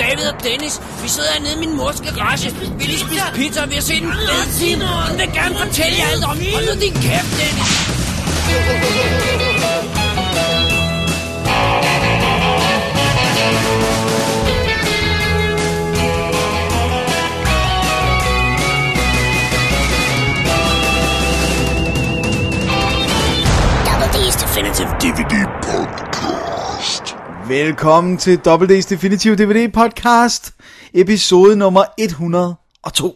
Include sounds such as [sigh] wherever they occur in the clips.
Dennis, vi sidder hernede i min mors garage. Vi lige spise pizza, og vi har set en fed film. Hun vil gerne fortælle jer alt om. Hold nu din kæft, Dennis. Double D's Definitive DVD Podcast. Velkommen til WD's Definitive DVD Podcast, episode nummer 102.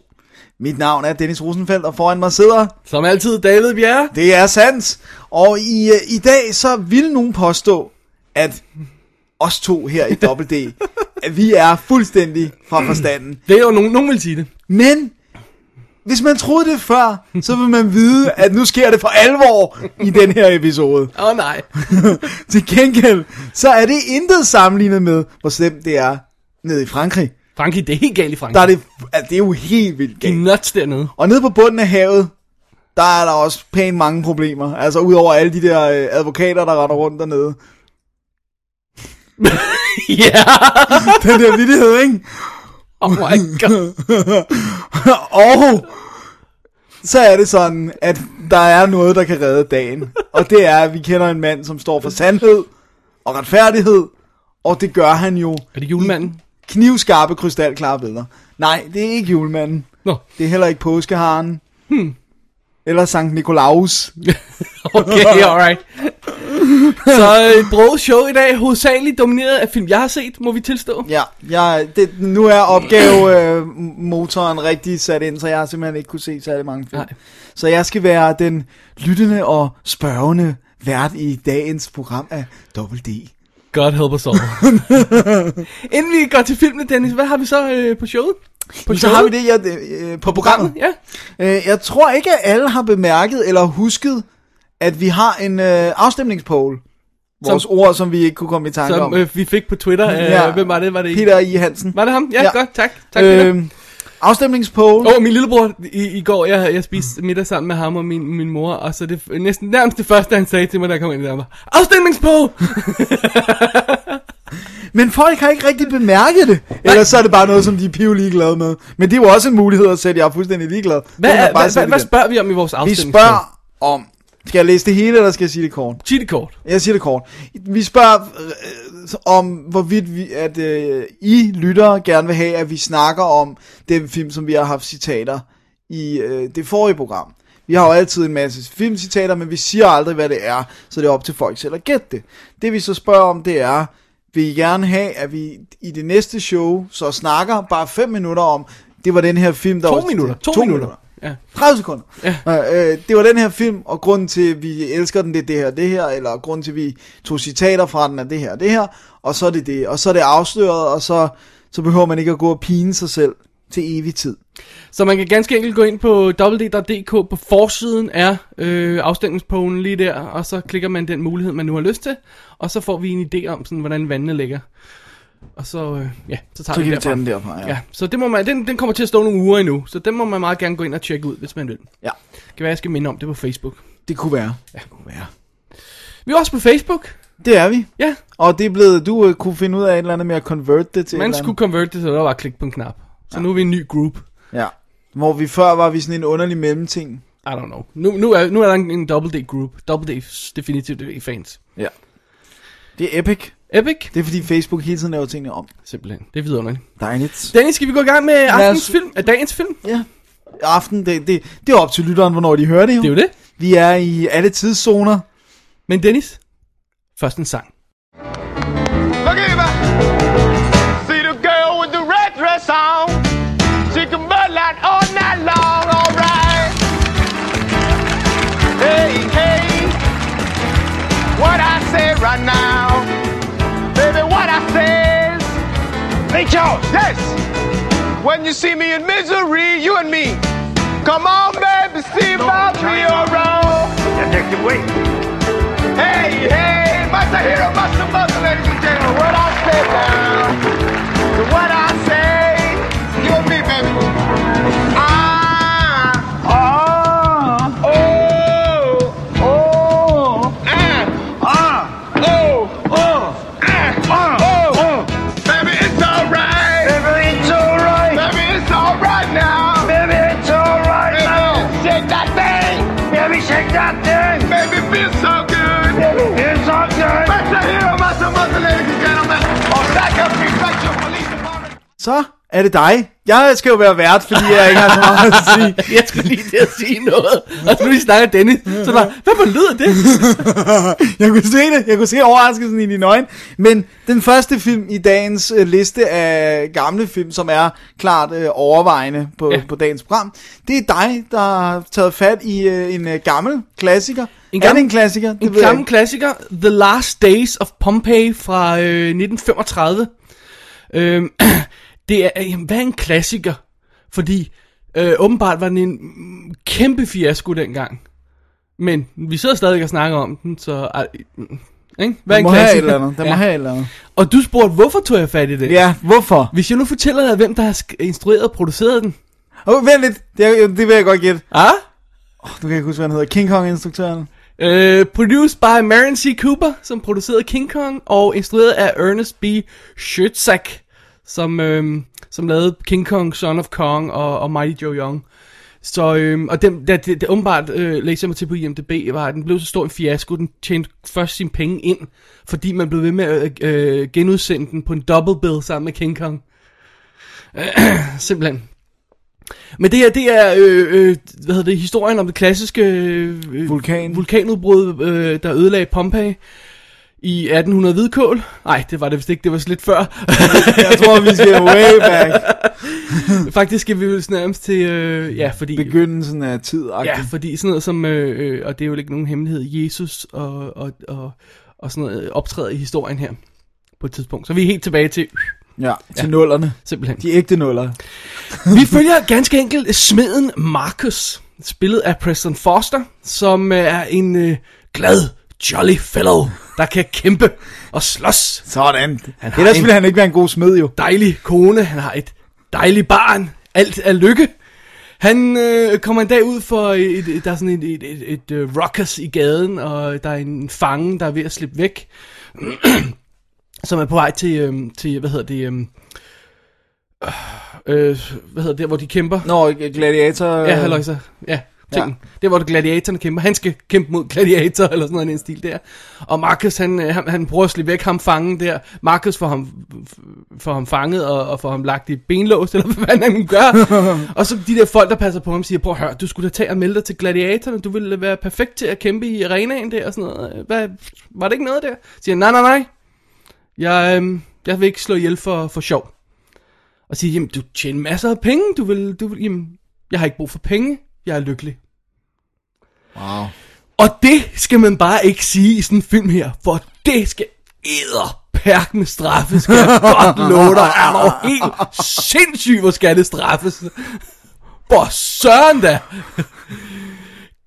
Mit navn er Dennis Rosenfeldt, og foran mig sidder, Som altid, David Bjerre. det er sandt. Og i, øh, i dag så vil nogen påstå, at os to her i WD, at vi er fuldstændig fra forstanden. Det er jo nogen, nogen vil sige det. Men hvis man troede det før, så vil man vide, at nu sker det for alvor i den her episode. [laughs] Åh oh, nej. Til gengæld, så er det intet sammenlignet med, hvor slemt det er nede i Frankrig. Frankrig, det er helt galt i Frankrig. Der er det, altså, det er jo helt vildt De er galt. [laughs] nuts dernede. Og nede på bunden af havet, der er der også pænt mange problemer. Altså udover alle de der øh, advokater, der render rundt dernede. [laughs] Ja. Den der vildighed, ikke? [laughs] Oh my god. og så er det sådan, at der er noget, der kan redde dagen. Og det er, at vi kender en mand, som står for sandhed og retfærdighed. Og det gør han jo Er det julemanden? knivskarpe, krystalklare billeder. Nej, det er ikke julemanden. Nå. [laughs] Det er heller ikke påskeharen. Hmm. Eller Sankt Nikolaus. Okay, alright. Så et broget show i dag, hovedsageligt domineret af film, jeg har set, må vi tilstå. Ja, jeg, det, nu er opgavemotoren øh, rigtig sat ind, så jeg har simpelthen ikke kunne se særlig mange film. Nej. Så jeg skal være den lyttende og spørgende vært i dagens program af Double D. God help us all. [laughs] Inden vi går til filmen, Dennis, hvad har vi så øh, på showet? På Så har vi det jeg, øh, på programmet. Ja. Øh, jeg tror ikke, at alle har bemærket eller husket, at vi har en øh, afstemningspoll. Vores som, ord, som vi ikke kunne komme i tanke Som om. øh, vi fik på Twitter. Øh, Ja. ja. Hvem var det? Var det Peter I. Hansen. Var det ham? Ja, Ja. Øhm, ja. godt. Tak. Tak, Peter. afstemningspoll. Åh, oh, min lillebror i, i går, jeg, jeg Mm. spiste middag sammen med ham og min, min mor, og så det f- næsten nærmest det første, han sagde til mig, da jeg kom ind, der var, afstemningspå! Men folk har ikke rigtig bemærket det. Ellers så er det bare noget, som de er piv ligeglade med. Men det er jo også en mulighed at sætte, jeg er fuldstændig ligeglad. Hvad, Det kan er, man bare hvad, hvad, sætte hvad igen. spørger vi om i vores Vi afstemningspå? spørger om... Skal jeg læse det hele, eller skal jeg sige det kort? Cheatekort. Jeg siger det kort. Vi spørger øh, om, hvorvidt vi, at øh, I lyttere gerne vil have, at vi snakker om den film, som vi har haft citater i øh, det forrige program. Vi har jo altid en masse filmcitater, men vi siger aldrig, hvad det er, så det er op til folk selv at gætte det. Det vi så spørger om, det er, vil I gerne have, at vi i det næste show så snakker bare 5 minutter om, det var den her film, der To var... minutter. To, To minutter. minutter. Ja. 30 sekunder. Ja. Øh, øh, det var den her film, og grunden til, at vi elsker den, det er det her og det her, eller grunden til, at vi tog citater fra den, er det her og det her, og så er det det, og så er det afsløret, og så, så behøver man ikke at gå og pine sig selv til evig tid. Så man kan ganske enkelt gå ind på www.dk, på forsiden er øh, afstemningspolen lige der, og så klikker man den mulighed, man nu har lyst til, og så får vi en idé om, sådan, hvordan vandene ligger. Og så, øh, ja, så tager Så vi kan vi det tage den derfra. derfra, ja. Ja, så det må man, den, den kommer til at stå nogle uger endnu, så den må man meget gerne gå ind og tjekke ud, hvis man vil. ja. Det kan være, jeg skal minde om det på Facebook. Det kunne være. Ja, det kunne være. Vi er også på Facebook. Det er vi. Ja, Og det er blevet, du øh, kunne finde ud af et eller andet med at convert det til et man eller andet. skulle convert det, så der var klik på en knap. Så nu er vi en ny group. Ja. Hvor vi før var vi sådan en underlig mellemting. I don't know. Nu, nu, er, nu er der en, en Double D group. Double D's definitivt D fans. Ja. Det er epic. Epic. Det er fordi Facebook hele tiden laver tingene om. Simpelthen. Det er vidunderligt. Dejligt. Dennis, skal vi gå i gang med os- aftens film? Er dagens film? Ja. Aften, det, det, det er op til lytteren, hvornår de hører det jo. Det er jo det. Vi er i alle tidszoner. Men Dennis, først en sang. Look here, See the girl with the red dress on. She can burn light all night long, all right. Hey, hey. What I say right now. Baby, what I say is. Make yours. Yes. When you see me in misery, you and me. Come on, baby, see about me around. Hey, hey, Master Hero, Master Muscle, ladies and gentlemen, what I say now, to what I say, you and me, baby. Ah, ah, oh, oh, ah, ah, oh, oh, ah, ah, oh, oh. Baby, it's alright. Baby, så er det dig. Jeg skal jo være vært, fordi jeg ikke har så meget at sige. Jeg skulle lige til at sige noget. Og nu vi snakker Dennis, så bare, hvad for lyder det? jeg kunne se det. Jeg kunne se overraskelsen i dine øjne. Men den første film i dagens øh, liste af gamle film, som er klart øh, overvejende på, Ja. ja. på dagens program, det er dig, der har taget fat i øh, en øh, gammel klassiker. En En gammel, er gammel- det en klassiker? Det En ved jeg gammel ikke. klassiker, The Last Days of Pompeii fra øh, 1935. Øhm, [clears throat] det er, øh, jamen, hvad er en klassiker? Fordi øh, åbenbart var den en mm, kæmpe fiasko dengang. Men vi sidder stadig og snakker om den, så... Øh, mm, ikke? Hvad er Den en må have et klassiker? eller andet. Den ja. må have et eller andet. Og du spurgte, hvorfor tog jeg fat i det? Ja, hvorfor? Hvis jeg nu fortæller dig, hvem der har sk- instrueret og produceret den. Oh, vent lidt. Det, er, det vil jeg godt gætte. Ah? Du kan ikke huske, hvad han hedder. King Kong-instruktøren. Øh, produced by Marion C. Cooper, som producerede King Kong, og instrueret af Ernest B. Schützak, som, øh, som lavede King Kong, Son of Kong og, og Mighty Joe Young. Så, øh, og den, der, det, det, åbenbart øh, læser jeg mig til på IMDb, var, at den blev så stor en fiasko, den tjente først sine penge ind, fordi man blev ved med at øh, genudsende den på en double bill sammen med King Kong. [clears throat] Simpelthen. Men det her, det er, øh, øh, hvad hedder det, historien om det klassiske øh, Vulkan. vulkanudbrud, øh, der ødelagde Pompeii i 1800 hvidkål. Nej, det var det vist ikke, det var lidt før. [laughs] Jeg tror, vi skal way back. Faktisk skal vi jo nærmest til, øh, ja, fordi... Begyndelsen af tid. Ja, fordi sådan noget som, øh, øh, og det er jo ikke nogen hemmelighed, Jesus og, og, og, og sådan noget øh, optræder i historien her på et tidspunkt. Så vi er helt tilbage til, ja, til ja. nullerne. simpelthen. De ægte nuller. Vi følger ganske enkelt smeden Marcus, spillet af Preston Foster, som øh, er en øh, glad, jolly fellow, der kan kæmpe og slås. Sådan. Han Han har Ellers en- ville han ikke være en god smed jo. Dejlig kone, han har et dejligt barn, alt er lykke. Han øh, kommer en dag ud for, et, et, der er sådan et, et, et, et øh, rockers i gaden, og der er en fange, der er ved at slippe væk, [clears throat] som er på vej til, øh, til hvad hedder det, øh, øh, hvad hedder det, hvor de kæmper. Nå, gladiator... Ja, halløjsa. Ja, tingen. Ja. Det er, hvor gladiatorerne kæmper. Han skal kæmpe mod gladiator, eller sådan noget i den stil der. Og Marcus, han, øh, han, han prøver at slippe væk ham fangen der. Marcus får ham, f- får ham fanget, og, og får ham lagt i et benlås, eller hvad fanden han gør. og så de der folk, der passer på ham, siger, prøv at høre, du skulle da tage og melde dig til gladiatorerne. Du ville være perfekt til at kæmpe i arenaen der, og sådan noget. Hvad, var det ikke noget der? Siger han, nej, nej, nej. Jeg, øhm, jeg vil ikke slå ihjel for, for sjov. Og siger, jamen du tjener masser af penge, du vil, du vil, jamen, jeg har ikke brug for penge, jeg er lykkelig. Wow. Og det skal man bare ikke sige i sådan en film her, for det skal æderperk med straffe, skal jeg godt love dig. Er du helt sindssyg, hvor skal det straffes? Hvor søren da!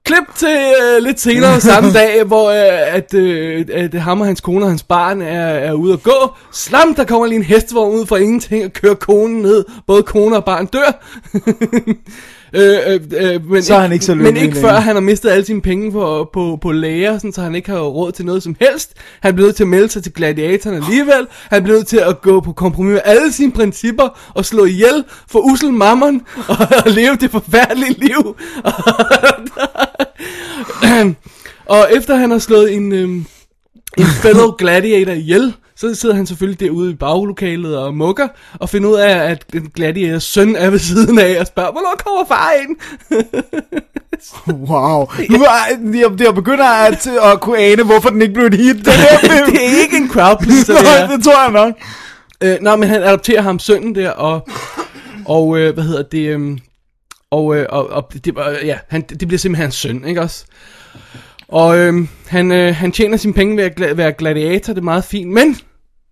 Klip til øh, [laughs] lidt senere samme dag, hvor øh, at, øh, at ham og hans kone og hans barn er, er ude at gå. Slam, der kommer lige en hestevogn ud fra ingenting og kører konen ned. Både kone og barn dør. [laughs] øh, øh, øh, men Så er han ikke så Men lykkelig ikke før længere. han har mistet alle sine penge på, på, på læger, sådan, så han ikke har råd til noget som helst. Han bliver nødt til at melde sig til gladiatoren alligevel. Han bliver nødt til at gå på kompromis med alle sine principper og slå ihjel for usel mammon og, [laughs] og leve det forfærdelige liv. [clears throat] og efter han har slået en, øhm, en fellow gladiator ihjel, så sidder han selvfølgelig derude i baglokalet og mukker, og finder ud af, at den gladiators søn er ved siden af, og spørger, hvornår kommer far ind? Wow. Nu er jeg, jeg begynder at, øh, at kunne ane, hvorfor den ikke blev et hit. Den [laughs] her film. det er ikke en crowd pleaser, [laughs] det Nej, er. det tror jeg [laughs] nok. Øh, nej, men han adopterer ham sønnen der, og, og øh, hvad hedder det, øhm, og, øh, og, og det, var- ja, han, det bliver simpelthen hans søn, ikke også? Og øh, han, øh, han tjener sine penge ved at gla- være gladiator, det er meget fint, men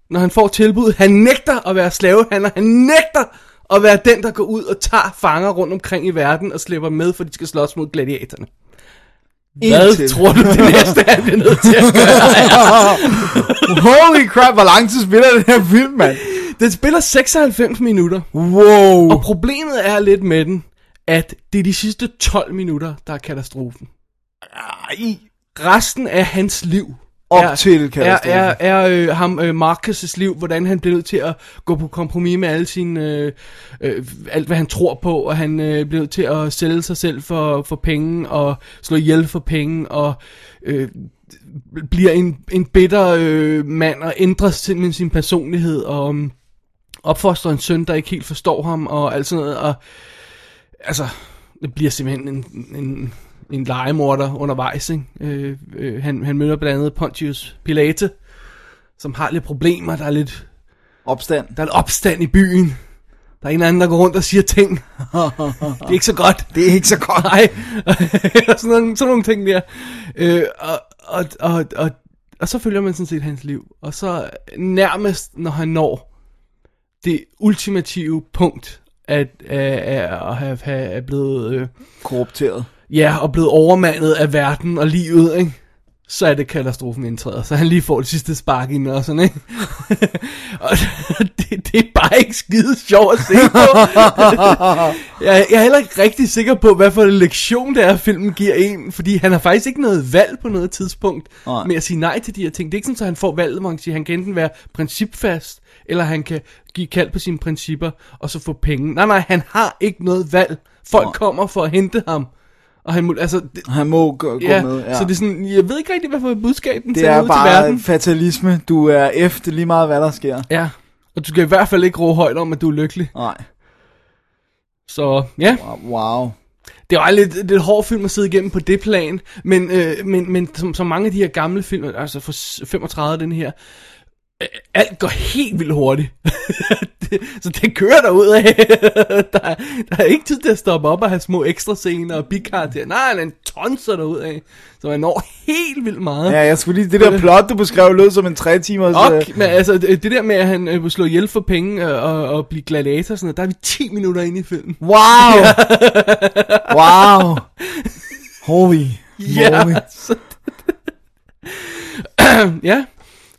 når han får tilbud, han nægter at være slavehandler, han nægter at være den, der går ud og tager fanger rundt omkring i verden og slipper dem med, for de skal slås mod gladiatorerne. Hvad Indtil- tror du, det næste han bliver nødt til at [laughs] gøre? Holy crap, hvor lang tid spiller den her film, mand. Den spiller 96 minutter. Wow. Og problemet er lidt med den, at det er de sidste 12 minutter, der er katastrofen. Ej. Resten af hans liv Op er- til er, katastrofen. er, er øh, ham øh, Marcus' liv, hvordan han bliver nødt til at gå på kompromis med alle sine, øh, øh, alt hvad han tror på, og han øh, bliver nødt til at sælge sig selv for, for penge, og slå ihjel for penge, og øh, bliver en, en bitter øh, mand, og ændrer simpelthen sin personlighed, og... Um, opfostrer en søn, der ikke helt forstår ham, og alt sådan noget, og altså, det bliver simpelthen en, en, en legemorder undervejs, ikke? Øh, øh, han, han møder blandt andet Pontius Pilate, som har lidt problemer, der er lidt, Opstand. der er lidt opstand i byen, der er en eller anden, der går rundt og siger ting, det er ikke så godt, Det er ikke så godt. nej, [laughs] og sådan, nogle, sådan nogle ting der. Øh, og, og, og, og, og så følger man sådan set hans liv. Og så nærmest, når han når det ultimative punkt, at, at, at have, have er blevet, øh, Korrupteret. ja, og blevet overmandet af verden og livet, ikke? så er det katastrofen indtræder. Så han lige får det sidste spark ind og sådan, [laughs] ikke? og det, det er bare ikke skide sjovt at se [laughs] på. jeg, jeg er heller ikke rigtig sikker på, hvad for en lektion det er, filmen giver en. Fordi han har faktisk ikke noget valg på noget tidspunkt Nej. med at sige nej til de her ting. Det er ikke sådan, at han får valget, hvor han siger, han kan enten være principfast, eller han kan give kald på sine principper, og så få penge. Nej, nej, han har ikke noget valg. Folk Nej. kommer for at hente ham. Og han, må- altså, det, Han må gå, gå ja, med. Ja. så det er sådan, jeg ved ikke rigtig, hvad for et budskab den det sender er ud til bare verden. fatalisme. Du er F, det er lige meget, hvad der sker. Ja, og du skal i hvert fald ikke råbe højt om, at du er lykkelig. Nej. Så ja, Wow. det var lidt, lidt hård film at sidde igennem på det plan, men, øh, men, men som, som mange af de her gamle film, altså fra s- 35 den her, øh, alt går helt vildt hurtigt. [laughs] det, så det kører derud af. [laughs] der, er- der er ikke tid til at stoppe op og have små ekstra scener og bikarakterer. Nej, den tonser derud af. Så man når helt vildt meget. Ja, jeg skulle lige... Det der plot, du beskrev, lød som en tre timers... Og, øh, men altså, det det der med, at han øh, vil slå ihjel for penge øh, og, og blive gladiator og sådan noget, der er vi 10 minutter inde i filmen. Wow! [laughs] wow! Holy moly. så- [laughs] ja.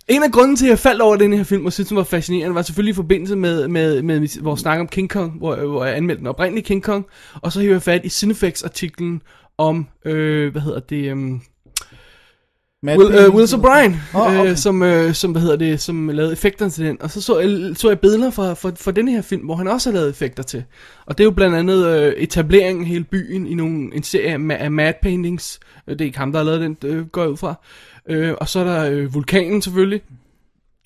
En af grunden til, at jeg faldt over den her film, og synes, den var fascinerende, var selvfølgelig i forbindelse med, med, med vores snak om King Kong, hvor, øh, hvor jeg anmeldte den oprindelige King Kong, og så hiver jeg fat i Cinefex-artiklen om, øh, hvad hedder det, øhm, Mad Will, uh, Penny. Wills O'Brien, Åh, oh, okay. okay. øh, som, øh, som, hvad hedder det, som lavede effekterne til den. Og så så jeg, så jeg billeder fra, fra, fra den her film, hvor han også har lavet effekter til. Og det er jo blandt andet øh, etableringen af hele byen i nogle, en serie af, ma- af mad paintings. Øh, Det er ikke ham, der har lavet den, øh, går jeg ud fra. Øh, og så er der øh, vulkanen selvfølgelig.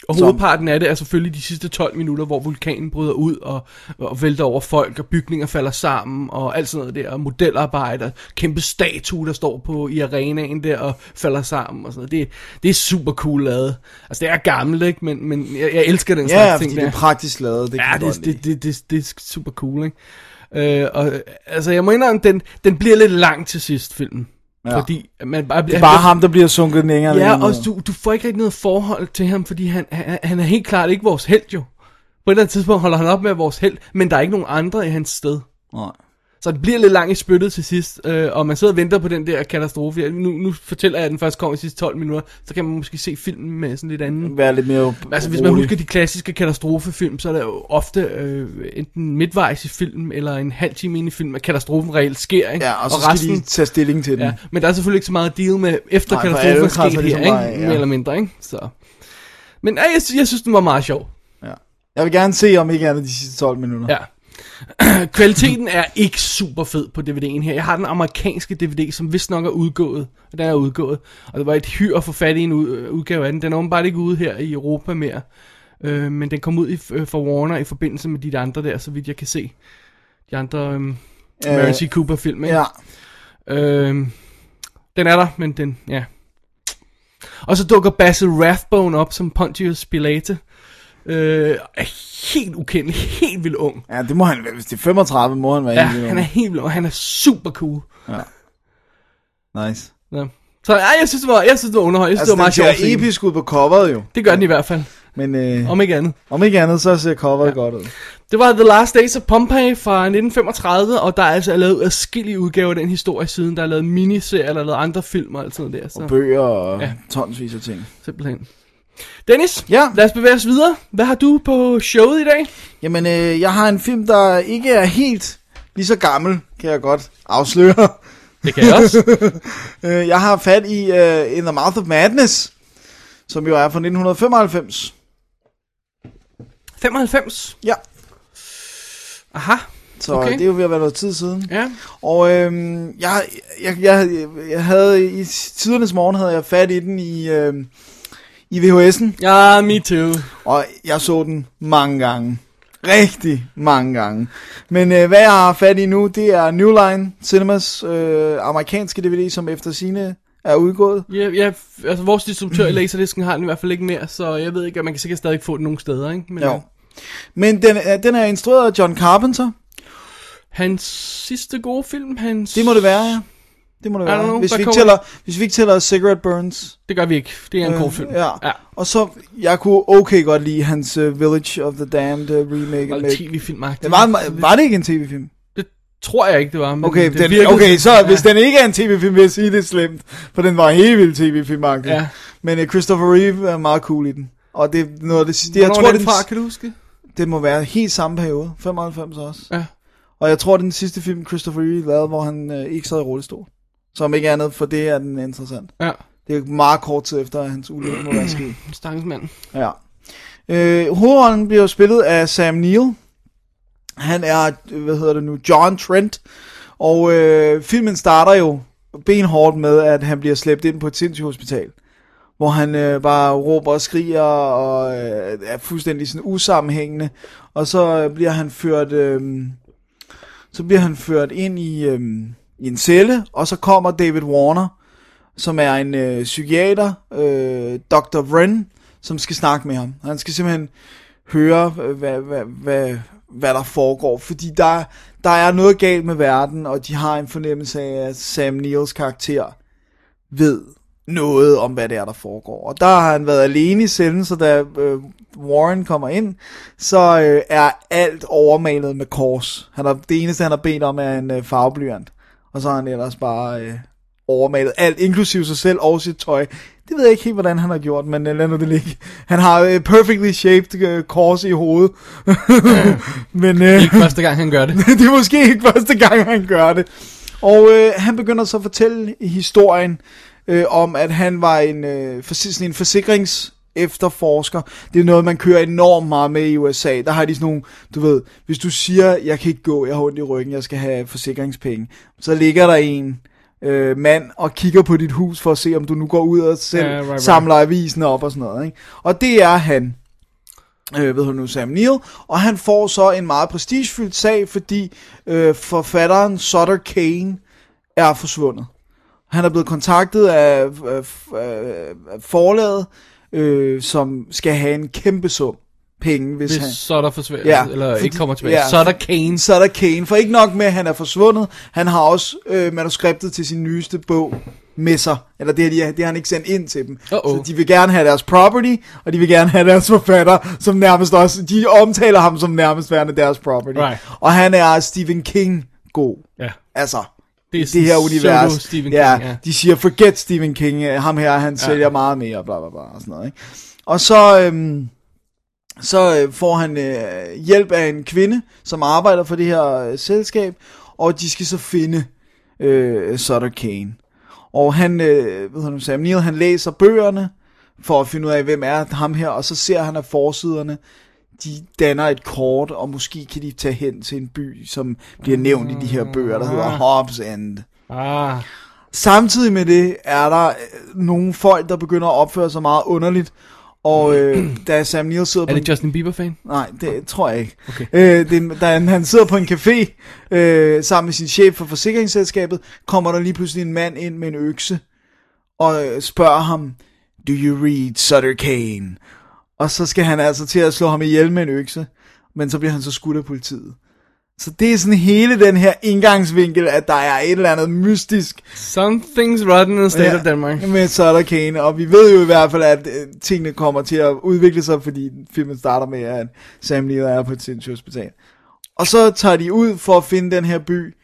Og Som- hovedparten af det er selvfølgelig de sidste 12 minutter, hvor vulkanen bryder ud og, og vælter over folk, og bygninger falder sammen, og alt sådan noget der, og modelarbejder, kæmpe statue, der står på i arenaen der, og falder sammen, og sådan noget. Det, det er super cool lavet. Altså, det er gammelt, ikke? Men, men jeg, jeg elsker den Ja, slags fordi ting det der. er praktisk lavet. Det kan Ja, jeg det, godt lide. det, det, det, det er super cool, ikke? Øh, og, øh, altså, jeg må indrømme, den, den bliver lidt lang til sidst, filmen. Ja. Ja. Fordi man bare det bliver... er bare ham, der bliver sunket længere og Ja, længere og ned. du, du får ikke rigtig noget forhold til ham, fordi han, han, han er helt klart ikke vores held jo. På et eller andet tidspunkt holder han op med at være vores held, men der er ikke nogen andre i hans sted. Nej. Så det bliver lidt langt i spyttet til sidst, øh, og man sidder og venter på den der katastrofe. Jeg- Nu, nu fortæller jeg, at den først kommer i sidste 12 minutter, så kan man måske se filmen med sådan lidt anden Vær lidt mere Altså hvis man husker de klassiske katastrofefilm, så er der jo ofte øh, enten midtvejs i film, eller en halv time inde i film, at katastrofen reelt sker, ikke? Ja, og så og skal de tage stilling til den. Ja, men der er selvfølgelig ikke så meget at deal med, efter Mm. Nej, for katastrofen alle er kradser sket ligesom her, ikke? bare af, ja. Mere eller mindre, ikke? Så. Men ja, jeg, sy- jeg synes, den var meget sjov. Ja. Jeg vil gerne se, om ikke andet de sidste 12 minutter. Ja. [clears throat] Kvaliteten er ikke super fed på DVD'en her. Jeg har den amerikanske DVD, som vist nok er udgået. Og den er udgået. Og det var et hyr at få fat i en ud- øh, udgave af den. Den er åbenbart ikke ude her i Europa mere. Øh, men den kom ud i, øh, for Warner i forbindelse med de der andre der, så vidt jeg kan se. De andre øh, Mary C. Cooper-film, ikke? ja. Øhm, den er der, men den, ja. Og så dukker Basil Rathbone op som Pontius Pilate. Øh, er helt ukendt, helt vildt ung. ja, det må han være. Hvis det er 35, må han være Ja, en lille han er ung. helt vildt ung, han er super cool. Nice. Ja. Så ja, jeg synes, det var, jeg synes, det var underhold. Jeg synes, Altså, det var den meget ser sjovt. Episk. episk ud på coveret jo. Det gør den i hvert fald, Men øh, om ikke andet. om ikke andet, så ser coveret godt ud. Det var The Last Days of Pompeii fra 1935, og der er altså lavet adskillige udgaver af den historie siden. Der er lavet miniserier, der er lavet andre film og alt sådan noget der. Så. Og bøger og Ja. tonsvis af ting. Simpelthen. Dennis, Ja. lad os bevæge os videre. Hvad har du på showet i dag? Jamen, øh, jeg har en film, der ikke er helt lige så gammel, kan jeg godt afsløre. [laughs] Det kan jeg [laughs] også. Øh, jeg har fat i uh, In the Mouth of Madness, som jo er fra 1995. 95. Ja, Aha. så Okay. okay. det er jo ved at være noget tid siden. Ja. Og øhm, jeg, jeg, jeg, jeg havde i tidernes morgen havde jeg fat i den i, øhm, i VHS'en, Ja, me too. og jeg så den mange gange. rigtig mange gange. Men øh, hvad jeg har fat i nu, det er New Line Cinemas øh, amerikanske DVD, som efter sine er udgået. Ja, ja, f- altså vores distributør i Laserdisken har den i hvert fald ikke mere, så jeg ved ikke, at man kan sikkert stadig få den nogle steder, ikke? Men Jo. Men den, er- den er instrueret af John Carpenter. Hans sidste gode film, hans... Det må det være, ja. Det må det I don't være. know, hvis, der vi ikke kommer- tæller, hvis vi ikke tæller Cigarette Burns. Det gør vi ikke. Det er en Øh, god film. ja. ja. Og så, jeg kunne okay godt lide hans uh, Village of the Damned uh, remake. Meget med- tv-film Det var, en- var det ikke en tv-film? Det tror jeg ikke, det var. Men Okay, det den, virkede- okay så hvis den ikke er en tv-film, vil jeg sige, det er slemt. For den var helt vildt tv-film Ja. Men uh, Christopher Reeve er meget cool i den. Og det er noget af det sidste. Jeg Hvornår tror, er det, den er fra, den, kan du huske? det må være helt samme periode. 95 også. Ja. Og jeg tror, det er den sidste film, Christopher Reeve lavede, hvor han øh, ikke sad i rullestol. Som ikke andet, for det er den interessant. Ja. Det er jo meget kort tid efter, at hans ulykke må være sket. Stakkelsmand. Ja. Øh, hovedrollen bliver jo spillet af Sam Neill. Han er, øh, hvad hedder det nu, John Trent. Og øh, filmen starter jo benhårdt med, at han bliver slæbt ind på et sindssygt hospital. Hvor han øh, bare råber og skriger og øh, er fuldstændig sådan usammenhængende. Og så øh, bliver han ført... Øh, så bliver han ført ind i, øh, i en celle, og så kommer David Warner, som er en øh, psykiater, øh, Dr. Wren, som skal snakke med ham. Han skal simpelthen høre, øh, hvad, hvad, hvad, hvad der foregår, fordi der, der er noget galt med verden, og de har en fornemmelse af, at Sam Neils karakter ved noget om, hvad det er, der foregår. Og der har han været alene i cellen, så da øh, Warren kommer ind, så øh, er alt overmalet med kors. Han har, det eneste, han har bedt om, er en øh, farveblyant. Og så har han ellers bare øh, overmalet alt, inklusive sig selv og sit tøj. Det ved jeg ikke helt, hvordan han har gjort, men øh, lad nu det ligge. Han har øh, perfectly shaped øh, kors i hovedet. [laughs] men øh, [laughs] Første gang, han gør det. det er måske ikke første gang, han gør det. Og øh, han begynder så at fortælle historien øh, om, at han var en, øh, for, sådan en forsikrings efterforsker. Det er noget, man kører enormt meget med i USA. Der har de sådan nogle, du ved, hvis du siger, jeg kan ikke gå, jeg har ondt i ryggen, jeg skal have forsikringspenge, så ligger der en øh, mand og kigger på dit hus for at se, om du nu går ud og selv Ja, yeah, right, right. samler avisen op og sådan noget. Ikke? Og det er han øh, ved hun nu, Sam Neill, og han får så en meget prestigefyldt sag, fordi øh, forfatteren Sutter Kane er forsvundet. Han er blevet kontaktet af, af, af af forlaget, øh, som skal have en kæmpe sum penge, hvis, han... Hvis så er der forsvinder, Ja, eller fordi- ikke kommer tilbage. ja, så er der for- Kane. Så er der Kane, for ikke nok med, at han er forsvundet, han har også øh, manuskriptet til sin nyeste bog med sig. Eller det, har de, det har han ikke sendt ind til dem. Uh-oh. Så de vil gerne have deres property, og de vil gerne have deres forfatter, som nærmest også, de omtaler ham som nærmest værende deres property. Right. Og han er Stephen King god. Ja. Altså, Det er det her univers. Stephen ja, King, ja. de siger, forget Stephen King, øh, ham her, han ja. sælger meget mere, bla bla bla, og sådan noget, ikke? Og så, øhm, så øh, får han øh, hjælp af en kvinde, som arbejder for det her øh, selskab, og de skal så finde øh, Sutter Kane. Og han, øh, ved han, Sam Neill, han læser bøgerne, for at finde ud af, hvem er ham her, og så ser han af forsiderne, de danner et kort, og måske kan de tage hen til en by, som bliver nævnt i de her bøger, der hedder Hobbs End. Ah, Samtidig med det er der øh, nogle folk, der begynder at opføre sig meget underligt, og [clears throat] øh, da Sam Neill sidder på er en det Justin Bieber-fan? Nej, det tror jeg ikke. Okay. Øh, det, er- da han, han sidder på en café øh, sammen med sin chef for forsikringsselskabet, kommer der lige pludselig en mand ind med en økse og øh, spørger ham, Do you read Sutter Kane? Og så skal han altså til at slå ham ihjel med en økse, men så bliver han så skudt af politiet. Så det er sådan hele den her indgangsvinkel, at der er et eller andet mystisk Something's rotten in the state Ja, of Denmark. Med Sutter Kane, og vi ved jo i hvert fald, at øh, tingene kommer til at udvikle sig, fordi filmen starter med, at Sam Neill er på et sindssygt hospital. Og så tager de ud for at finde den her by,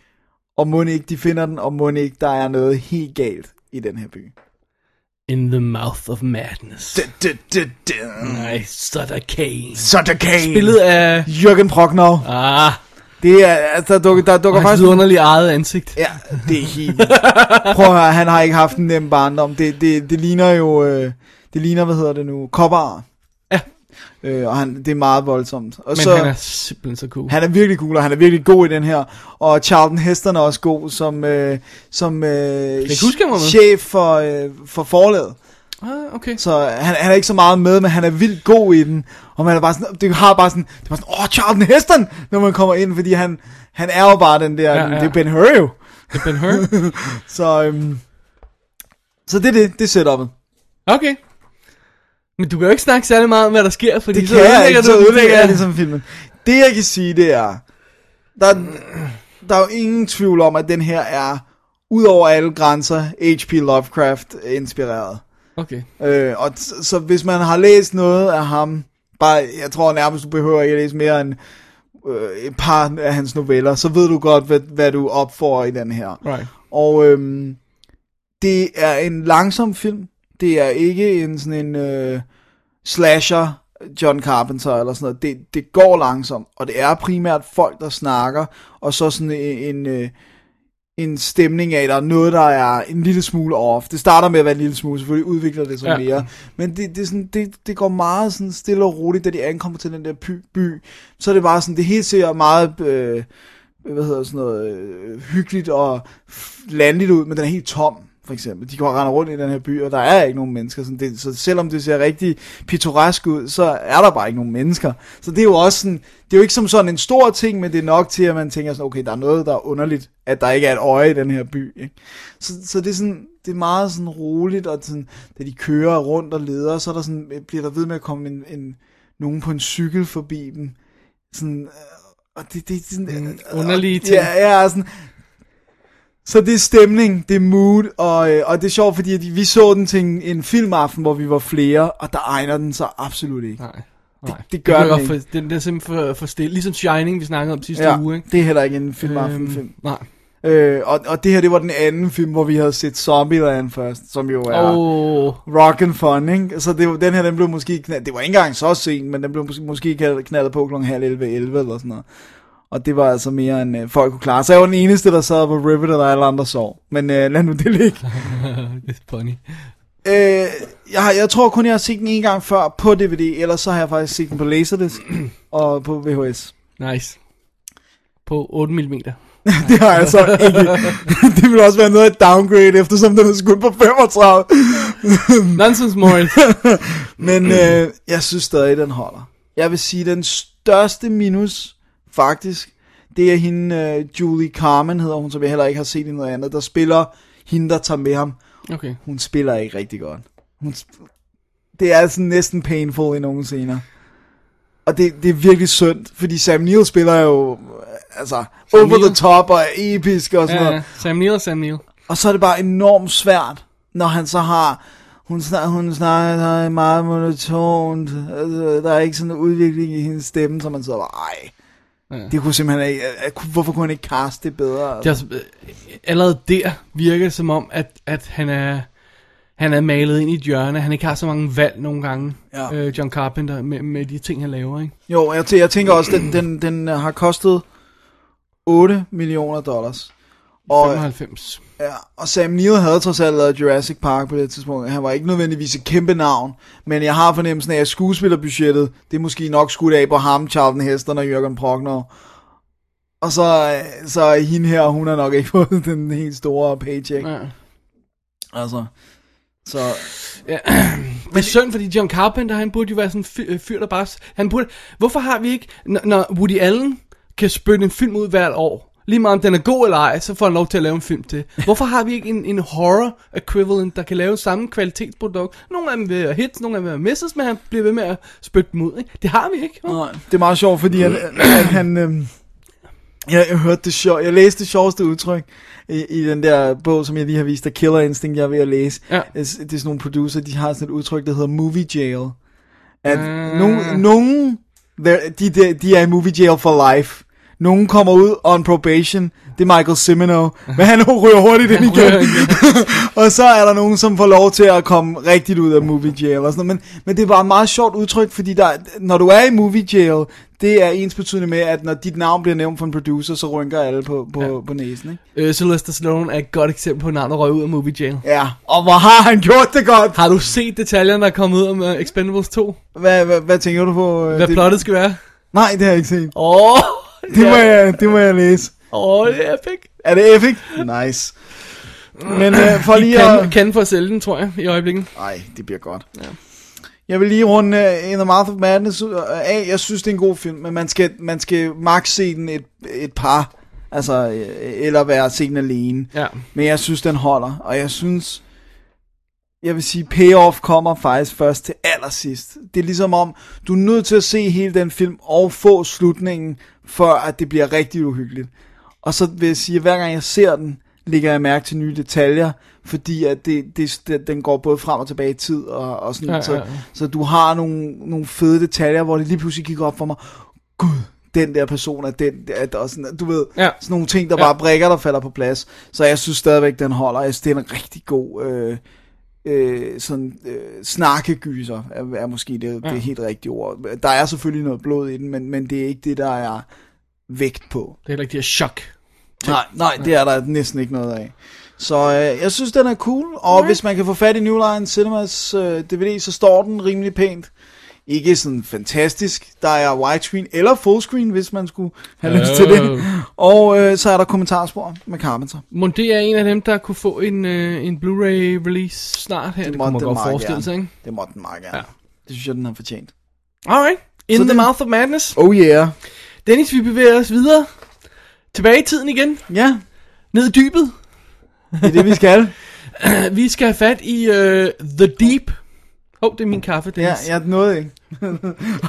og må ikke de finder den, og må ikke der er noget helt galt i den her by. In the mouth of madness. Nej, Sutter Kane. Sutter Kane! Billedet af... Jørgen Prochnow. Ah, Det er, altså, der dukker, der og dukker hans faktisk... vidunderlige eget ansigt. Ja, det er helt [laughs] vildt. Prøv at høre, han har ikke haft en nem barndom. Det, det, det ligner jo, øh, det ligner, hvad hedder det nu, kopper. Ja. Øh, og han, det er meget voldsomt. Og Men så, han er simpelthen så cool. han er virkelig cool, og han er virkelig god i den her. Og Charlton Heston er også god som, øh, som øh, ikke huske, han var med. chef for, øh, for forlaget. Ah, okay. Så han, han er ikke så meget med, men han er vildt god i den. Og man er bare sådan, det har bare sådan, det var sådan, åh, Charlton Heston, når man kommer ind, fordi han, han er jo bare den der, Ja, ja, ja. ja. det er Ben Hur jo. Det er Ben Hur. Så, øhm, så det er det, det er setup'et. Okay. Men du kan jo ikke snakke særlig meget om, hvad der sker, fordi Det så kan jeg ødelægger ikke, så du- ødelægger Ja. jeg ligesom filmen. Det jeg kan sige, det er, der, der er jo ingen tvivl om, at den her er, ud over alle grænser, H.P. Lovecraft inspireret. Okay. Øh, og t- så hvis man har læst noget af ham, bare, jeg tror nærmest, du behøver ikke at læse mere end øh, et par af hans noveller, så ved du godt, hvad, hvad du opfor i den her. Right. Og øhm, det er en langsom film. Det er ikke en sådan en øh, slasher John Carpenter eller sådan noget. Det, det går langsomt, og det er primært folk, der snakker, og så sådan en, en, øh, en stemning af, der er noget, der er en lille smule off. Det starter med at være en lille smule, selvfølgelig udvikler det sig Ja. ja. mere. Men det, det, er sådan, det, det går meget sådan stille og roligt, da de ankommer til den der by. by så er det bare sådan, det hele ser meget... Øh, hvad hedder sådan noget, øh, hyggeligt og f- landligt ud, men den er helt tom, for eksempel. De går render rundt i den her by, og der er ikke nogen mennesker. Sådan det, så selvom det ser rigtig pittoresk ud, så er der bare ikke nogen mennesker. Så det er jo også sådan, det er jo ikke som sådan en stor ting, men det er nok til, at man tænker sådan, okay, der er noget, der er underligt, at der ikke er et øje i den her by. Ikke? Så, så det er sådan, det er meget sådan roligt, og sådan, da de kører rundt og leder, så er der sådan, øh, bliver der ved med at komme en, en, nogen på en cykel forbi dem. Sådan, øh, og det, det er sådan, øh, Mm, Underlige ting. Ja, ja, sådan. Så det er stemning, det er mood, og, øh, og det er sjovt, fordi at vi så den til en, en filmaften, hvor vi var flere, og der egner den så absolut ikke. Nej. Nej. det gør kan jeg den godt For, den, den er simpelthen for, for stille. Ligesom Shining, vi snakkede om sidste uge, ikke? det er heller ikke en filmaften Øhm, film. Nej. Øh, og, og det her, det var den anden film, hvor vi havde set Zombieland først, som jo er Åh. oh. Oh. rock and fun, ikke? Så det, var- den her, den blev måske knaldet, det var ikke engang så sent, men den blev mås- måske knald- knaldet på kl. halv 11, 11 eller sådan noget. Og det var altså mere end øh, folk kunne klare. Så jeg var den eneste, der sad på Rivet, og der alle andre sov. Men øh, lad nu det ligge. det er funny. Øh, jeg, har- jeg tror kun, jeg har set den en gang før på DVD, ellers så har jeg faktisk set den på Laserdisc og på VHS. Nice. På 8 mm. [laughs] Det har jeg så ikke. det ville også være noget af et downgrade, eftersom den er skudt på 35. [laughs] Nonsense Morris. [clears throat] Men øh, jeg synes stadig, den holder. Jeg vil sige, den største minus, faktisk, det er hende, øh, Julie Carmen hedder hun, som jeg heller ikke har set i noget andet, der spiller hende, der tager med ham. Okay. Hun spiller ikke rigtig godt. Hun sp- det er altså næsten painful i nogle scener. Og det, det er virkelig synd, fordi Sam Neill spiller jo, øh, altså, Sam over Neill? the top og episk og sådan Ja, noget. ja. Sam Neill og Sam Neill. Og så er det bare enormt svært, når han så har... Hun snakker, hun snakker så meget monotont. Altså, der er ikke sådan en udvikling i hendes stemme, så man sidder bare, ej. Ja. Det kunne simpelthen ikke... øh, øh, Hvorfor kunne han ikke kaste det bedre? Det er, også- øh, allerede der virker det som om, at, at han er... Han er malet ind i et hjørne. Han ikke har så mange valg nogle gange, Ja. øh, John Carpenter, med, med de ting, han laver. Ikke? Jo, jeg, tæ- jeg tænker også, den, den, den har kostet 8 millioner dollars. Og, øh, 95. ja, og Sam Neill havde trods alt lavet Jurassic Park på det tidspunkt. Han var ikke nødvendigvis et kæmpe navn, men jeg har fornemmelsen af, at skuespillerbudgettet, det er måske nok skudt af på ham, Charlton Heston og Jørgen Prochnow. Og så, så hende her, hun har nok ikke [laughs] fået den helt store paycheck. Ja. Altså, så Men det er synd, fordi John Carpenter, han burde jo være sådan en fyr, øh, fyr der bare... s- Han burde, hvorfor har vi ikke... Når, når Woody Allen kan spytte en film ud hvert år, lige meget om den er god eller ej, så får han lov til at lave en film til. Hvorfor har vi ikke en, en horror equivalent, der kan lave samme kvalitetsprodukt? Nogle af dem vil være hits, nogle af dem vil være misses, men han bliver ved med at spytte dem ud. Ikke? Det har vi ikke. hva'? Nej, det er meget sjovt, fordi han, han, han øhm, jeg, jeg hørte det sjov, jeg læste det sjoveste udtryk i, i den der bog, som jeg lige har vist, der Killer Instinct, jeg er ved at læse. Øh, Ja. Det er sådan nogle producer, de har sådan et udtryk, der hedder movie jail. At Ah. nogen, nogen der- de, de, de er i movie jail for life. Nogen kommer ud on probation, det er Michael Cimino, men han ryger hurtigt ind ryger igen. og så er der nogen, som får lov til at komme rigtigt ud af movie jail og sådan noget. Men, men det var et meget sjovt udtryk, fordi der, når du er i movie jail, det er ens betydende med, at når dit navn bliver nævnt for en producer, så rynker alle på, på, ja. på næsen. Ikke? [laughs] Øh, Sylvester Stallone er et godt eksempel på en navn, der røg ud af Movie Jail. Ja, og hvor har han gjort det godt? Har du set detaljerne, der er kommet ud om uh, Expendables 2? Hvad, hvad, hvad tænker du på? øh, Hvad det? plottet skal være? Nej, det har jeg ikke set. Åh, Det må jeg, det må jeg læse. oh, det er epic. Er det epic? Nice. Men øh, for lige Kan, at... kan for at sælge den, tror jeg, i øjeblikket. Ej, det bliver godt. Ja. Jeg vil lige runde uh, In the Mouth of Madness ud- af. Jeg synes, det er en god film, men man skal, man skal max se den et, et par, altså, øh, eller være se den alene. Ja. Men jeg synes, den holder, og jeg synes, jeg vil sige, payoff kommer faktisk først til allersidst. Det er ligesom om, du er nødt til at se hele den film og få slutningen, før at det bliver rigtig uhyggeligt. Og så vil jeg sige, at hver gang jeg ser den, lægger jeg mærke til nye detaljer, fordi at det, det, det, den går både frem og tilbage i tid, og, og sådan, Ja, så, ja, ja. så du har nogle, nogle fede detaljer, hvor det lige pludselig gik op for mig, gud, den der person er den, der, og sådan, du ved, Ja. sådan nogle ting, der Ja. bare brækker, der falder på plads. Så jeg synes stadigvæk, den holder. Jeg synes, det er en rigtig god øh, øh, sådan, øh, snakkegyser, er, er måske det, ja. det helt rigtige ord. Der er selvfølgelig noget blod i den, men, men det er ikke det, der er vægt på. Det er heller ikke det her chok. Nej, nej, det er der næsten ikke noget af. Så øh, jeg synes, den er cool, og okay. hvis man kan få fat i New Line Cinemas øh, DVD, så står den rimelig pænt. Ikke sådan fantastisk. Der er widescreen eller fullscreen, hvis man skulle have lyst til det. Øh. Og øh, så er der kommentarspor med Carpenter. Monté er en af dem, der kunne få en, øh, en Blu-ray release snart her. Det, det måtte kunne man den godt meget forestille gerne. sig, ikke? Det måtte den meget gerne. Ja. Ja. Det synes jeg, den har fortjent. Alright. In Så the det- mouth of madness. Oh yeah. Dennis, vi bevæger os videre. Tilbage i tiden igen. Ja, Ned i dybet. [clears throat] det er det, vi [laughs] skal. Vi skal have fat i øh, The Deep. Åh, oh, det er min kaffe, ja, Dennis. jeg nåede [laughs] ikke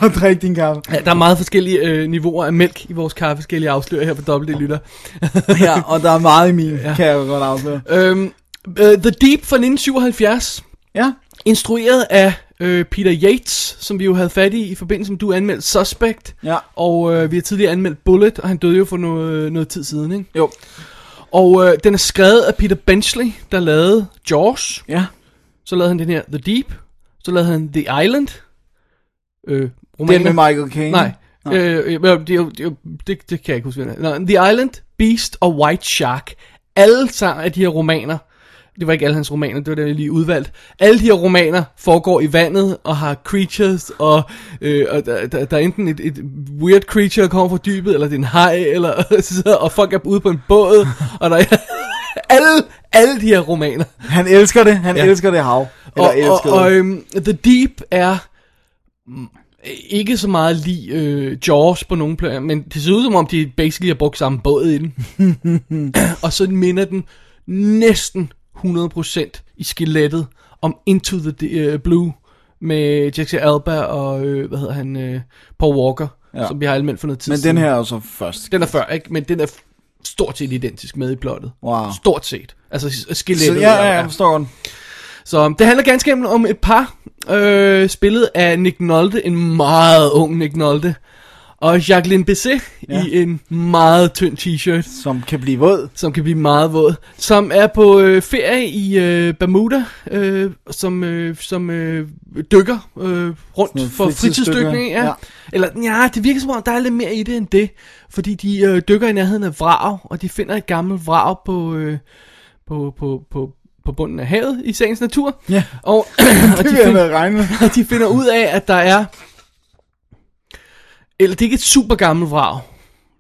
at drikke din kaffe. Ja, der er meget forskellige øh, niveauer af mælk i vores kaffe, skal jeg lige afsløre her på Dobbelt Lytter. [laughs] Ja, og der er meget i min, ja. kan jeg jo godt afsløre. Øhm, øh, The Deep fra 1977, Ja, instrueret af øh, Peter Yates, som vi jo havde fat i i forbindelse med, du anmeldte Suspect. ja. Og øh, vi har tidligere anmeldt Bullet, og han døde jo for noget, øh, noget tid siden, ikke? Jo. Og øh, den er skrevet af Peter Benchley, der lavede Jaws. Ja, Så lavede han den her The Deep. Så lavede han The Island. Øh, den romanen- med Michael Caine. Nej. Nå. Øh, øh, det, er jo- det, er jo- det, det kan jeg ikke huske. hvad den er. Nå, The Island, Beast og White Shark. Alle sammen af de her romaner. Det var ikke alle hans romaner, det var det, jeg lige udvalgt. Alle de her romaner foregår i vandet og har creatures, og, øh, og der, der, der er enten et, et weird creature, der kommer fra dybet, eller det er en haj, eller, [laughs] så- og folk er ude på en båd, og der er [laughs] alle, alle de her romaner. Han elsker det. Han Ja. ja. elsker det hav. Eller Og, elsker og, og det. øhm, The Deep er mm, ikke så meget lige øh, Jaws på nogle planer, men det ser ud som om, de basically har brugt samme båd [laughs] i den. og så minder den næsten 100% i skelettet om Into the D- øh, Blue med Jackson Alba og, øh, hvad hedder han, øh, Paul Walker, ja. Ja. som vi har anmeldt for noget tid Men siden. den her er jo så først. Den er før, ikke? Men den er f- stort set identisk med i plottet. Wow. Stort set. Altså s- skelettet. Så, ja, ja, er- jeg forstår den. så um, det handler ganske enkelt om et par, øh, spillet af Nick Nolte, en meget ung Nick Nolte, og Jacqueline Bisset ja. Ja. i en meget tynd t-shirt, Som kan blive våd. som kan blive meget våd, som er på øh, ferie i øh, Bermuda, øh, som, øh, som øh, dykker øh, rundt noget for fritidsdykning, fritidsdykning. Ja. ja. ja. Eller, ja, det virker som om, der er lidt mere i det end det, fordi de øh, dykker i nærheden af vrag, og de finder et gammelt vrag på, øh, på, på, på, på bunden af havet i sagens natur. [laughs] Ja. Og, og Det de vil jeg finder, med at regne med. og de finder ud af, at der er... Eller det er ikke et super gammelt vrag.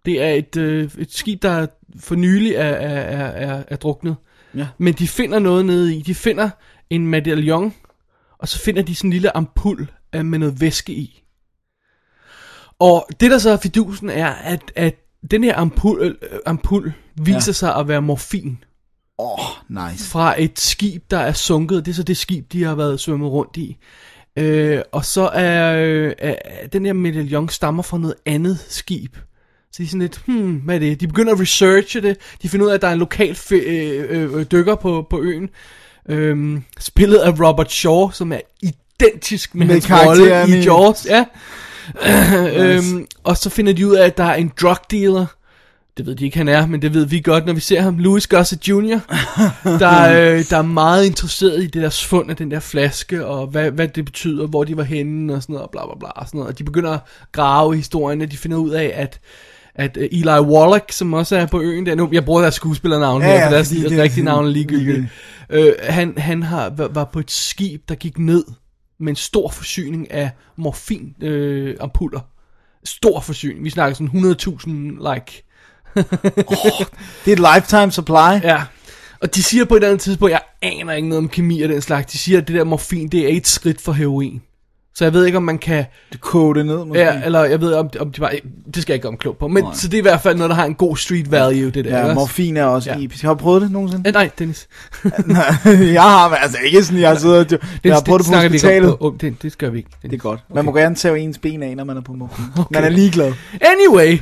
Det er et, øh, et skib, der for nylig er, er, er, er, er druknet. Ja. Men de finder noget nede i. De finder en medaljon, og så finder de sådan en lille ampul øh, med noget væske i. Og det der så er fidusen er, at, at den her ampul, øh, ampul viser ja. Ja. sig at være morfin Åh, oh, nice. fra et skib, der er sunket. Det er så det skib, de har været svømmet rundt i. Øh, og så er, øh, er er- den her medaljon stammer fra noget andet skib. Så de er sådan lidt, hmm, hvad er det? De begynder at researche det. De finder ud af, at der er en lokal fe- øh, øh, øh, dykker på, på øen. Øhm, spillet af Robert Shaw, som er identisk med, med Med hans rolle karakteren i i- Jaws. Ja. øhm, og så finder de ud af, at der er en drug dealer. Det ved de ikke, han er, men det ved vi godt, når vi ser ham. Louis Gossett Jr., der, øh, der er meget interesseret i det der fund af den der flaske, og hvad, hvad det betyder, hvor de var henne, og sådan noget, og bla bla bla, og sådan noget. Og de begynder at grave i historien, og de finder ud af, at at øh, Eli Wallach, som også er på øen der nu, jeg bruger deres skuespillernavn Ja, her, ja, for deres fordi det- rigtige navn er ligegyldigt. Øh, han han har, var, var på et skib, der gik ned med en stor forsyning af morfinampuller. Øh, ampuller. stor forsyning. Vi snakker sådan 100.000 like. Det er et lifetime supply. Ja. Og de siger på et eller andet tidspunkt, jeg aner ikke noget om kemi og den slags. De siger, at det der morfin, det er et skridt for heroin. Så jeg ved ikke, om man kan... Det koger det ned, måske. Ja, eller jeg ved om, om de bare... Det skal jeg ikke gøre mig klog på. Men så det er i hvert fald noget, der har en god street value, det der. ja ikke også? morfin er også Ja. ja. episk. Har du prøvet det [laughs] nogensinde? [laughs] Eh, nej, Dennis. Nej, jeg har, men altså ikke sådan, jeg har siddet og... Jeg har prøvet det på snakker vi ikke om hospitalet. på. Oh, det, det gør vi ikke. Det Dennis. er godt. Man må gerne tage ens ben af, når man er på morfin. Okay. Man er ligeglad. Anyway.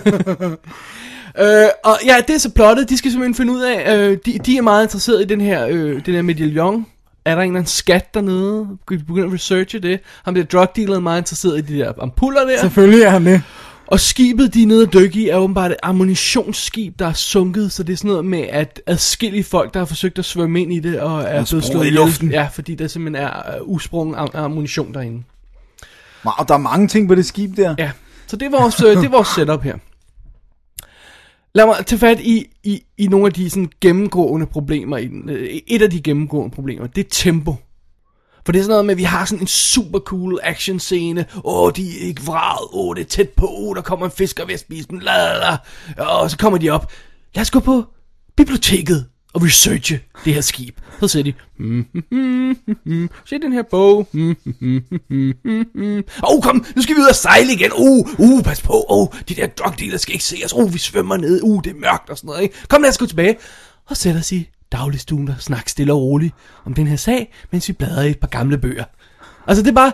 [laughs] øh, og ja, det er så plottet. De skal simpelthen finde ud af, øh, de, de er meget interesserede i den her, øh, den her medaljon. Er der en eller anden skat dernede? Kan vi begynde at researche det? Ham der drug dealer er meget interesseret i de der ampuller der. Selvfølgelig er han det. Og skibet, de er nede og dykke i, er åbenbart et ammunitionsskib, der er sunket, så det er sådan noget med, at adskillige folk, der har forsøgt at svømme ind i det, og er, er blevet sprunget slået i ihjel. luften. Ja, fordi der simpelthen er uh, usprungen am- ammunition derinde. Wow, der er mange ting på det skib der. Ja, så det er vores, øh, det er vores setup her. Lad mig tage fat i, i, i nogle af de sådan, gennemgående problemer. I den. Øh, Et af de gennemgående problemer, det er tempo. For det er sådan noget med, at vi har sådan en super cool action scene. Åh, de er ikke vraget. Åh, det er tæt på. Åh, der kommer en fisker ved at spise den. La, la, la. Og så kommer de op. Lad os gå på biblioteket og researche det her skib. Så siger de, mm, mm, mm, mm, mm. se den her bog. Mm, mm, mm, mm, mm, mm. Åh, kom, nu skal vi ud og sejle igen. Uh, uh, pas på. Åh, de der drug dealer skal ikke se os. Uh, vi svømmer ned. Uh, det er mørkt og sådan noget. Ikke? Kom, lad os gå tilbage. Og sætter sig i dagligstuen og snakker stille og roligt om den her sag, mens vi bladrer i et par gamle bøger. Altså, det er bare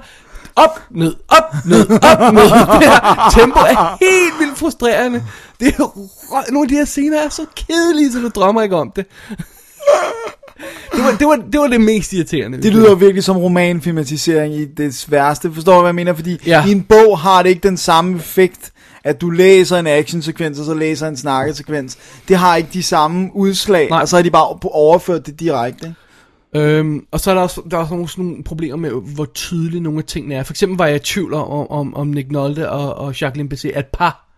op, ned, op, ned, op, ned. [laughs] Det her tempo er helt vildt frustrerende. Det er, rø- nogle af de her scener er så kedelige, så du drømmer ikke om det. [laughs] Det var det, var, det, var det mest irriterende. Det lyder jo virkelig som romanfilmatisering i det værste. Forstår du, hvad jeg mener? Fordi Ja. ja. i en bog har det ikke den samme effekt, at du læser en actionsekvens, og så læser en snakkesekvens. Det har ikke de samme udslag, Nej. Nej. og så har de bare overført det direkte. ikke? Øhm, og så er der også, der er også nogle, sådan nogle problemer med, hvor tydelige nogle af tingene er. For eksempel var jeg i tvivl om, om, om Nick Nolte og, og Jacqueline Bisset er et par.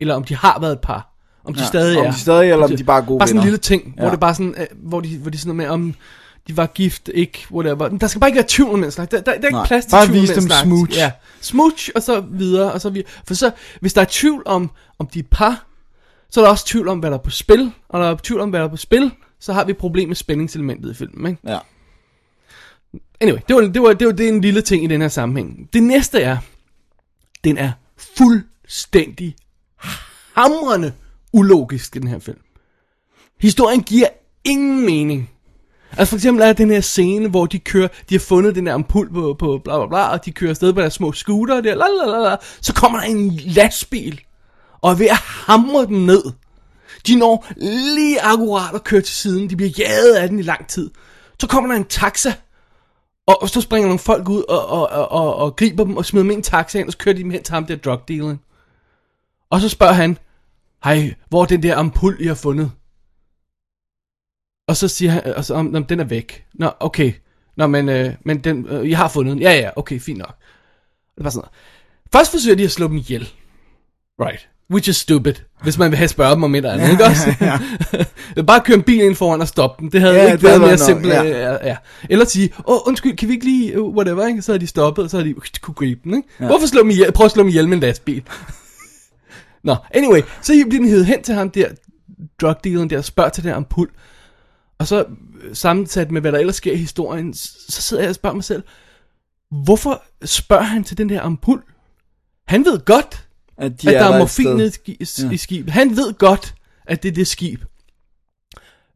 Eller om de har været et par. Om de ja, stadig om er. de stadig er, eller om de bare er gode Bare sådan en venner. lille ting, ja. hvor Ja. det bare sådan, øh, hvor de, hvor de sådan noget med, om de var gift, ikke, whatever. Men Der skal bare ikke være tvivl om den slags. Der, der, der er ikke Nej, plads til bare tvivl om vise den dem slags. smooch. Ja. Smooch, og så videre, og så videre. For så, hvis der er tvivl om, om de er par, så er der også tvivl om, hvad der er på spil. Og når der er tvivl om, hvad der er på spil, så har vi et problem med spændingselementet i filmen, ikke? Ja. Anyway, det var, det, var, det var det er en lille ting i den her sammenhæng. Det næste er, den er fuldstændig hamrende ulogisk, den her film. Historien giver ingen mening. Altså for eksempel er der den her scene, hvor de kører, de har fundet den her ampul på, på bla bla bla, og de kører afsted på deres små scooter der, la, la, la, la, så kommer der en lastbil, og er ved at hamre den ned. De når lige akkurat at køre til siden, de bliver jaget af den i lang tid. Så kommer der en taxa, og, og så springer nogle folk ud og, og, og, og, og griber dem og smider dem ind i taxaen, og så kører de dem hen til ham der drug dealing. Og så spørger han, hej, hvor er den der ampul, jeg har fundet? Og så siger han, og så, om, om den er væk. Nå, okay. Nå, men, øh, men den, øh, jeg har fundet den. Ja, ja, okay, fint nok. Det var sådan noget. Først forsøger de at slå dem ihjel. Right. Which is stupid, hvis man vil have spørget dem om et eller andet, ikke også? [laughs] Ja. Bare køre en bil ind foran og stoppe dem. Det havde Ja, ikke det været havde mere været nok, simpelt. ja. øh, ja, ja. Eller sige, åh, undskyld, kan vi ikke lige, uh, whatever, ikke? Så har de stoppet, og så har de uh, kunne gribe den, ikke? Ja. Hvorfor slå dem ihjel? Prøv at slå dem ihjel med en lastbil. Nå, anyway, så bliver den hævet hen til ham der, drug dealeren der, og spørger til den her ampul. Og så øh, sammensat med, hvad der ellers sker i historien, s- så sidder jeg og spørger mig selv, hvorfor spørger han til den der ampul? Han ved godt, At, de at der er et morfin sted. nede i, ski- i skibet. Han ved godt, at det er det skib.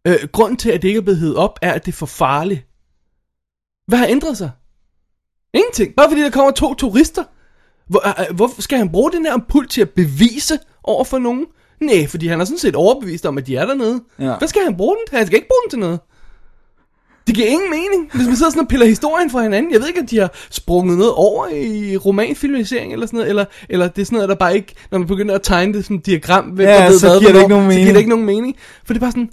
Øh, grunden til, at det ikke er blevet heddet op, er, at det er for farligt. Hvad har ændret sig? Ingenting. Bare fordi der kommer to turister. Hvor, øh, hvorfor skal han bruge den her ampul til at bevise over for nogen? Nej, fordi han er sådan set overbevist om, at de er dernede. Ja. Hvad skal han bruge den til? Han skal ikke bruge den til noget. Det giver ingen mening, hvis man sidder sådan og piller historien fra hinanden. Jeg ved ikke, at de har sprunget noget over i romanfilmatisering eller sådan noget, eller, eller det er sådan noget, der bare ikke, når man begynder at tegne det sådan et diagram, hvem Ja, der ved så hvad, giver det hvornår, ikke nogen så giver mening. det ikke nogen mening. For det er bare sådan,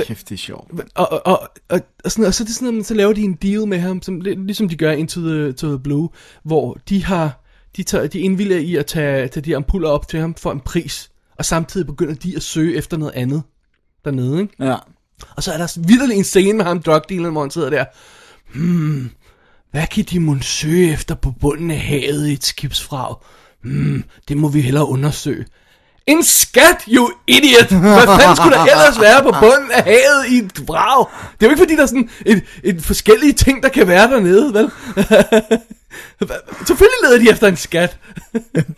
Kæft, det er sjovt. og, og, og, og, og, sådan, og så, er det sådan, noget, så laver de en deal med ham, som, lidt ligesom de gør i Into the, to the Blue, hvor de har de, tager, de indvilliger i at tage, tage de her ampuller op til ham for en pris, og samtidig begynder de at søge efter noget andet dernede, ikke? Ja. Og så er der vidderlig en scene med ham, drugdealeren, hvor han sidder der. Hmm, hvad kan de mon søge efter på bunden af havet i et skibsfrag? Hmm, det må vi hellere undersøge. En skat, you idiot! Hvad fanden skulle der ellers være på bunden af havet i et brag? Det er jo ikke fordi, der er sådan et, et forskellige ting, der kan være dernede, vel? [laughs] Hva- Selvfølgelig leder de efter en skat.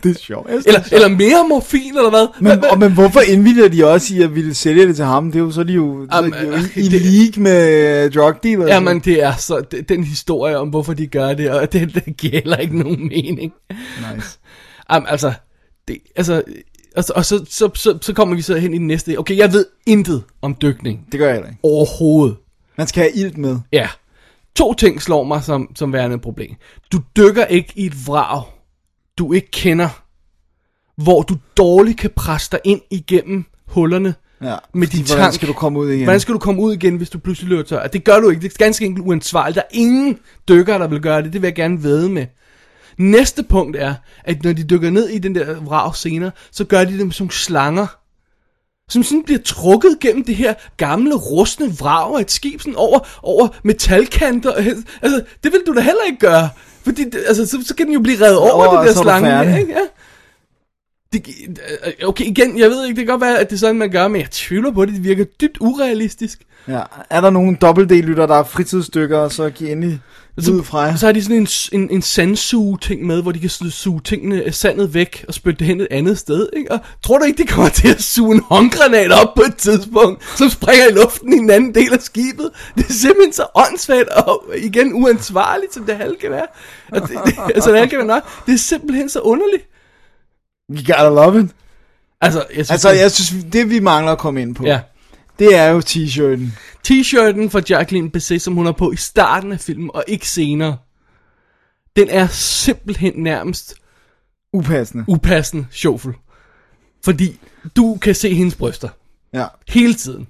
Det er sjovt. Jeg synes, Eller, det er sjovt. eller mere morfin, eller hvad? Hva- Men, hva- og, men hvorfor indvilder de også i at ville sælge det til ham? Det er jo så er de jo, så er Jamen, de jo øh, i, i det- league med øh, drug dealers. Jamen, det er så... det- Den historie om, hvorfor de gør det, og [laughs] det, det giver heller ikke nogen mening. nice. Jamen, altså... Det, altså og, så, og så, så, så, så kommer vi så hen i den næste. Okay, jeg ved intet om dykning. Det gør jeg heller ikke. Overhovedet. Man skal have ilt med. Ja. To ting slår mig som, som værende et problem. Du dykker ikke i et vrag, du ikke kender, hvor du dårligt kan presse dig ind igennem hullerne Ja, med fordi din hvordan tank. skal du komme ud igen? Hvordan skal du komme ud igen, hvis du pludselig løber tør? Det gør du ikke. Det er ganske enkelt uansvarligt. Der er ingen dykker, der vil gøre det. Det vil jeg gerne vide med. Næste punkt er, at når de dykker ned i den der vrag senere, så gør de dem som slanger. Som sådan bliver trukket gennem det her gamle, rustne vrag af et skib sådan over, over metalkanter. Altså, det vil du da heller ikke gøre. Fordi, det- altså, så, så kan den jo blive revet over, Over, over og det der så er du slange. der, færdig. Ikke? Ja. Det, gi- øh, okay, igen, jeg ved ikke, det kan godt være, at det er sådan, man gør, men jeg tvivler på det. Det virker dybt urealistisk. Ja. Er der nogen dobbelt-D-lytter, der er fritidsdykker, så giv endelig ud fra jer. Så har de sådan en, s- en, en sandsuge-ting med, hvor de kan su- suge tingene, øh, sandet væk og spytte det hen et andet sted. Ikke? Og tror du ikke, de kommer [laughs] til at suge en håndgranat op på et tidspunkt, som springer i luften i en anden del af skibet? Det er simpelthen så åndssvagt og øh, igen uansvarligt, som det halve kan være. Og det, [laughs] altså, det halve kan være nok. Det er simpelthen så underligt. You gotta love it. Altså, jeg synes, Altså, det- jeg synes, det vi mangler at komme ind på, ja. det er jo t-shirten. T-shirten fra Jacqueline Bisset, som hun har på i starten af filmen, og ikke senere, den er simpelthen nærmest Upassende. upassende sjofel. Fordi du kan se hendes bryster Ja. hele tiden.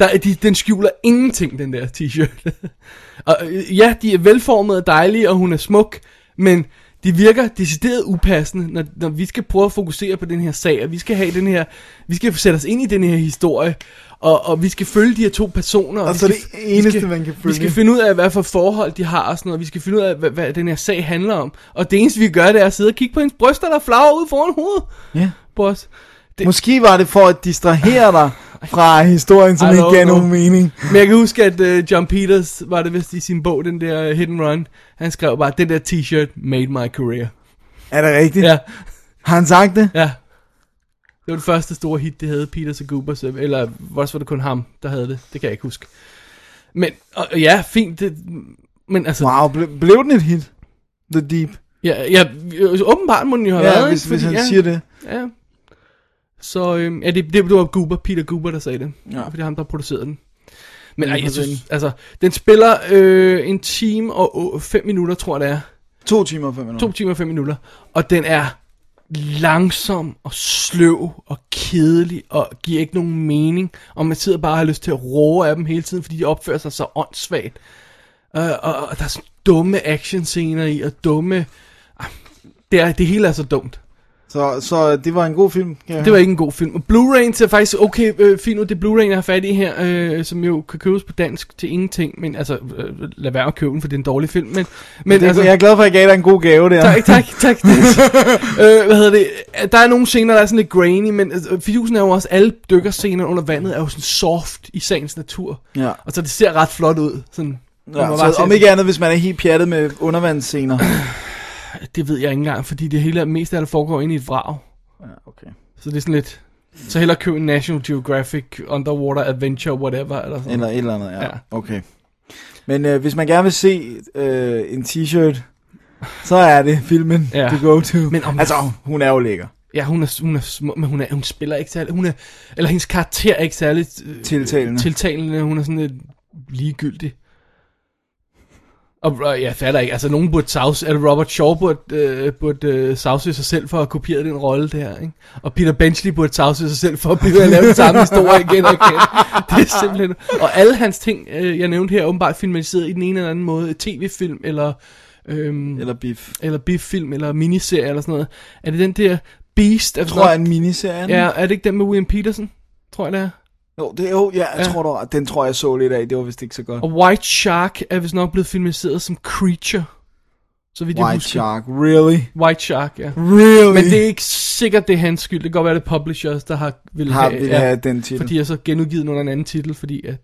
Der er de, den skjuler ingenting, den der t-shirt. [laughs] og øh, ja, de er velformede og dejlige, og hun er smuk, men de virker decideret upassende, når, når vi skal prøve at fokusere på den her sag, og vi skal have den her, vi skal sætte os ind i den her historie, og, og vi skal følge de her to personer. Og, Og vi så skal, det eneste, vi skal, man kan Vi følge. skal finde ud af, hvad for forhold de har og sådan noget, vi skal finde ud af, hvad, hvad den her sag handler om, og det eneste, vi gør, det er at sidde og kigge på hendes bryster, der flager ud foran hovedet Ja. på os. Det- Måske var det for at distrahere dig fra historien, som I ikke don't gav know. nogen mening. Men jeg kan huske, at uh, John Peters, var det vist i sin bog, den der øh, Hit and Run, han skrev bare, den der t-shirt made my career. Er det rigtigt? Ja, Har han sagt det? ja. Det var det første store hit, det havde Peters og Goobers, øh, eller også var det kun ham, der havde det, det kan jeg ikke huske. Men, og, og ja, fint, det, men altså, Wow, ble, blev den et hit? The Deep. ja, ja, øh, åbenbart må den jo have været, Ja, ikke? hvis, hvis Fordi, han ja, siger det. Ja. Så øhm, ja, det, det, det var Goober, Peter Goober, der sagde det. Ja. Ja. For det er ham, der producerede den. Men Ja, ej, jeg præcis. synes, altså, den spiller øh, en time og 5 minutter, tror jeg det er. To timer og fem minutter. To timer og 5 minutter. Og den er langsom og sløv og kedelig og giver ikke nogen mening. Og man sidder bare og har lyst til at råbe af dem hele tiden, fordi de opfører sig så åndssvagt. Øh, og, og der er sådan dumme actionscener i, og dumme... Ah, Det, er, det hele er så dumt. Så, så det var en god film. kan jeg Det var høre. ikke en god film. Og Blu-ray'en ser faktisk okay øh, fint ud. Det er Blu-ray'en, jeg har fat i her, øh, som jo kan købes på dansk til ingenting. Men altså, øh, lad være at købe den, for det er en dårlig film. Men, men det, altså, altså, jeg er glad for, at jeg gav dig en god gave der. tak, tak, [laughs] tak. øh, hvad hedder det? Der er nogle scener, der er sådan lidt grainy, men altså, fidusen er jo også, alle dykkerscener under vandet er jo sådan soft i sagens natur. Ja. Og så det ser ret flot ud. Sådan, Man må Ja, bare så se om det. ikke andet, hvis man er helt pjattet med undervandsscener. Det ved jeg ikke engang, fordi det hele er- mest af det foregår inde i et vrag. Ja, okay. Så det er sådan lidt... Så hellere købe en National Geographic Underwater Adventure, whatever, eller sådan Eller et eller andet, ja. Ja. ja. Okay. Men øh, hvis man gerne vil se øh, en t-shirt, så er det filmen Ja. ja. to go to. Men om- altså, hun er jo lækker. Ja, hun er, hun er små, men hun, er, hun spiller ikke særlig... Hun er, eller hendes karakter er ikke særlig... Øh, Tiltalende. tiltalende. Hun er sådan lidt ligegyldig. Og øh, jeg fatter ikke, altså nogen burde savs, eller Robert Shaw burde, øh, burde øh, savse sig selv for at kopiere den rolle der, ikke? Og Peter Benchley burde savse sig selv for at blive ved at lave den samme historie igen og igen. [laughs] Det er simpelthen... Og alle hans ting, øh, jeg nævnte her, er åbenbart filmatiseret i den ene eller anden måde. TV-film eller... Øhm, Eller Biff. eller biffilm, eller miniserie, eller sådan noget. Er det den der Beast? Er det Jeg tror, nok- jeg er en miniserie. Ja, er det ikke den med William Peterson? Tror jeg det er. Jo, det, jo ja, jeg Ja. ja. tror, du, har ret. den tror jeg så lidt af. Det var vist ikke så godt. Og White Shark er vist nok blevet filmatiseret som Creature. Så vidt jeg White husker. Shark, really? White Shark, ja. Really? Men det er ikke sikkert, det er hans skyld. Det kan godt være, det er publishers, der har vil har vi ja, have den titel. For de er så genudgivet den under en anden titel, fordi at,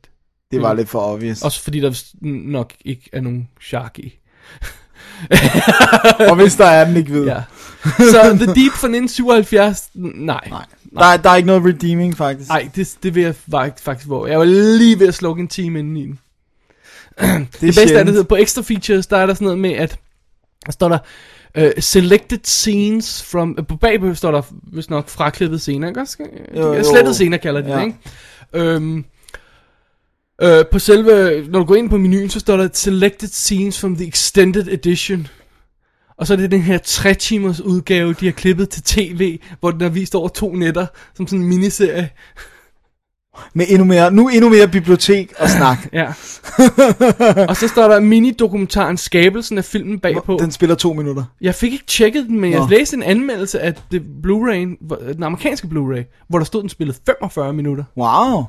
det var lidt for obvious. også fordi der vist nok ikke er nogen shark i. Og hvis der er den ikke ved. Ja. Så The Deep fra 1977, n- nej. Nej. Der, er- der er ikke noget redeeming, faktisk. Nej, det, det vil jeg fakt- faktisk hvor. Jeg var lige ved at slukke en time inden i den. det Det bedste er, sjældent. det hedder, på extra features, der er der sådan noget med, at der står der, uh, selected scenes from, uh, på bagpå står der, hvis nok, fraklippede scener, ikke også? Jo, Jo, jo. jo. Slettet scener kalder de ja. Ja. det, ikke? Øhm, øh, på selve, når du går ind på menuen, så står der, selected scenes from the extended edition. Og så er det den her 3 timers udgave, de har klippet til tv, hvor den er vist over to nætter, som sådan en miniserie. Med endnu mere, nu endnu mere bibliotek [coughs] og snak. Ja. [laughs] og så står der minidokumentaren Skabelsen af filmen bagpå. Den spiller to minutter. Jeg fik ikke tjekket den, men Nå. jeg læste en anmeldelse af det Blu-ray, hvor- den amerikanske Blu-ray, hvor der stod, den spillede 45 minutter. Wow.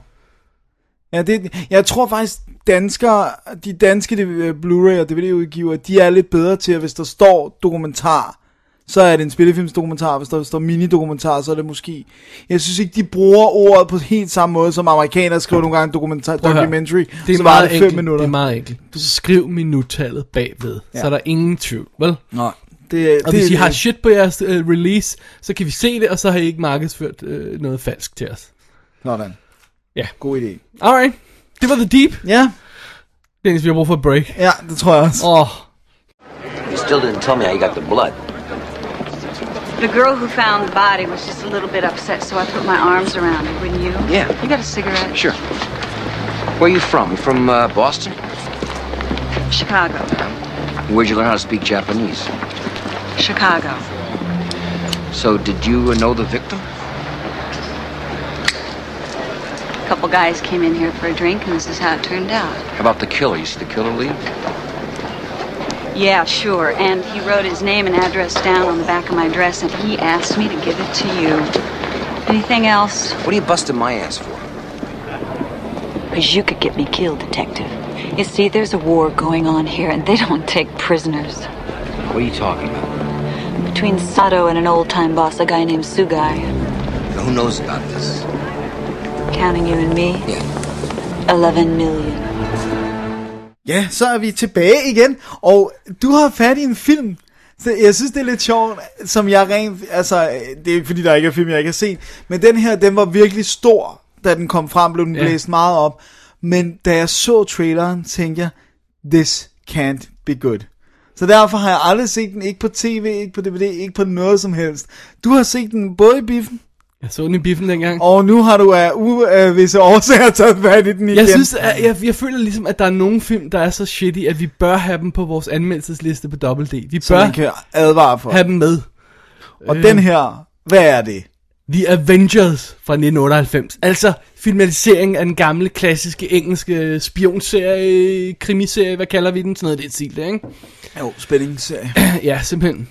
Ja, det, jeg tror faktisk, danskere, de danske øh, Blu-ray og DVD-udgiver, de er lidt bedre til, at hvis der står dokumentar, så er det en spillefilmsdokumentar, hvis der står minidokumentar, så er det måske... Jeg synes ikke, de bruger ordet på helt samme måde, som amerikanere skriver nogle gange dokumentar, at høre. documentary, Det er, så var meget det fem enkelt. minutter. det er meget enkelt. Du skriv minuttallet bagved, ja. så er der ingen tvivl, vel? Og Nej. Det, det, hvis I har shit på jeres uh, release, så kan vi se det, og så har I ikke markedsført uh, noget falsk til os. Sådan. Ja. God idé. Alright, det var The Deep. Ja, Dennis, vi har brug for et break. ja, det tror jeg også. Åh, oh, You still didn't tell me how you got the blood. The girl who found the body was just a little bit upset, so I put my arms around her. Wouldn't you? Yeah. You got a cigarette? Sure. Where you from? You from uh, Boston? Chicago. Where'd you learn how to speak Japanese? Chicago. So did you uh, know the victim? A couple guys came in here for a drink, and this is how it turned out. How about the killer? You see the killer leave? Yeah, sure. And he wrote his name and address down on the back of my dress, and he asked me to give it to you. Anything else? What are you busting my ass for? Because you could get me killed, detective. You see, there's a war going on here, and they [laughs] don't take prisoners. What are you talking about? Between Sato and an old time boss, a guy named Sugai. Who knows about this? Counting you and me, Yeah. 11 million. Ja, så er vi tilbage igen, og du har fat i en film. Så jeg synes, det er lidt sjovt, som jeg rent... Altså, det er ikke fordi, der ikke er film, jeg ikke har set, men den her, den var virkelig stor, da den kom frem, blev den Ja. blæst meget op. Men da jeg så traileren, tænkte jeg, this can't be good. Så derfor har jeg aldrig set den, ikke på tv, ikke på dvd, ikke på noget som helst. Du har set den både i biffen, jeg så den i biffen dengang. og nu har du af uvisse årsager taget fat i den igen. Jeg synes, at jeg, jeg føler ligesom, at der er nogle film, der er så shitty, at vi bør have dem på vores anmeldelsesliste på WD. Vi så bør man kan advare for. have dem med. Og den her, hvad er det? The Avengers fra 1998. Altså filmatiseringen af den gamle, klassiske, engelske øh, spionserie, krimiserie, hvad kalder vi den? Sådan noget, det er stil, det, ikke? Jo, spændingsserie. Ja, simpelthen.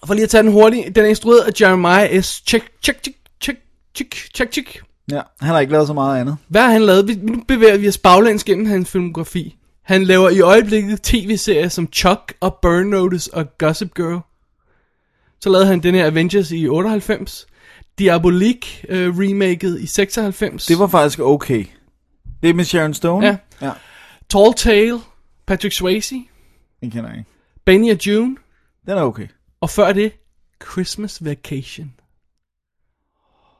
Og for lige at tage den hurtigt, den er instrueret af Jeremiah S. Check, check, check, check, check, check, check. Ja, han har ikke lavet så meget andet. Hvad har han lavet? Vi- Nu bevæger vi os baglæns gennem hans filmografi. Han laver i øjeblikket tv-serier som Chuck og Burn Notice og Gossip Girl. Så lavede han den her Avengers i 98. Diabolik øh, remaket i 96. Det var faktisk okay. Det er med Sharon Stone. Ja. ja. Tall Tale, Patrick Swayze, Den kender jeg ikke. Benny og June, Den er okay. og før det, Christmas Vacation.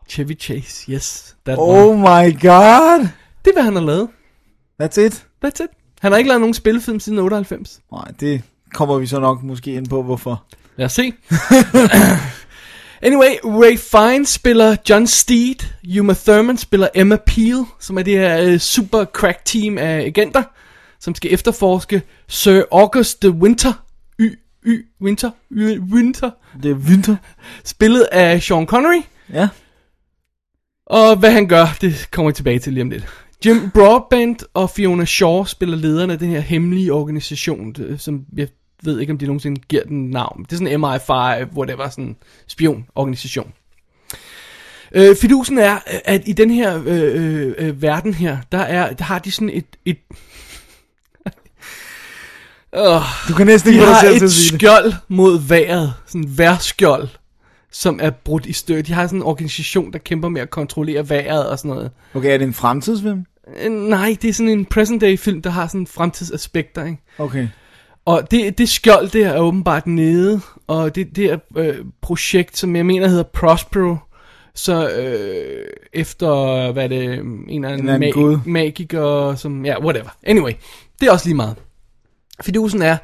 Chevy Chase, yes. That Oh oh. one. my god! Det er, hvad han har lavet. That's it. That's it. Han har ikke lavet nogen spillefilm siden 98. Nej, det kommer vi så nok måske ind på, hvorfor. Lad os se. [laughs] anyway, Ray Fiennes spiller John Steed. Uma Thurman spiller Emma Peel, som er det her øh, super crack team af agenter, som skal efterforske Sir August de Winter. Y, y, Winter, y, Winter. Det er vinter. Spillet af Sean Connery. Ja. Og hvad han gør, det kommer jeg tilbage til lige om lidt. Jim Broadbent og Fiona Shaw spiller lederne af den her hemmelige organisation, øh, som jeg ved ikke, om de nogensinde giver den navn. Det er sådan MI5, hvor det var sådan en spionorganisation. Øh, fidusen er, at i den her øh, øh, [laughs] øh, verden her, der, er, der har de sådan et... et Du kan næsten Vi ikke få dig har selv til et at sige det. skjold mod vejret, sådan et værskjold, som er brudt i stykker. De har sådan en organisation, der kæmper med at kontrollere vejret og sådan noget. Okay, er det en fremtidsfilm? Øh, Nej, det er sådan en present day film, der har sådan fremtidsaspekter, ikke? Okay. Og det, det skjold der er åbenbart nede, og det der øh, projekt, som jeg mener hedder Prospero, så øh, efter, hvad er det, en eller anden, anden gud. magiker, som, ja, whatever. Anyway, det er også lige meget. Fidusen er,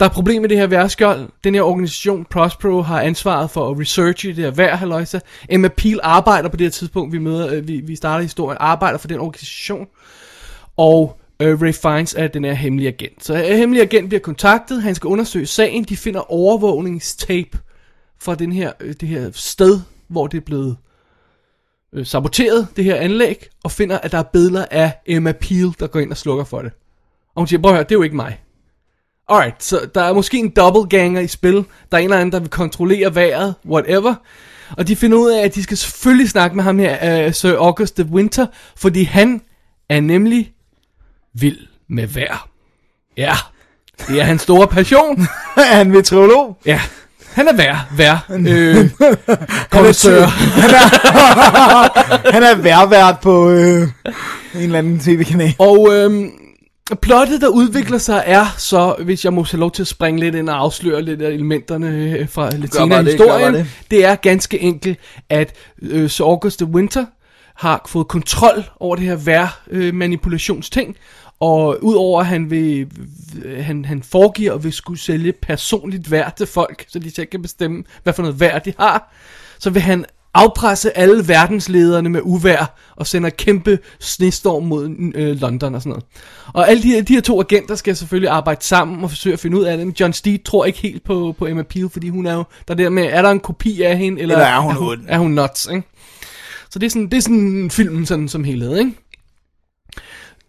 der er problemer med det her værskjold. Den her organisation, Prospero, har ansvaret for at researche det her vejr, halløjsa. Emma Peel arbejder på det her tidspunkt, vi, møder, øh, vi, vi starter historien, arbejder for den organisation. Og øh, Ray Fiennes er den her hemmelige agent. Så øh, hemmelig agent bliver kontaktet, han skal undersøge sagen, de finder overvågningstape fra den her, øh, det her sted, hvor det er blevet øh, saboteret, det her anlæg, og finder, at der er billeder af Emma Peel, der går ind og slukker for det. Og hun siger, prøv at høre, det er jo ikke mig. Alright, så der er måske en dobbeltganger i spil. Der er en eller anden, der vil kontrollere vejret, whatever. Og de finder ud af, at de skal selvfølgelig snakke med ham her, uh, Sir August de Winter, fordi han er nemlig vild med vejr. Ja, det er hans store passion. er [laughs] han meteorolog? Ja, han er vejr, vejr. [laughs] Øh, Kondensør. Han er værvært på øh, en eller anden tv-kanal. Og øhm, plottet, der udvikler sig, er så, hvis jeg må have lov til at springe lidt ind og afsløre lidt af elementerne øh, fra lidt Gør bare senere i det, gør historien, bare det. det. det er ganske enkelt, at øh, Sir August de Winter har fået kontrol over det her vejrmanipulationsting, og udover at han, vil, øh, han, han foregiver at vil skulle sælge personligt vejr til folk, så de selv kan bestemme, hvad for noget vejr de har, så vil han afpresse alle verdenslederne med uvær og sender kæmpe snestorm mod øh, London og sådan noget. Og alle de, her- de her to agenter skal selvfølgelig arbejde sammen og forsøge at finde ud af det. Men John Steed tror ikke helt på, på Emma Peel, fordi hun er jo der er det der med, er der en kopi af hende, eller, Eller er hun er hun, ond? er hun nuts, ikke? Så det er sådan, det er sådan filmen sådan som helhed, ikke?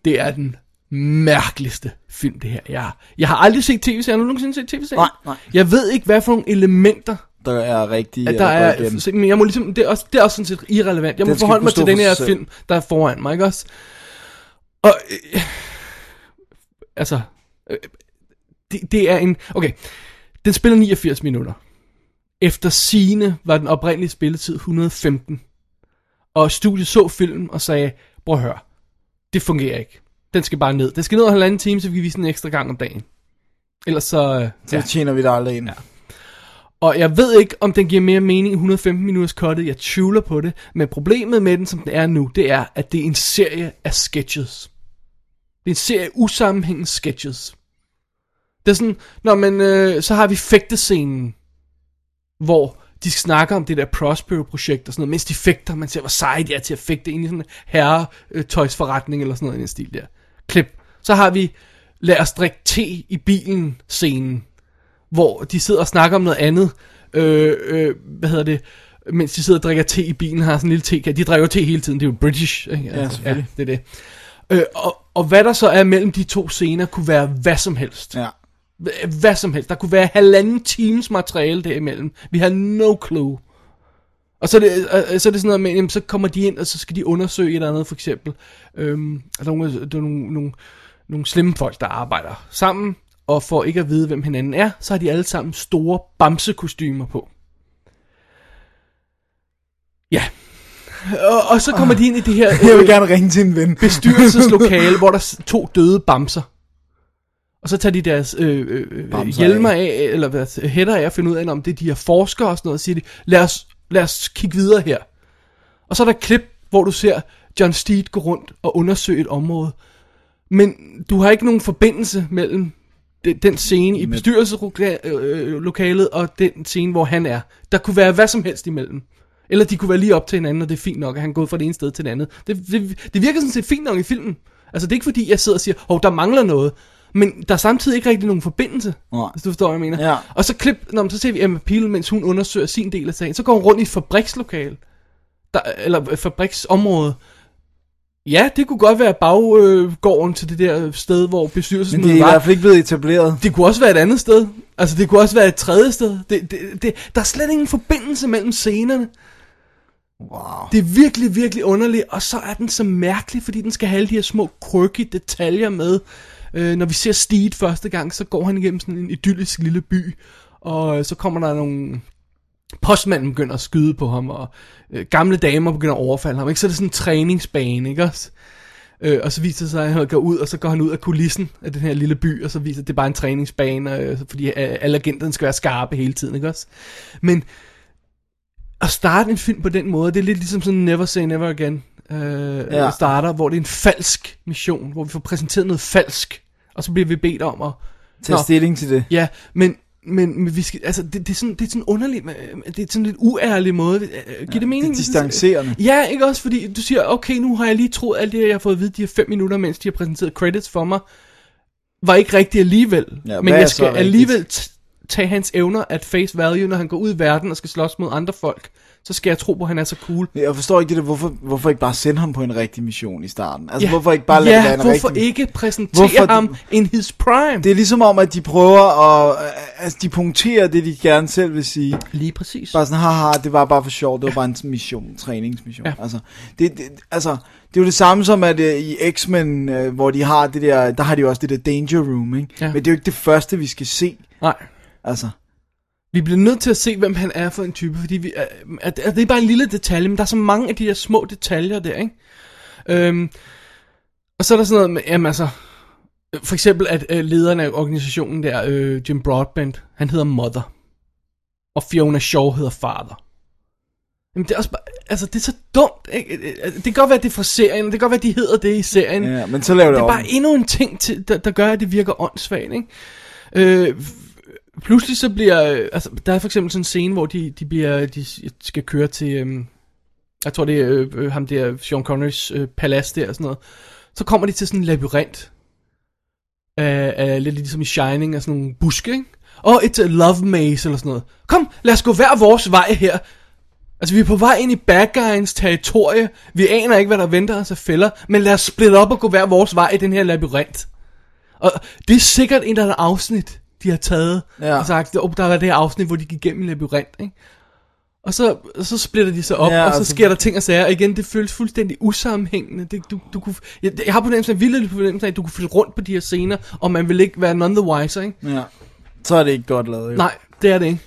Det er den mærkeligste film, det her. Jeg, jeg har aldrig set tv-serien. Har du nogensinde set tv-serien? Nej, nej. Jeg ved ikke, hvad for nogle elementer, Der er rigtig... at der er, se, men jeg må ligesom, det er, også, det er også sådan set irrelevant. Jeg må Den skal forholde kunne mig stå til den for her sig selv. film, der er foran mig, ikke også? Og, øh, altså, øh, det, det er en, okay, den spiller 89 minutter. Efter sine var den oprindelige spilletid 115. Og studiet så filmen og sagde, prøv at høre, det fungerer ikke. Den skal bare ned. Den skal ned og halvanden time, så vi kan vise den en ekstra gang om dagen. Ellers så... øh, Så tjener vi det aldrig ind. og jeg ved ikke, om den giver mere mening i 115 minutters kottet. Jeg tvivler på det. Men problemet med den, som den er nu, det er, at det er en serie af sketches. Det er en serie af usammenhængende sketches. Det er sådan, når man, øh, så har vi fægtescenen, hvor de snakker om det der Prospero-projekt og sådan noget, mens de fægter, man ser, hvor seje de er til at fægte ind i sådan en herretøjsforretning eller sådan noget i den stil der. Klip. Så har vi, lad os drikke te i bilen scenen, hvor de sidder og snakker om noget andet, øh, øh, hvad hedder det, mens de sidder og drikker te i bilen, har sådan en lille te, de drikker jo te hele tiden, det er jo British, ikke? Altså, ja, det er det. Øh, og, og hvad der så er mellem de to scener, kunne være hvad som helst. Ja. Hva- Hvad som helst. Der kunne være halvanden times materiale derimellem. Vi har no clue. Og så er det, øh, øh, så er det sådan noget med, jamen, så kommer de ind, og så skal de undersøge et eller andet, for eksempel. Øhm, at der er nogle, der er nogle, nogle, nogle slemme folk, der arbejder sammen, og for ikke at vide, hvem hinanden er, så har de alle sammen store bamsekostymer på. Ja. Og, og så kommer de ind i det her... Ah. [laughs] Jeg øh, vil gerne ringe til en ven. bestyrelseslokale, hvor der er to døde bamser. Og så tager de deres øh, øh, øh, Bamser hjelmer af, eller hvad hætter af, og finder ud af, om det er de her forskere og sådan noget, og siger de, lad os, lad os kigge videre her. Og så er der et klip, hvor du ser John Steed gå rundt og undersøge et område. Men du har ikke nogen forbindelse mellem de- den scene i bestyrelseslokalet og den scene, hvor han er. Der kunne være hvad som helst imellem. Eller de kunne være lige op til hinanden, og det er fint nok, at han er gået fra det ene sted til det andet. Det, det, det virker sådan set fint nok i filmen. Altså, det er ikke fordi, jeg sidder og siger, hov, der mangler noget. Men der er samtidig ikke rigtig nogen forbindelse, Nej. hvis du forstår, hvad jeg mener. Ja. Og så klip, når man så ser vi Emma Peel, mens hun undersøger sin del af sagen. Så går hun rundt i et fabrikslokale. Der, eller øh, fabriksområde. Ja, det kunne godt være baggården øh, til det der sted, hvor [laughs] Men det er bestyrelsesmødet i var. hvert fald ikke blevet etableret. Det kunne også være et andet sted. Altså, det kunne også være et tredje sted. Det, det, det, der er slet ingen forbindelse mellem scenerne. Wow. Det er virkelig, virkelig underligt. Og så er den så mærkelig, fordi den skal have alle de her små quirky detaljer med. Øh, når vi ser Steed første gang, så går han igennem sådan en idyllisk lille by, og øh, så kommer der nogle... Postmanden begynder at skyde på ham, og øh, gamle damer begynder at overfalde ham, ikke? Så er det sådan en træningsbane, ikke også? Øh, og så viser det sig, at han går ud, og så går han ud af kulissen af den her lille by, og så viser det, at det er bare en træningsbane, øh, fordi øh, alle agenterne skal være skarpe hele tiden, ikke også? Men at starte en film på den måde, det er lidt ligesom sådan Never Say Never Again øh, Ja. ja. starter, hvor det er en falsk mission, hvor vi får præsenteret noget falsk, og så bliver vi bedt om at... Tag Nå, stilling til det. Ja, men, men, men vi skal, altså, det, det, er sådan, det er sådan underligt, øh, det er sådan lidt uærlig måde. Øh, Giver det mening? Det er hvis jeg- distancerende. Ja, ikke også? Fordi du siger, okay, nu har jeg lige troet alt det, jeg har fået at vide de her fem minutter, mens de har præsenteret credits for mig, var ikke rigtigt alligevel. Ja, men hvad er jeg så skal rigtigt? alligevel t- tage hans evner at face value, når han går ud i verden og skal slås mod andre folk. Så skal jeg tro på, at han er så cool. Jeg forstår ikke det der, hvorfor, hvorfor ikke bare sende ham på en rigtig mission i starten? Altså, Ja. hvorfor ikke bare lade ja, det være en hvorfor rigtig... ikke præsentere Hvorfor- hvorfor ham in his prime? Det er ligesom om, at de prøver at... Altså, de punkterer det, de gerne selv vil sige. lige præcis. Bare sådan, haha, det var bare for sjov, det var bare en mission, træningsmission. Ja. Ja. Altså, det, det, altså, det er jo det samme som, at øh, i X-Men, øh, hvor de har det der, der har de jo også det der Danger Room, ikke? Ja. Men det er jo ikke det første, vi skal se, Nej. altså. Vi bliver nødt til at se, hvem han er for en type, fordi vi, øh, at, at det er bare en lille detalje, men der er så mange af de der små detaljer der, ikke? Øhm, og så er der sådan noget med, jamen altså, øh, for eksempel at øh, lederen af organisationen der, øh, Jim Broadbent, han hedder Mother, og Fiona Shaw hedder Father. Jamen det er også bare, altså det er så dumt, ikke? Øh, øh, Det kan godt være, at det er fra serien, det kan godt være, at de hedder det i serien, Ja, men så laver det, det er om. bare endnu en ting, til, der, der gør, at det virker åndssvagt, ikke? Øh, f- pludselig så bliver... øh, Altså, der er for eksempel sådan en scene, hvor de, de, bliver, de skal køre til... Øhm, jeg tror, det er øh, øh, ham der, Sean Connerys øh, palads der og sådan noget. Så kommer de til sådan en labyrint. Af, af, lidt ligesom i Shining af sådan nogle buske, ikke? Og et øh, love maze eller sådan noget. Kom, lad os gå hver vores vej her. Altså, vi er på vej ind i bad guys territorie. Vi aner ikke, hvad der venter os af fælder. Men lad os splitte op og gå hver vores vej i den her labyrint. Og det er sikkert en eller anden afsnit, de har taget. Ja. Og sagt, oh, der var det her afsnit, hvor de gik igennem en labyrint, ikke? Og så, og så splitter de sig op, Ja, ja, og så altså- sker der ting og sager. Og igen, det føles fuldstændig usammenhængende. Det, du, du kunne, jeg, jeg har på den sådan vildt på den at du kunne flytte rundt på de her scener, og man vil ikke være none the wiser, ikke? Ja. Så er det ikke godt lavet, jo. Nej, det er det ikke.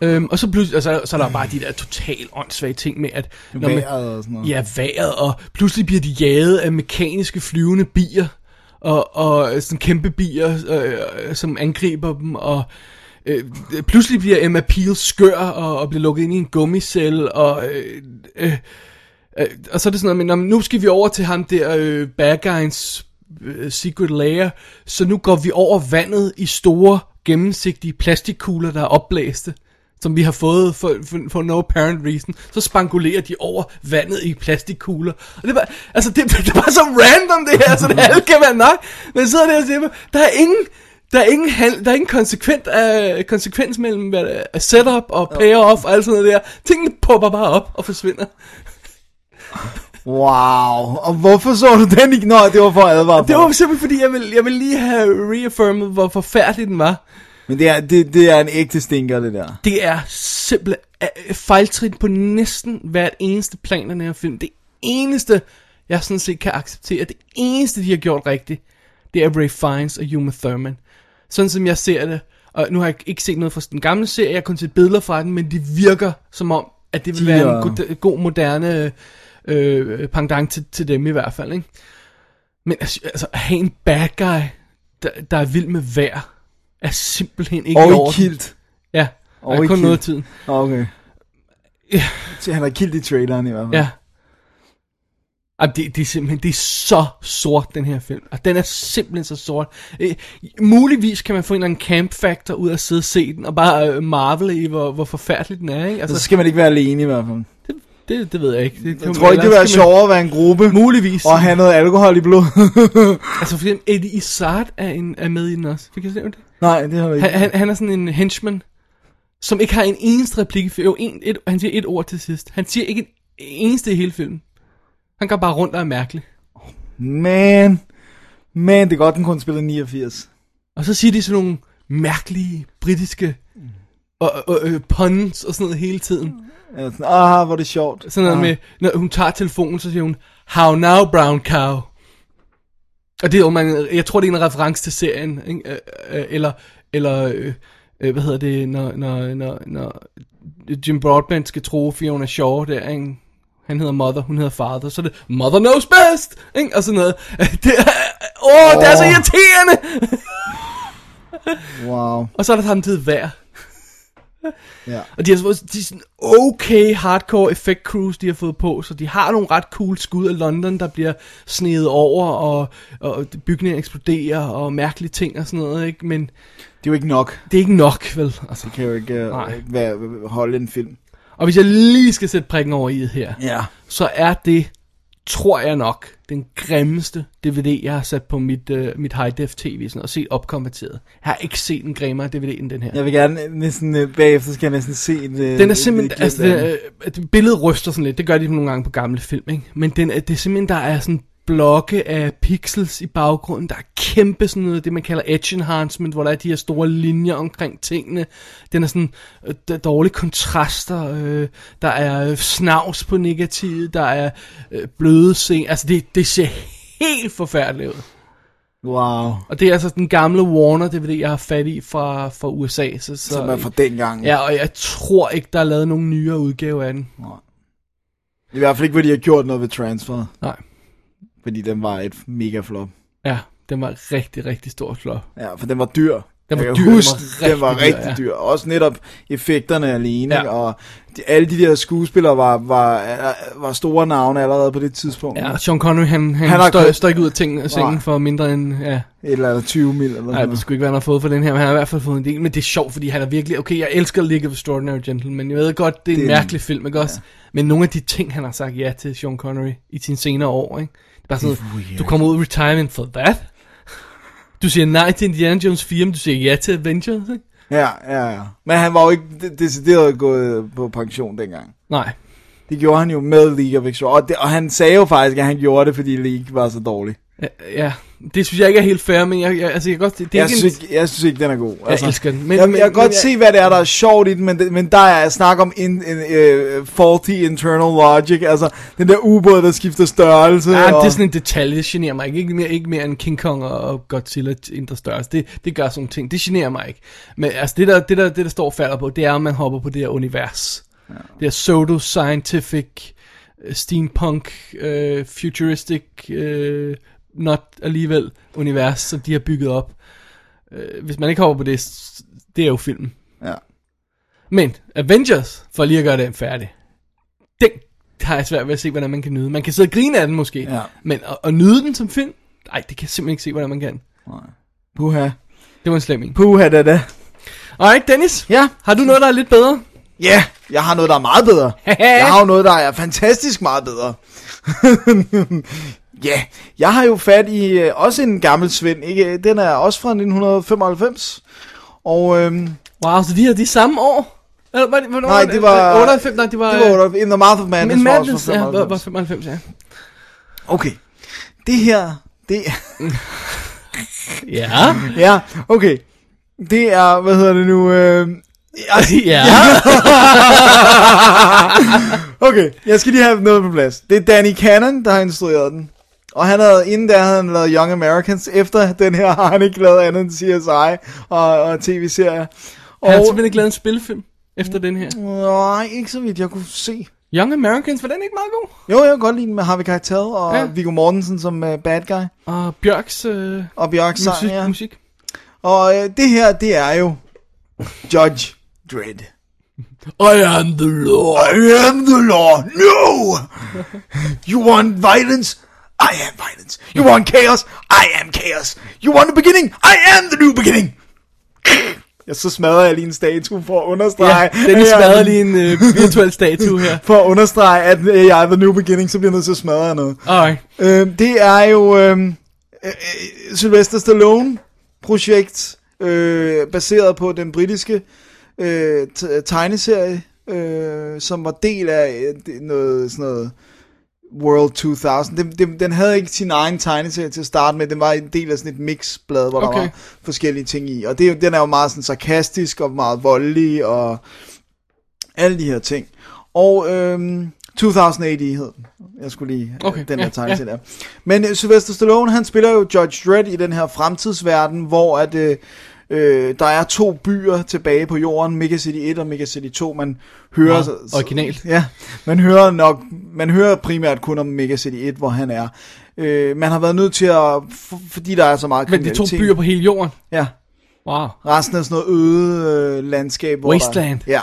Øhm, og så pludselig, altså, så er der bare de der totalt åndssvage ting med, at... når man- Vejret og sådan noget. Ja, vejret, og pludselig bliver de jaget af mekaniske flyvende bier, og, og sådan kæmpe bier, øh, som angriber dem, og øh, pludselig bliver Emma Peel skør, og, og bliver lukket ind i en gummicelle, og... Øh, øh, øh, og så er det sådan noget, men nå, men nu skal vi over til ham der, øh, bad guys øh, secret layer, så nu går vi over vandet i store, gennemsigtige plastikkugler, der er opblæste som vi har fået for, for, for no apparent reason, så spangulerer de over vandet i plastikkugler. Og det var, altså det, [laughs] det var så random det her, så det alt kan være nok. Men jeg sidder der og siger, mig, der er ingen, der er ingen, hand, der er ingen konsekvent, uh, konsekvens mellem hvad, der er setup og payoff og alt sådan noget der. Tingene popper bare op og forsvinder. Wow. Og hvorfor så du den ikke? Nå, det var for at advare Det folk. var simpelthen fordi, jeg ville, jeg ville lige have reaffirmet, hvor forfærdelig den var. Men det er, det, det er en ægte stinker, det der. Det er simpelthen øh, fejltrin på næsten hvert eneste plan af den her film. Det eneste, jeg sådan set kan acceptere, det eneste, de har gjort rigtigt, det er Ray Fiennes og Uma Thurman. Sådan som jeg ser det, og nu har jeg ikke set noget fra den gamle serie, jeg har kun set billeder fra den, men det virker som om, at det vil De være er- en god, god moderne øh, øh, pendant til, til dem i hvert fald, ikke? Men altså, altså, at have en bad guy, der, der er vild med vejr, er simpelthen ikke Og i i orden. kilt. Ja, og Og der i er kun Kiel. noget af tiden. Okay. Ja. Så Han har kilt i traileren i hvert fald. Ja. Ej, det, det er simpelthen, det er så sort, den her film. Og den er simpelthen så sort. Øh, muligvis kan man få en eller anden camp factor ud af at sidde og se den, og bare øh, marvele i, hvor, hvor forfærdelig den er, ikke? Så Altså, skal man ikke være alene i hvert fald. det, det ved jeg ikke. Det, Jeg tror ikke, det ville eller være skal man- sjovere at være en gruppe Muligvis. og have noget alkohol i blodet. [laughs] Altså, for eksempel Eddie Izzard er, en, er med i den også. Fik jeg se det? Nej, det har du ikke. Han, han, han er sådan en henchman, som ikke har en eneste replik. i fil- Jo, en, et, han siger et ord til sidst. Han siger ikke en eneste i hele filmen. Han går bare rundt og er mærkelig. Man. Man, det er godt, den kun spiller 89. Og så siger de sådan nogle mærkelige britiske og, og, og, puns og sådan noget hele tiden. Ja, sådan, ah, hvor er det sjovt. Sådan noget ah. med, når hun tager telefonen, så siger hun, How now, brown cow? Og det er jo, man, jeg tror, det er en reference til serien, ikke? Øh, øh, eller, eller øh, øh, hvad hedder det, når, når, når, når Jim Broadbent skal tro Fiona Shaw der, ikke? Han hedder Mother, hun hedder Father, så er det Mother knows best, ikke? Og sådan noget. [laughs] Det er, åh, oh, det er så Åh. irriterende! Wow. Og så er der samtidig vejr. Ja. Og de har fået de er sådan okay hardcore effect crews, de har fået på, så de har nogle ret cool skud af London, der bliver snedet over, og, og bygninger eksploderer, og mærkelige ting og sådan noget, ikke? Men Det er jo ikke nok. det er ikke nok, vel? Altså. Det kan jo ikke uh, Nej. være, holde en film. Og hvis jeg lige skal sætte prikken over i det her, Ja. så er det, tror jeg nok, den grimmeste DVD, jeg har sat på mit, øh, mit high def tv sådan, og set opkonverteret. Jeg har ikke set en grimmere DVD end den her. Jeg vil gerne næsten, øh, bagefter skal jeg næsten se en... øh, Den er et- et simpelthen, klip altså, af den, øh, at billedet ryster sådan lidt, det gør de nogle gange på gamle film, ikke? Men den er, det er simpelthen, der er sådan blokke af pixels i baggrunden, der er kæmpe sådan noget, det man kalder edge enhancement, hvor der er de her store linjer omkring tingene. Den er sådan, øh, der er dårlige kontraster, øh, der er øh, snavs på negativet, der er øh, bløde scener, altså det, det ser helt forfærdeligt ud. Wow. Og det er altså den gamle Warner DVD, jeg har fat i fra, fra USA. Så, så, Som er fra dengang. Ja, og jeg tror ikke, der er lavet nogen nyere udgave af den. I hvert fald ikke, hvor de har gjort noget ved transfer. Nej. Fordi den var et mega flop. Ja, den var rigtig, rigtig stor flop. Ja, for den var dyr. Den var Jeg kan dyr, den huske, var den var rigtig dyr, rigtig dyr. Også netop effekterne alene, Ja. ja. og de, alle de der skuespillere var, var, øh, var store navne allerede på det tidspunkt. Ja, Sean Connery, han, han, Han han har står, kun- står ikke ud af ting, af sengen Nej. for mindre end... Ja, Et Eller andet 20 mil eller nej, sådan det noget. skulle ikke, hvad han har fået for den her, men han har i hvert fald fået en del. Men det er sjovt, fordi han er virkelig... Okay, jeg elsker League of Extraordinary Gentlemen. Jeg ved godt, det er en Det det, er en- mærkelig film, ikke også? Men nogle af de ting, han har sagt ja til Sean Connery i sine senere år, ikke? Det er bare sådan, noget, du kommer ud af retirement for that. Du siger nej til Indiana Jones 4, men du siger ja til Avengers, ikke? Ja, ja, ja. Men han var jo ikke de- decideret gået på pension dengang. Nej, Det gjorde han jo med League of Extraordinary. Og, det, og han sagde jo faktisk, at han gjorde det, fordi League var så dårlig. Ja, Øh, Ja, det synes jeg ikke er helt fair, men jeg, jeg, altså, jeg kan godt, det, det er Jeg ikke synes, en, ikke, jeg synes ikke, den er god. Jeg elsker den, men- Men, jeg, men- jeg kan men godt jeg- se, hvad det er, der er sjovt i den, men, det- men der er snak om in, in, uh, faulty internal logic. Altså, den der ubåd, der skifter størrelse. ah, og, det er sådan en detalje, det generer mig ikke. Ikke mere, ikke mere end King Kong og- og Godzilla indre størrelse. Det, det gør sådan nogle ting. Det generer mig ikke. Men altså, det der, det der, det der står og falder på, det er, om man hopper på det her univers. Ja. Det her pseudo-scientific, øh, steampunk, øh, futuristic, øh, not alligevel univers, som de har bygget op. Øh, hvis man ikke hopper på det, s- det er jo filmen. Ja. Men Avengers, for lige at gøre den færdig, den har jeg svært ved at se, hvordan man kan nyde. Man kan sidde og grine af den måske, Ja. men at, at nyde den som film, nej, det kan jeg simpelthen ikke se, hvordan man kan. Puha. Det var en slem en. Puha, da da. Alright, Dennis, Ja. har du noget, der er lidt bedre? Ja, yeah, jeg har noget, der er meget [laughs] bedre. jeg har jo noget, der er fantastisk meget bedre. [laughs] Ja, yeah. jeg har jo fat i øh, også en gammel Svend. Ikke? Den er også fra 1995. Og øhm, Wow, så de her de er samme år? Eller, var det, hvornår Nej, det var- 98, nej, det var... det var under- øh, In the Mouth of Madness. Men var også Madness, fra ja, var, 95. var 95, ja. Okay. Det her, det Ja, ja, okay. Det er, hvad hedder det nu? Øh, altså, ja. okay, jeg skal lige have noget på plads. Det er Danny Cannon, der har instrueret den. Og han havde, inden der havde han lavet Young Americans. Efter den her har han ikke lavet andet end CSI og, og tv-serier. Jeg har Og, simpelthen ikke lavet en spilfilm efter den her. nej, ikke så vidt jeg kunne se. Young Americans, var den ikke meget god? Jo, jeg kan godt lide den med Harvey Keitel og Ja. ja. Viggo Mortensen som uh, bad guy. Og Bjørks øh, Og Bjørk sang, musik, ja. musik. Og øh, det her, det er jo Judge Dredd. I am the Lord. I am the law. No! You want violence? I am violence. You want chaos? I am chaos. You want the beginning? I am the new beginning. Ja, så smadrer jeg lige en statue for at Ja, understrege. den at jeg- smadrede lige en øh, virtuel statue [laughs] her. For at understrege, at øh, jeg er the new beginning, så bliver jeg nødt til at smadre noget. Alright. Øh, det er jo øh, øh, Sylvester Stallone-projekt, øh, baseret på den britiske øh, t- tegneserie, øh, som var del af øh, det- noget sådan noget World 2000. Den, den, den havde ikke sin egen tegneserie til at starte med, den var en del af sådan et mixblad, hvor Okay. der var forskellige ting i. Og det, er jo- den er jo meget sådan sarkastisk og meget voldelig og alle de her ting. Og øhm, 2008 i hed den. Jeg skulle lige okay, Okay, den her ja, tegneserie der. Men øh, Sylvester Stallone, han spiller jo Judge Dredd i den her fremtidsverden, hvor at, øh, øh, der er to byer tilbage på jorden, Mega City 1 og Mega City 2. Man hører... Meget originalt. Ja, man hører, nok, man hører primært kun om Mega City 1, hvor han er. Øh, man har været nødt til at... For, fordi der er så meget Men de to kriminalitet. byer på hele jorden. Ja, Wow. Resten er sådan noget øde øh, landskab. Hvor Wasteland. Der, ja.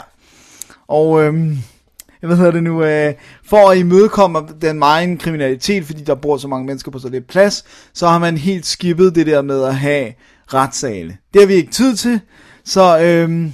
Og øhm, hvad hedder det nu? Øh, for at imødekomme den meget kriminalitet, fordi der bor så mange mennesker på så lidt plads, så har man helt skippet det der med at have retssale. Det har vi ikke tid til, så øhm,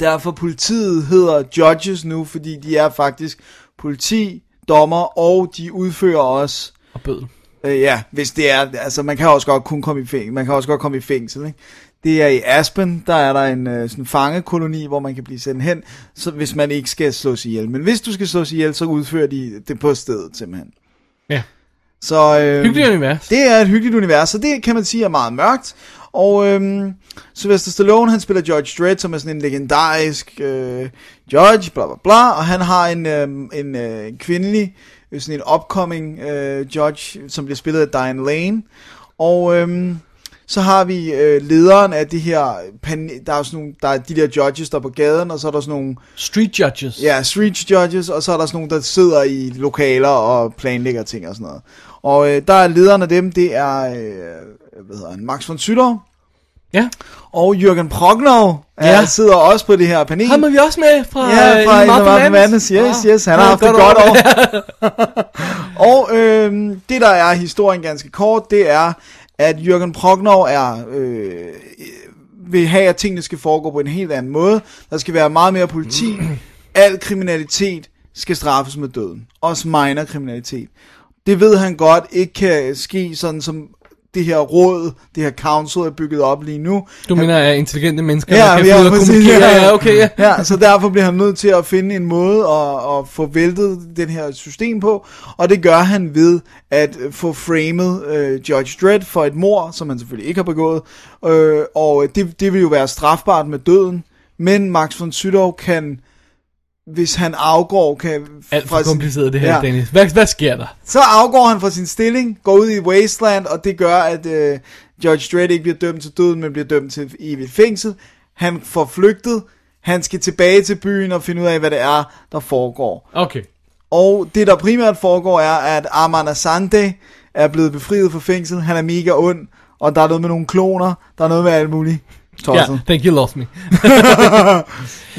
derfor politiet hedder judges nu, fordi de er faktisk politi, dommer, og de udfører også Og bødel. Øh, ja, hvis det er, altså man kan også godt kun komme i fængsel, man kan også godt komme i fængsel, ikke? Det er i Aspen, der er der en øh, sådan fangekoloni, hvor man kan blive sendt hen, så hvis man ikke skal slås ihjel. Men hvis du skal slås ihjel, så udfører de det på stedet simpelthen. Ja. Så, øh, Hyggeligt univers. det er et hyggeligt univers, så det kan man sige er meget mørkt. Og øhm, Sylvester Stallone, han spiller George Dredd, som er sådan en legendarisk øh, judge, bla bla bla, og han har en, øhm, en øh, kvindelig, øh, sådan en upcoming øh, judge, som bliver spillet af Diane Lane. Og øhm, så har vi øh, lederen af det her, pan- der er jo sådan nogle, der er de der judges, der er på gaden, og så er der sådan nogle Street judges. Ja, street judges, og så er der sådan nogle, der sidder i lokaler og planlægger ting og sådan noget. Og øh, der er lederen af dem, det er, øh, hvad hedder han, Max von Sydow, ja. og Jørgen Prognov, ja. Ja. han sidder også på det her panel. Ham er vi også med fra, Ja, fra øh, Martha Martha Madness. Madness. Ah. Yes, yes, han har haft et godt år. [laughs] og øhm, det, der er historien ganske kort, det er, at Jørgen Prognov er... Øh, vil have, at tingene skal foregå på en helt anden måde. Der skal være meget mere politi. Al kriminalitet skal straffes med døden. Også minor kriminalitet. Det ved han godt ikke kan ske, sådan som det her råd, det her council er bygget op lige nu. Du mener, at intelligente mennesker, Ja, der kan ja, finde ud af at præcis, kommunikere. ja. Ja, okay, ja. Ja, så derfor bliver han nødt til at finde en måde at, at få væltet den her system på, og det gør han ved at få framed øh, Judge Dredd for et mor, som han selvfølgelig ikke har begået, øh, og det, det vil jo være strafbart med døden, men Max von Sydow kan, hvis han afgår, kan... Alt fra for sin- kompliceret det her, Dennis. Hvad, hvad sker der? så afgår han fra sin stilling, går ud i Wasteland, og det gør, at øh, Judge Dredd ikke bliver dømt til døden, men bliver dømt til evigt fængsel. Han får flygtet, han skal tilbage til byen og finde ud af, hvad det er, der foregår. Okay. Og det, der primært foregår, er, at Arman Asante er blevet befriet fra fængsel. Han er mega ond, og der er noget med nogle kloner, der er noget med alt muligt. Ja, Tosset. thank you lost me. Ja.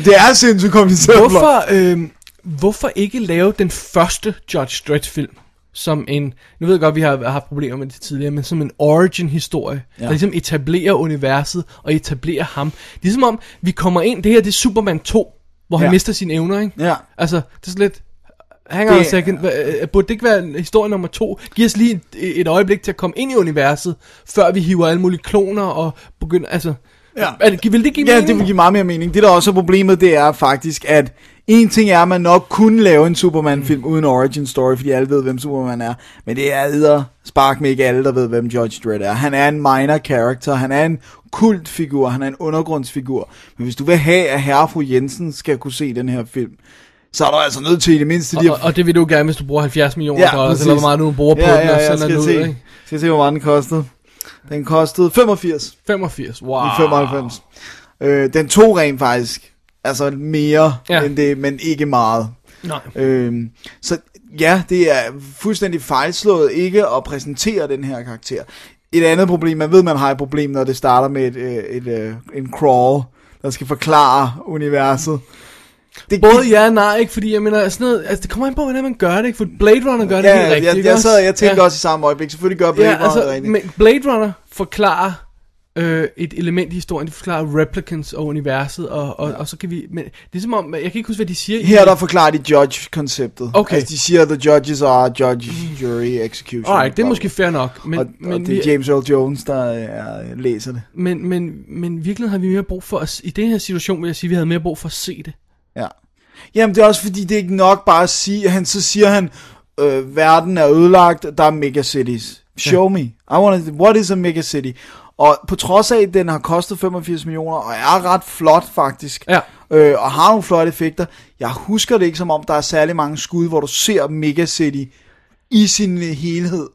Det er sindssygt kompliceret. plot. Hvorfor, øh, hvorfor ikke lave den første Judge Dredd film? Som en, nu ved jeg godt, vi har haft problemer med det tidligere, men som en origin-historie, ja. der ligesom etablerer universet og etablerer ham. Ligesom om, vi kommer ind, det her det er Superman 2, hvor ja. Ja. han mister sine evner, ikke? Ja. Altså, det er sådan lidt, hang on Det- a second, hva- øh, burde det ikke være en historie nummer to? Giv os lige et, et øjeblik til at komme ind i universet, før vi hiver alle mulige kloner og begynder, altså... Ja. Er det, vil det give Ja, mening? det vil give meget mere mening. Det, der også er problemet, det er faktisk, at en ting er, at man nok kunne lave en Superman-film mm. uden origin story, fordi alle ved, hvem Superman er. Men det er æder spark med ikke alle, der ved, hvem Judge Dredd er. Han er en minor character, han er en kultfigur, han er en undergrundsfigur. Men hvis du vil have, at herre og fru Jensen skal kunne se den her film, så er du altså nødt til i det mindste lige Og, og det vil du gerne, hvis du bruger 70 millioner ja, dollars, præcis. eller hvor meget du nu bruger på ja, den, ja, og ja, sender den skal ud, se. ikke? Skal se, hvor meget den kostede. Den kostede 85. 85, wow. i 95. Øh, den tog rent faktisk, altså mere ja. Ja. end det, men ikke meget. Nej. Øh, så ja, det er fuldstændig fejlslået ikke at præsentere den her karakter. Et andet problem, man ved, man har et problem, når det starter med et, øh, et, et, en crawl, der skal forklare universet. Det, Både ja og nej, ikke? Fordi jeg mener, sådan noget, altså, det kommer an på, hvordan man gør det, ikke? For Blade Runner gør det ja, helt rigtigt, jeg, ikke jeg, også? sad, jeg tænkte ja. også i samme øjeblik, selvfølgelig gør Blade ja, altså, rigtigt. men Blade Runner forklarer øh, et element i historien, det forklarer replicants og universet, og, og, ja. og så kan vi, men det er som om, jeg kan ikke huske, hvad de siger. i- Her der forklarer de judge-konceptet. Okay. Altså, de siger, at the judges are judge, jury, execution. Alright, det blah, er blah, måske fair nok, men, Men, og, men, men, og det er vi, James Earl Jones, der er, læser det. men, men, men virkelig har vi mere brug for, at, i den her situation vil jeg sige, at vi havde mere brug for at se det. Ja. Jamen, det er også fordi, det er ikke nok bare at sige, han, så siger han, øh, verden er ødelagt, der er megacities. Show me. I wanna, what is a megacity? Og på trods af, at den har kostet 85 millioner, og er ret flot faktisk, Ja. øh, og har nogle flotte effekter. Jeg husker det ikke som om, der er særlig mange skud, hvor du ser Mega City i sin helhed.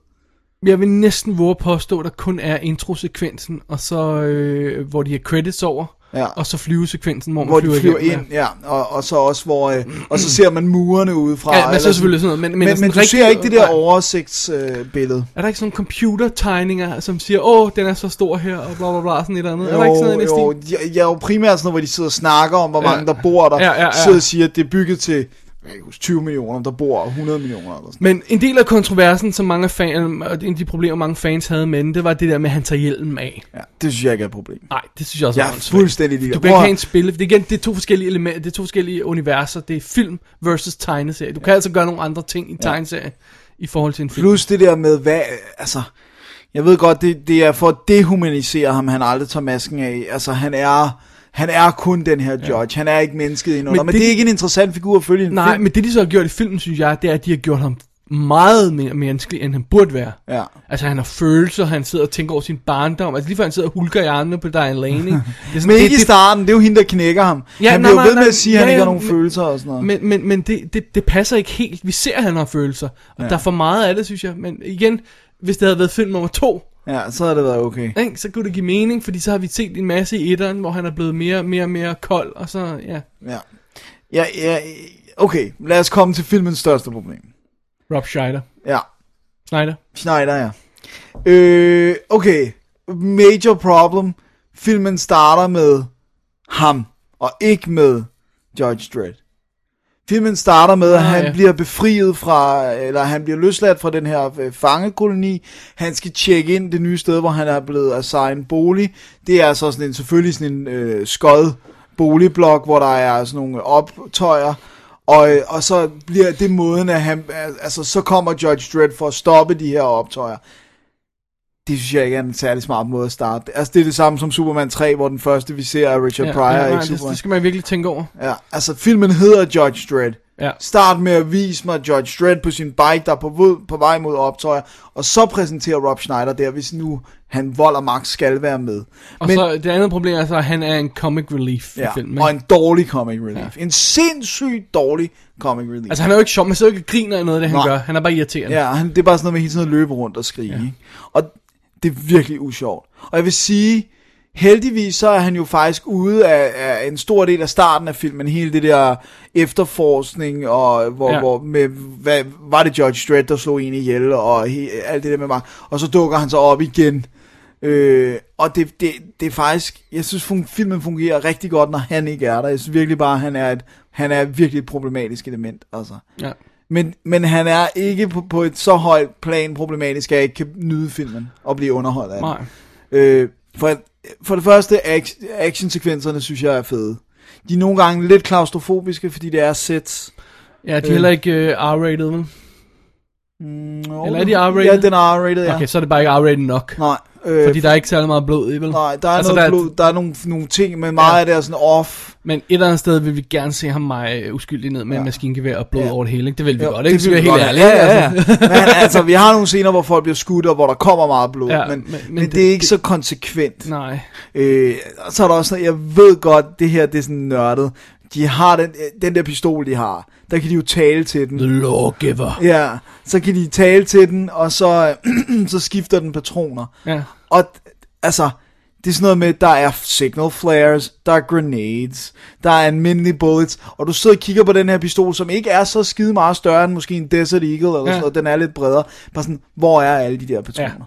Jeg vil næsten våge at påstå, at der kun er introsekvensen, og så øh, hvor de har credits over, Ja. og så flyvesekvensen, hvor man Hvor flyver, de flyver igennem, ind, ja, og, og så også hvor, øh, og så ser man murene udefra. Ja, men Ah, eller så selvfølgelig sådan noget. Men, Men, sådan men du rigtig- ser ikke det der Nej. oversigtsbillede. Øh, billede. Er der ikke sådan nogle computertegninger, som siger, åh, den er så stor her, og bla bla bla, sådan et eller andet? er der ikke sådan noget i jo, den stil? jeg, jeg er jo primært sådan noget, hvor de sidder og snakker om, hvor Ja. mange der bor der. Ja, ja, ja. Sidder og siger, at det er bygget til jeg kan ikke huske, 20 millioner, der bor 100 millioner. Eller sådan. Men en del af kontroversen, som mange fan, og en af de problemer, mange fans havde med den, det var det der med, at han tager hjelmen af. Ja, det synes jeg ikke er et problem. Altså, Nej, det synes jeg også Jeg er er åndssvagt. fuldstændig ligeglad. Du kan ikke Prøv at- have en spil, det er, igen, det er to forskellige elementer, det er to forskellige universer, det er film versus tegneserie. Du kan altså gøre nogle andre ting i tegneserie i forhold til en film. Plus det der med, hvad, altså, jeg ved godt, det, det er for at dehumanisere ham, han aldrig tager masken af. Altså, han er, han er kun den her judge. Han er ikke mennesket endnu. Men, Men men det- det, er ikke en interessant figur at følge i en Nej, film. men det de så har gjort i filmen, synes jeg, det er, at de har gjort ham meget mere menneskelig, end han burde være. Ja. Altså, han har følelser, han sidder og tænker over sin barndom. Altså, lige før han sidder og hulker i armene på [laughs] Diane Lane, ikke? Det er sådan, Men ikke i starten, det er jo hende, der knækker ham. Ja, Ja, han nej, bliver nej, jo ved nej, med at sige, at han ja, ikke har ja, nogen men- følelser og sådan noget. Men, men, men det, det, det passer ikke helt. Vi ser, at han har følelser. Og ja. der er for meget af det, synes jeg. Men igen, hvis det havde været film nummer to, ja, så har det været okay. ikke, så kunne det give mening, fordi så har vi set en masse i etteren, hvor han er blevet mere og mere og mere kold, og så, ja, Ja. Ja, ja, okay, lad os komme til filmens største problem. Rob Schneider. Ja, Schneider. Schneider, ja. Øh, okay, major problem. Filmen starter med ham, og ikke med Judge Dredd. Filmen starter med, at Ah, han ja. ja. bliver befriet fra, eller han bliver løsladt fra den her øh, fangekoloni. Han skal tjekke ind det nye sted, hvor han er blevet assignet bolig. Det er altså sådan en, selvfølgelig sådan en øh, skod boligblok, hvor der er sådan nogle optøjer. Og, øh, og så bliver det måden, at han, altså så kommer Judge Dredd for at stoppe de her optøjer. Det synes jeg ikke er en særlig smart måde at starte. Altså det er det samme som Superman 3, hvor den første vi ser er Richard Ja, Pryor, ja, nej, ikke det, Superman. det skal man virkelig tænke over. Ja, altså filmen hedder Judge Dredd. Ja. Start med at vise mig Judge Dredd på sin bike, der er på, vo- på vej mod optøjer, og så præsenterer Rob Schneider der, hvis nu han vold og magt skal være med. Og men, Men- så det andet problem er så, at han er en comic relief i filmen. ikke? og en dårlig comic relief. Ja. En sindssygt dårlig comic relief. Altså, han er jo ikke sjov, man sidder jo ikke og griner af noget af det, han Nej. gør. Han er bare irriterende. Ja, han, det er bare sådan noget med hele tiden at løbe rundt og skrige. Ja. Og det er virkelig usjovt. Og jeg vil sige, heldigvis så er han jo faktisk ude af, af en stor del af starten af filmen. Hele det der efterforskning, og hvor, Ja. ja. hvor med, hvad, var det Judge Dredd, der slog en ihjel, og he, alt det der med mig. Og så dukker han så op igen. Øh, og det, det, det er faktisk, jeg synes fun, filmen fungerer rigtig godt, når han ikke er der. Jeg synes virkelig bare, han er et, han er virkelig et problematisk element. Altså. ja. Men, men han er ikke på, på et så højt plan problematisk, at jeg ikke kan nyde filmen og blive underholdt af Nej. den. Øh, for, for det første, action, actionsekvenserne synes jeg er fede. De er nogle gange lidt klaustrofobiske, fordi det er sæt. Ja, de er heller ikke øh, R-rated, vel? Eller er de R-rated? Ja, den er R-rated, ja. Okay, så er det bare ikke R-rated nok. Nej, øh, Fordi der er ikke særlig meget blod i, vel? nej, der er, altså, altså, noget der der er- blod, der er nogle, nogle ting, men meget Ja. ja. af det er sådan off. Men et eller andet sted vil vi gerne se ham mig uskyldig ned med ja. Ja. en maskingevær og blod ja. Ja. over det hele, ikke? Det vil vi Jo, godt, ikke? Det vil vi vi helt godt. ærligt. Ja, ja, ja. men altså, vi har nogle scener, hvor folk bliver skudt, og hvor der kommer meget blod, Ja, ja, men, men- men, men, men det, det er det- ikke så konsekvent. Nej. Øh, og så er der også noget, jeg ved godt, det her det er sådan nørdet. De har den, øh, den der pistol, de har. Der kan de jo tale til den. The lawgiver. Ja, så kan de tale til den, og så, [clears throat] så skifter den patroner. Ja. Og altså, det er sådan noget med, der er signal flares, der er grenades, der er almindelige bullets, og du sidder og kigger på den her pistol, som ikke er så skide meget større end måske en Desert Eagle, eller ja. Ja. sådan noget. den er lidt bredere. Bare sådan, hvor er alle de der patroner? Ja.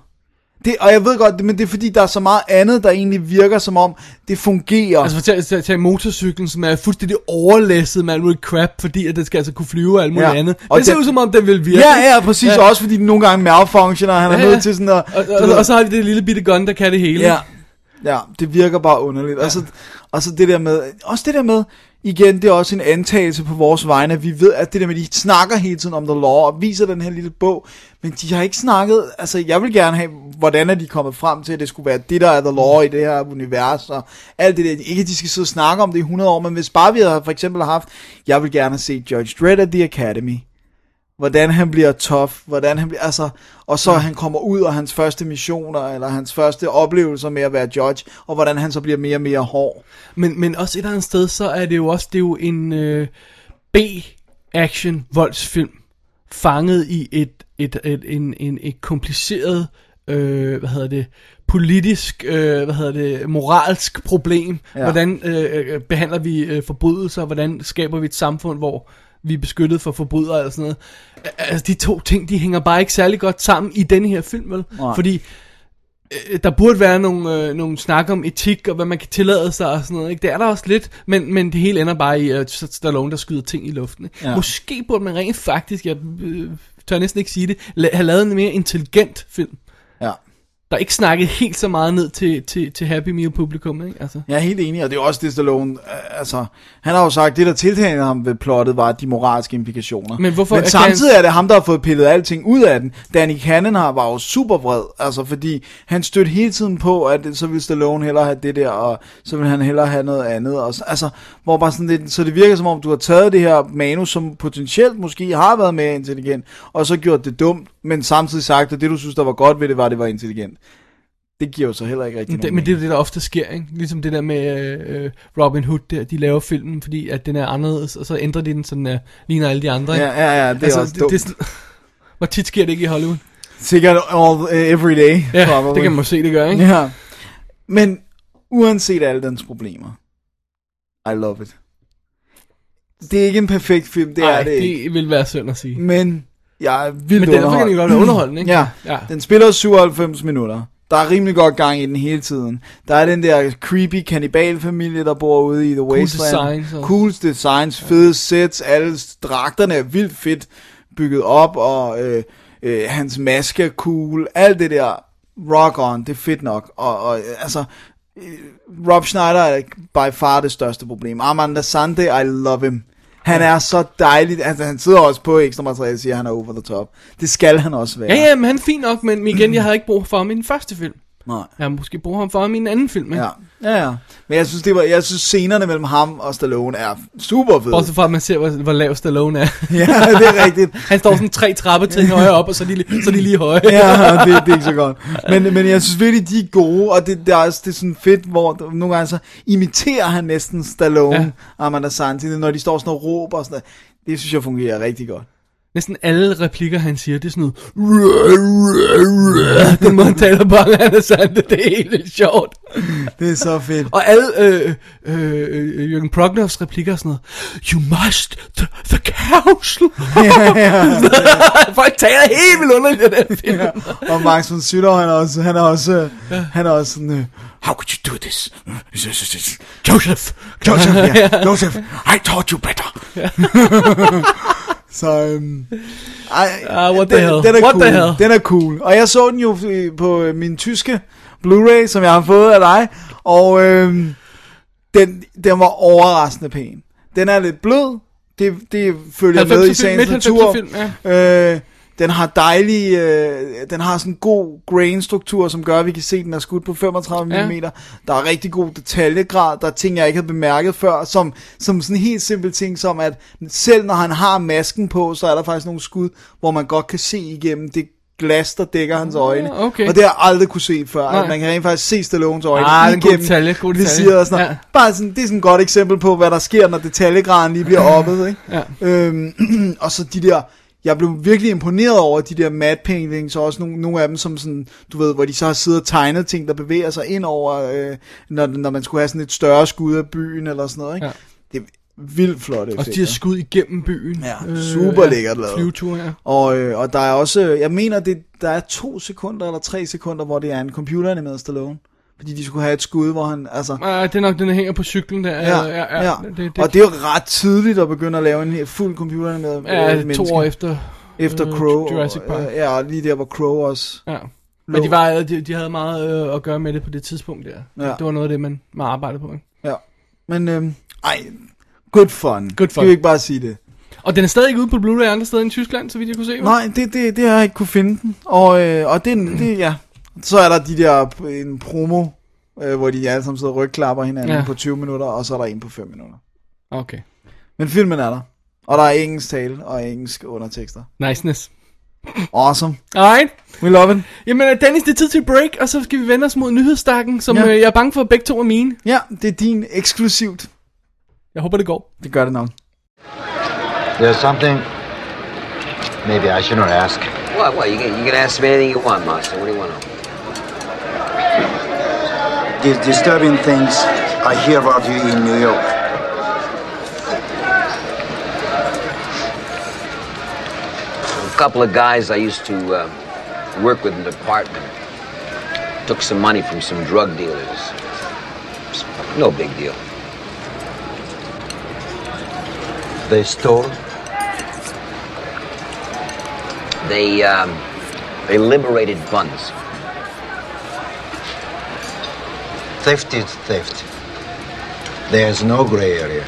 Det, og jeg ved godt, det- men det er fordi, der er så meget andet, der egentlig virker som om, det fungerer. Altså, for tag, tag, tag motorcyklen, som er fuldstændig overlæsset med alt muligt crap, fordi at den skal altså kunne flyve og alt muligt ja. Ja. andet. Og det ser den- ud som om, den vil virke. ja, ja, præcis. Ja. Også fordi den nogle gange malfunctioner, og han er Ja, ja. nødt til sådan at... Og, du og, ved- og, så har de det lille bitte gun, der kan det hele. Ja, ja det virker bare underligt. Ja. Og, så, og så det der med, også det der med, igen, det er også en antagelse på vores vegne, at vi ved, at det der med, de snakker hele tiden om The Law, og viser den her lille bog, men de har ikke snakket, altså jeg vil gerne have, hvordan er de kommet frem til, at det skulle være det, der er The Law i det her univers, og alt det der, ikke at de skal sidde og snakke om det i 100 år, men hvis bare vi havde for eksempel haft, jeg vil gerne se Judge Dredd at The Academy, hvordan han bliver tough, hvordan han bliver, altså, og så han kommer ud og hans første missioner, eller hans første oplevelser med at være judge, og hvordan han så bliver mere og mere hård. Men, men også et eller andet sted, så er det jo også det er jo en øh, B-action voldsfilm, fanget i et, et, et, en, en, et kompliceret, øh, hvad hedder det, politisk, øh, hvad hedder det, moralsk problem. Ja. Ja. Hvordan øh, øh, behandler vi øh, forbrydelser, hvordan skaber vi et samfund, hvor vi er beskyttet for forbrydere og sådan noget. Al- Altså, de to ting, de hænger bare ikke særlig godt sammen i denne her film, vel? Nej. Fordi øh, der burde være nogle, øh, nogle snak om etik og hvad man kan tillade sig og sådan noget. Ikke? Det er der også lidt, men, men det hele ender bare i øh, Stallone, der skyder ting i luften. Ikke? Ja. Ja. Måske burde man rent faktisk, jeg øh, tør næsten ikke sige det, la- have lavet en mere intelligent film. Ja. Der er ikke snakket helt så meget ned til, til, til Happy Meal publikum, ikke? Altså. Jeg er helt enig, og det er jo også det, Stallone, øh, altså, han har jo sagt, det der tiltalte ham ved plottet, var de moralske implikationer. Men hvorfor Men kan samtidig er det ham, der har fået pillet alting ud af den. Danny Cannon har, var jo super vred, altså, fordi han stødte hele tiden på, at så ville Stallone hellere have det der, og så ville han hellere have noget andet. Og, så- altså, hvor bare sådan lidt, så det virker som om, du har taget det her manus, som potentielt måske har været mere intelligent, og så gjort det dumt, men samtidig sagt, at det du synes, der var godt ved det, var, at det var intelligent. Det giver jo så heller ikke rigtig Det, nogen men det er jo det, der ofte sker, ikke? Ligesom det der med øh, øh, Robin Hood der, de laver filmen, fordi at den er anderledes, og så ændrer de den, så den er, ligner alle de andre. mening. ikke? Ja, ja, ja, det er altså, også dumt. det, det, er sådan- [laughs] Hvor tit sker det ikke i Hollywood? Sikkert all, eh, every day. Ja, probably. det kan man jo se, det gør, ikke? Ja. Men uanset alle dens problemer, I love it. Det er ikke en perfekt film, det Ej, er det, det ikke. Mm. det vil være synd at sige. Men jeg er vildt Men derfor kan den jo godt være underholdende, ikke? Ja. Ja. Den spiller 97 minutter. Der er rimelig godt gang i den hele tiden. Der er den der creepy kannibalfamilie, der bor ude i The Wasteland. designs og- Cool designs, fede sets, alle dragterne er vildt fedt bygget op, og øh, øh, hans maske er cool. Alt det der rock on, det er fedt nok. Og, og øh, altså, Rob Schneider er by far det største problem. Armand Sande, I love him. Han er så dejlig. Altså, han sidder også på ekstra materiale og siger, at han er over the top. Det skal han også være. Ja, ja, men han er fin nok, men igen, jeg havde ikke brug for ham i den første film. Nej. Jeg har måske brug for ham for ham i en anden film, ikke? Ja. ja, ja. Men jeg synes, det var, jeg synes, scenerne mellem ham og Stallone er super fede. Bortset fra, at man ser, hvor, hvor lav Stallone [laughs] er. [laughs] Ja, det er rigtigt. Han står sådan tre trappetrin højere op, og så er de, li- så er de lige høje. Ja, det, det er ikke så godt. Men, men jeg synes virkelig, de er gode, og det, det, er, også, det er sådan fedt, hvor der- nogle gange så imiterer han næsten Stallone, ja. Ja. Armand Asante, når de står sådan og råber og sådan noget. Det synes jeg fungerer rigtig godt. Næsten alle replikker, han siger, det er sådan noget... [laughs] "Ruh, ruh, ruh." Den måde, han taler på, han er sandt, det er helt vildt sjovt. Det er så [laughs] fedt. Og alle øh, øh, øh, Jørgen Prognovs replikker og sådan noget. You must the, the council. ja, ja. [laughs] Folk taler helt vildt underligt i den her film. Ja. Og Max von Sydow, han er også, han er også, ja. han er også sådan, øh, How could you do this? This is- this is- Joseph. Joseph, yeah, Joseph, I taught you better. [laughs] så, øhm, ej, Ah, what the den, hell? den er What cool, the hell? den er cool. Og jeg så den jo øh, på øh, min tyske Blu-ray, som jeg har fået af dig, og øhm, den, den var overraskende pæn. Den er lidt blød, det, det følger med i 90'er film, sagens midt natur. 90'er film, ja. Øh, den har dejlig, øh, den har sådan en god grain-struktur, som gør, at vi kan se, at den er skudt på 35 Ja. mm. Der er rigtig god detaljegrad, der er ting, jeg ikke havde bemærket før, som, som sådan helt simple ting, som at selv når han har masken på, så er der faktisk nogle skud, hvor man godt kan se igennem det glas, der dækker hans øjne. Ah, okay. Og det har jeg aldrig kunne se før. Nej. At man kan rent faktisk se Stallones øjne Ah, det er en god igennem detalje, god detalje. visiret og sådan noget. Ja. Bare sådan, det er sådan et godt eksempel på, hvad der sker, når detaljegraden lige [laughs] bliver oppet. Ikke? Ja. Øhm, [clears throat] og så de der, jeg blev virkelig imponeret over de der matte paintings, og også nogle, nogle af dem, som sådan, du ved, hvor de så har siddet og tegnet ting, der bevæger sig ind over, øh, når, når man skulle have sådan et større skud af byen eller sådan noget. Ikke? Ja. Det er vildt flot Og de har skud igennem byen. Ja, super lækkert lavet. Flyvetur, ja. Og, øh, og der er også, øh, jeg mener, det, der er to sekunder eller tre sekunder, hvor det er en computeranimeret Stallone. Fordi de skulle have et skud, hvor han, altså... Ah, det er nok den, der hænger på cyklen der. Ja, ja. ja. Det, det, Og det er jo ret tidligt at begynde at lave en helt fuld computeranimeret øh, ja, menneske. to år efter. Efter øh, Crow. Jurassic Park. øh, ja, og lige der, hvor Crow også... Ja. lå. Men de, var, de, de havde meget øh, at gøre med det på det tidspunkt der. Ja. Det var noget af det, man, man arbejdede på. Ikke? Ja. Men, øhm, ej, good fun. Skal Good fun. vi ikke bare sige det? Og den er stadig ikke ude på Blu-ray andre steder end Tyskland, så vidt jeg kunne se. vel? Nej, det, det, det har jeg ikke kunne finde den. Og, øh, og det, det, ja. Så er der de der øh, en promo, øh, hvor de alle sammen sidder og rygklapper hinanden ja. Ja. på 20 minutter, og så er der en på 5 minutter. Okay. Men filmen er der. Og der er engelsk tale og engelsk undertekster. Niceness. Awesome. Alright. We love it. Jamen, øh, Dennis, det er tid til break, og så skal vi vende os mod nyhedsstakken, som Ja. ja. øh, jeg er bange for, at begge to er mine. Ja, det er din eksklusivt. Jeg håber, det går. Det gør det nok. There's something maybe I shouldn't ask. What? What? You can, you can ask me anything you want, Master. What do you want? to know? These disturbing things I hear about you in New York. A couple of guys I used to uh, work with in the department took some money from some drug dealers. It's No big deal. They stole. They um, they liberated buns. Theft is theft. There's no gray area.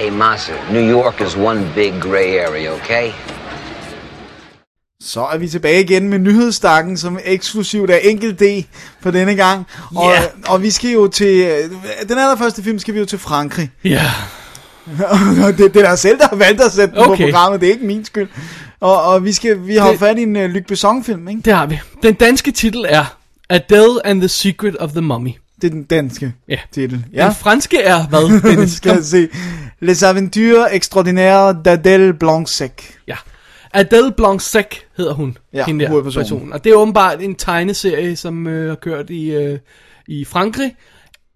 Hey, Master, New York is one big gray area. Okay. Så er vi tilbage igen med nyhedsstakken, som eksklusivt er enkelt D for denne gang. Og, Ja. og vi skal jo til... øh, Den allerførste film skal vi jo til Frankrig. [laughs] Ja. Yeah. Og det, det er dig selv, der har valgt at sætte den på Okay. programmet. Det er ikke min skyld. Og, og vi, skal, vi har jo fat i en uh, Luc Besson-film, ikke? Det har vi. Den danske titel er Adele and the Secret of the Mummy. Det er den danske Ja. titel. Ja. Den franske er [laughs] hvad, Den Dennis? skal jeg se. Les Aventures Extraordinaires d'Adèle Blanc-Sec. Ja. Adele Blanc-Sec hedder hun. Ja, hende der hovedpersonen. personen. Og det er åbenbart en tegneserie, som øh, har kørt i, øh, i Frankrig.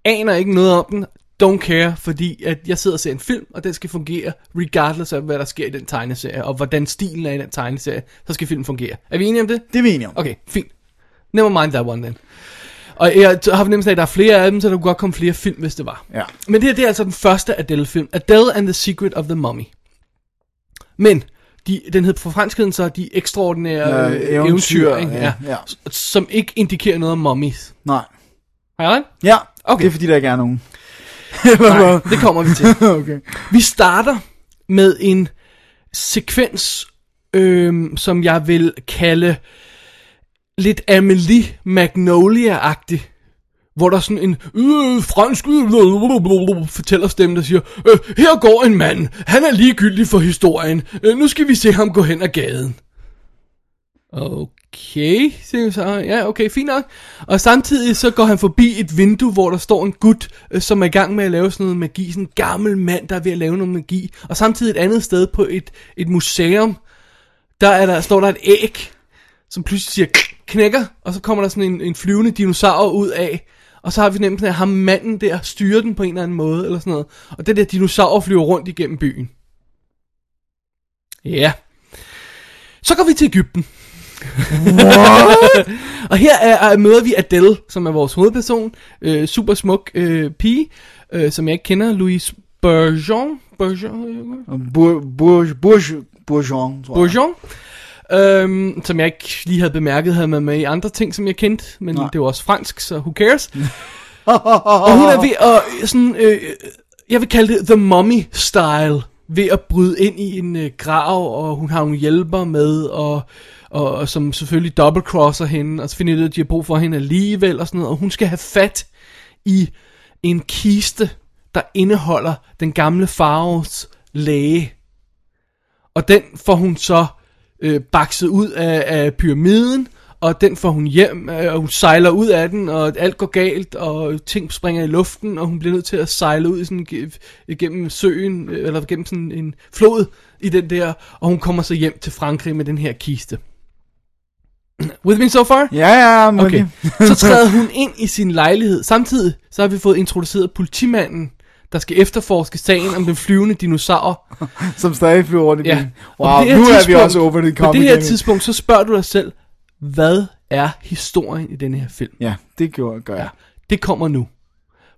Aner ikke noget om den. Don't care, fordi at jeg sidder og ser en film, og den skal fungere, regardless af, hvad der sker i den tegneserie, og hvordan stilen er i den tegneserie, så skal filmen fungere. Er vi enige om det? Det er vi enige om. Okay, fint. Never mind that one then. Og jeg t- har fornemmelsen af, at der er flere af dem, så der kunne godt komme flere film, hvis det var. Ja. Men det her, det er altså den første Adele-film. Adele and the Secret of the Mummy. Men, de, den hed på franskheden så De Ekstraordinære Øh, øh, eventyr, Eventyr, eventyr ikke? ja, Ja, ja. S- Som ikke indikerer noget om mummies. Nej. Har jeg ret? Ja, okay. Okay. det er fordi, der ikke er nogen. Nej, det kommer vi til. [laughs] okay. Vi starter med en sekvens, øhm, som jeg vil kalde lidt Amelie Magnolia-agtig. Hvor der er sådan en øh, fransk øh, fortællerstemme, der siger, øh, her går en mand, han er ligegyldig for historien, øh, nu skal vi se ham gå hen ad gaden. Okay, siger vi så. Ja, okay, fint nok. Og samtidig så går han forbi et vindue, hvor der står en gut, øh, som er i gang med at lave sådan noget magi. Sådan en gammel mand, der er ved at lave noget magi. Og samtidig et andet sted på et, et museum, der, er der står der et æg, som pludselig siger "Klik", knækker, og så kommer der sådan en, en flyvende dinosaur ud af. Og så har vi fornemmelsen af, at ham manden der styrer den på en eller anden måde, eller sådan noget. Og den der dinosaur flyver rundt igennem byen. Ja. Så går vi til Ægypten. Og her er, er, møder vi Adele, som er vores hovedperson. Øh, super smuk øh, pige, øh, som jeg ikke kender. Louise Bourgeon. Bourgeon? Bour- Bour- Bour- Bourgeon, tror jeg. Bourgeon. Øhm, som jeg ikke lige havde bemærket, havde man med i andre ting, som jeg kendte. Men Nej. Nej. det var også fransk, så who [laughs] cares? Og hun er ved at øh, sådan, øh, jeg vil kalde det The Mummy Style, ved at bryde ind i en øh, grav, og hun har nogle hjælper med, og, og, og som selvfølgelig dobbeltcrosser hende, og så finder de ud af, at de har brug for hende alligevel, og sådan noget, og hun skal have fat i en kiste, der indeholder den gamle farves læge. Og den får hun så øh, bakset ud af, af pyramiden, og den får hun hjem, øh, og hun sejler ud af den, og alt går galt, og ting springer i luften, og hun bliver nødt til at sejle ud i sådan, ge- gennem søen, øh, eller gennem sådan en flod i den der, og hun kommer så hjem til Frankrig med den her kiste. [clears throat] With me so far? Ja, ja, men Okay. Så træder hun ind i sin lejlighed. Samtidig så har vi fået introduceret politimanden, der skal efterforske sagen om den flyvende dinosaur. som stadig flyver rundt i byen. Ja. Og Wow, på det her nu er vi tidspunkt- også over det På comedy. det her tidspunkt, så spørger du dig selv, hvad er historien i den her film? Ja, det gjorde, gør jeg. Det kommer nu.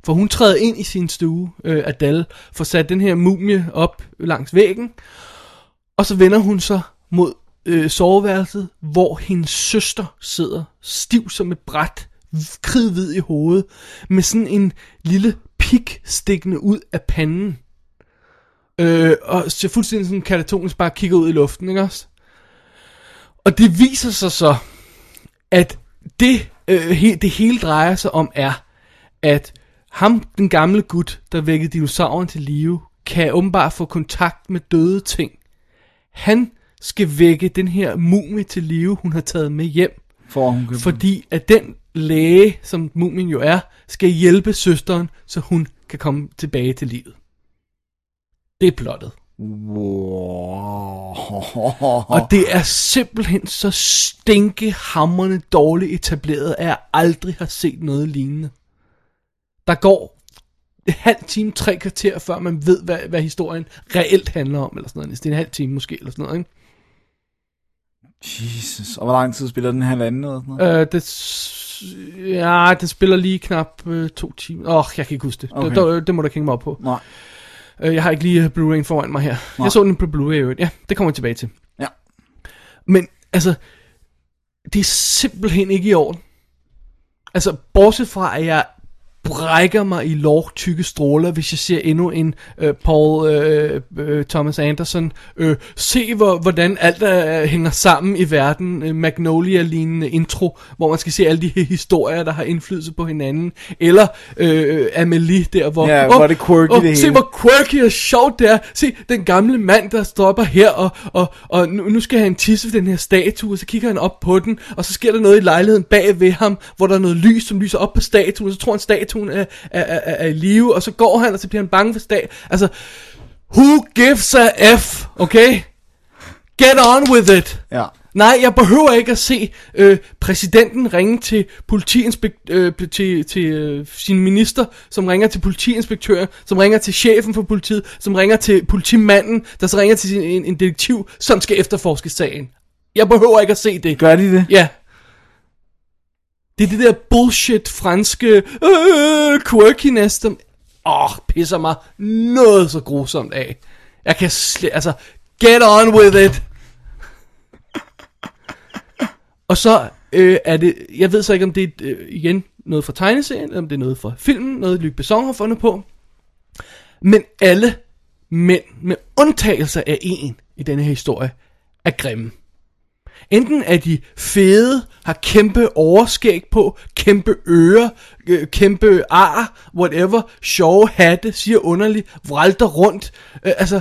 For hun træder ind i sin stue, øh, Adele, får sat den her mumie op langs væggen, og så vender hun sig mod øh, soveværelset, hvor hendes søster sidder, stiv som et bræt, kridhvid i hovedet, med sådan en lille pik stikkende ud af panden. Øh, og så fuldstændig sådan katatonisk bare kigger ud i luften, ikke også? Og det viser sig så, at det, øh, he, det hele drejer sig om er, at ham, den gamle gut, der vækkede dinosauren til live, kan åbenbart få kontakt med døde ting. Han skal vække den her mumie til live, hun har taget med hjem. For hun kan... Fordi at den læge, som mumien jo er, skal hjælpe søsteren, så hun kan komme tilbage til livet. Det er plottet. Wow. Og det er simpelthen så stinkehammerende dårligt etableret, at jeg aldrig har set noget lignende. Der går en halv time, tre kvarter, før man ved, hvad, hvad historien reelt handler om, eller sådan noget. Det er en halv time måske, eller sådan noget, ikke? Jesus. Og hvor lang tid spiller den halvanden eller sådan noget? Øh, det, s- ja, den spiller lige knap øh, to timer. Åh, oh, jeg kan ikke huske det. Okay. Okay. Det, det må du kigge mig op på. Nej. Øh, jeg har ikke lige Blu-ray'en foran mig her. Nej. Nej. Jeg så den på Blu-ray i øvrigt. Ja, det kommer jeg tilbage til. Ja. Men altså, det er simpelthen ikke i orden. Altså, bortset fra, at jeg brækker mig i lov tykke stråler, hvis jeg ser endnu en øh, Paul øh, øh, Thomas Anderson. Øh, se, hvor, hvordan alt øh, hænger sammen i verden. Øh, Magnolia-lignende intro, hvor man skal se alle de her historier, der har indflydelse på hinanden. Eller øh, Amelie der, hvor... Ja, Åh, hvor er det quirky, åh, det Se, hele. hvor quirky og sjovt det er. Se, den gamle mand, der stopper her, og, og, og nu, nu skal han tisse ved den her statue, og så kigger han op på den, og så sker der noget i lejligheden bag ved ham, hvor der er noget lys, som lyser op på statuen, og så tror han, statuen er, er, er, er i live, og så går han, og så bliver han bange for statuen. Altså, who gives a F, okay? Get on with it. Ja. Nej, jeg behøver ikke at se øh, præsidenten ringe til politiinspekt øh, til, til øh, sin minister, som ringer til politiinspektøren, som ringer til chefen for politiet, som ringer til politimanden, der så ringer til sin, en, en detektiv, som skal efterforske sagen. Jeg behøver ikke at se det. Gør de det? Ja. Det er det der bullshit franske øh, quirkiness, som åh, pisser mig noget så grusomt af. Jeg kan slet, altså, get on with it. Og så øh, er det, jeg ved så ikke om det er øh, igen noget fra tegneserien, eller om det er noget fra filmen, noget Luc Besson har fundet på. Men alle mænd, med undtagelser af en i denne her historie, er grimme. Enten er de fede, har kæmpe overskæg på, kæmpe ører, øh, kæmpe ar, whatever, sjove hatte, siger underligt, vralter rundt. Øh, altså,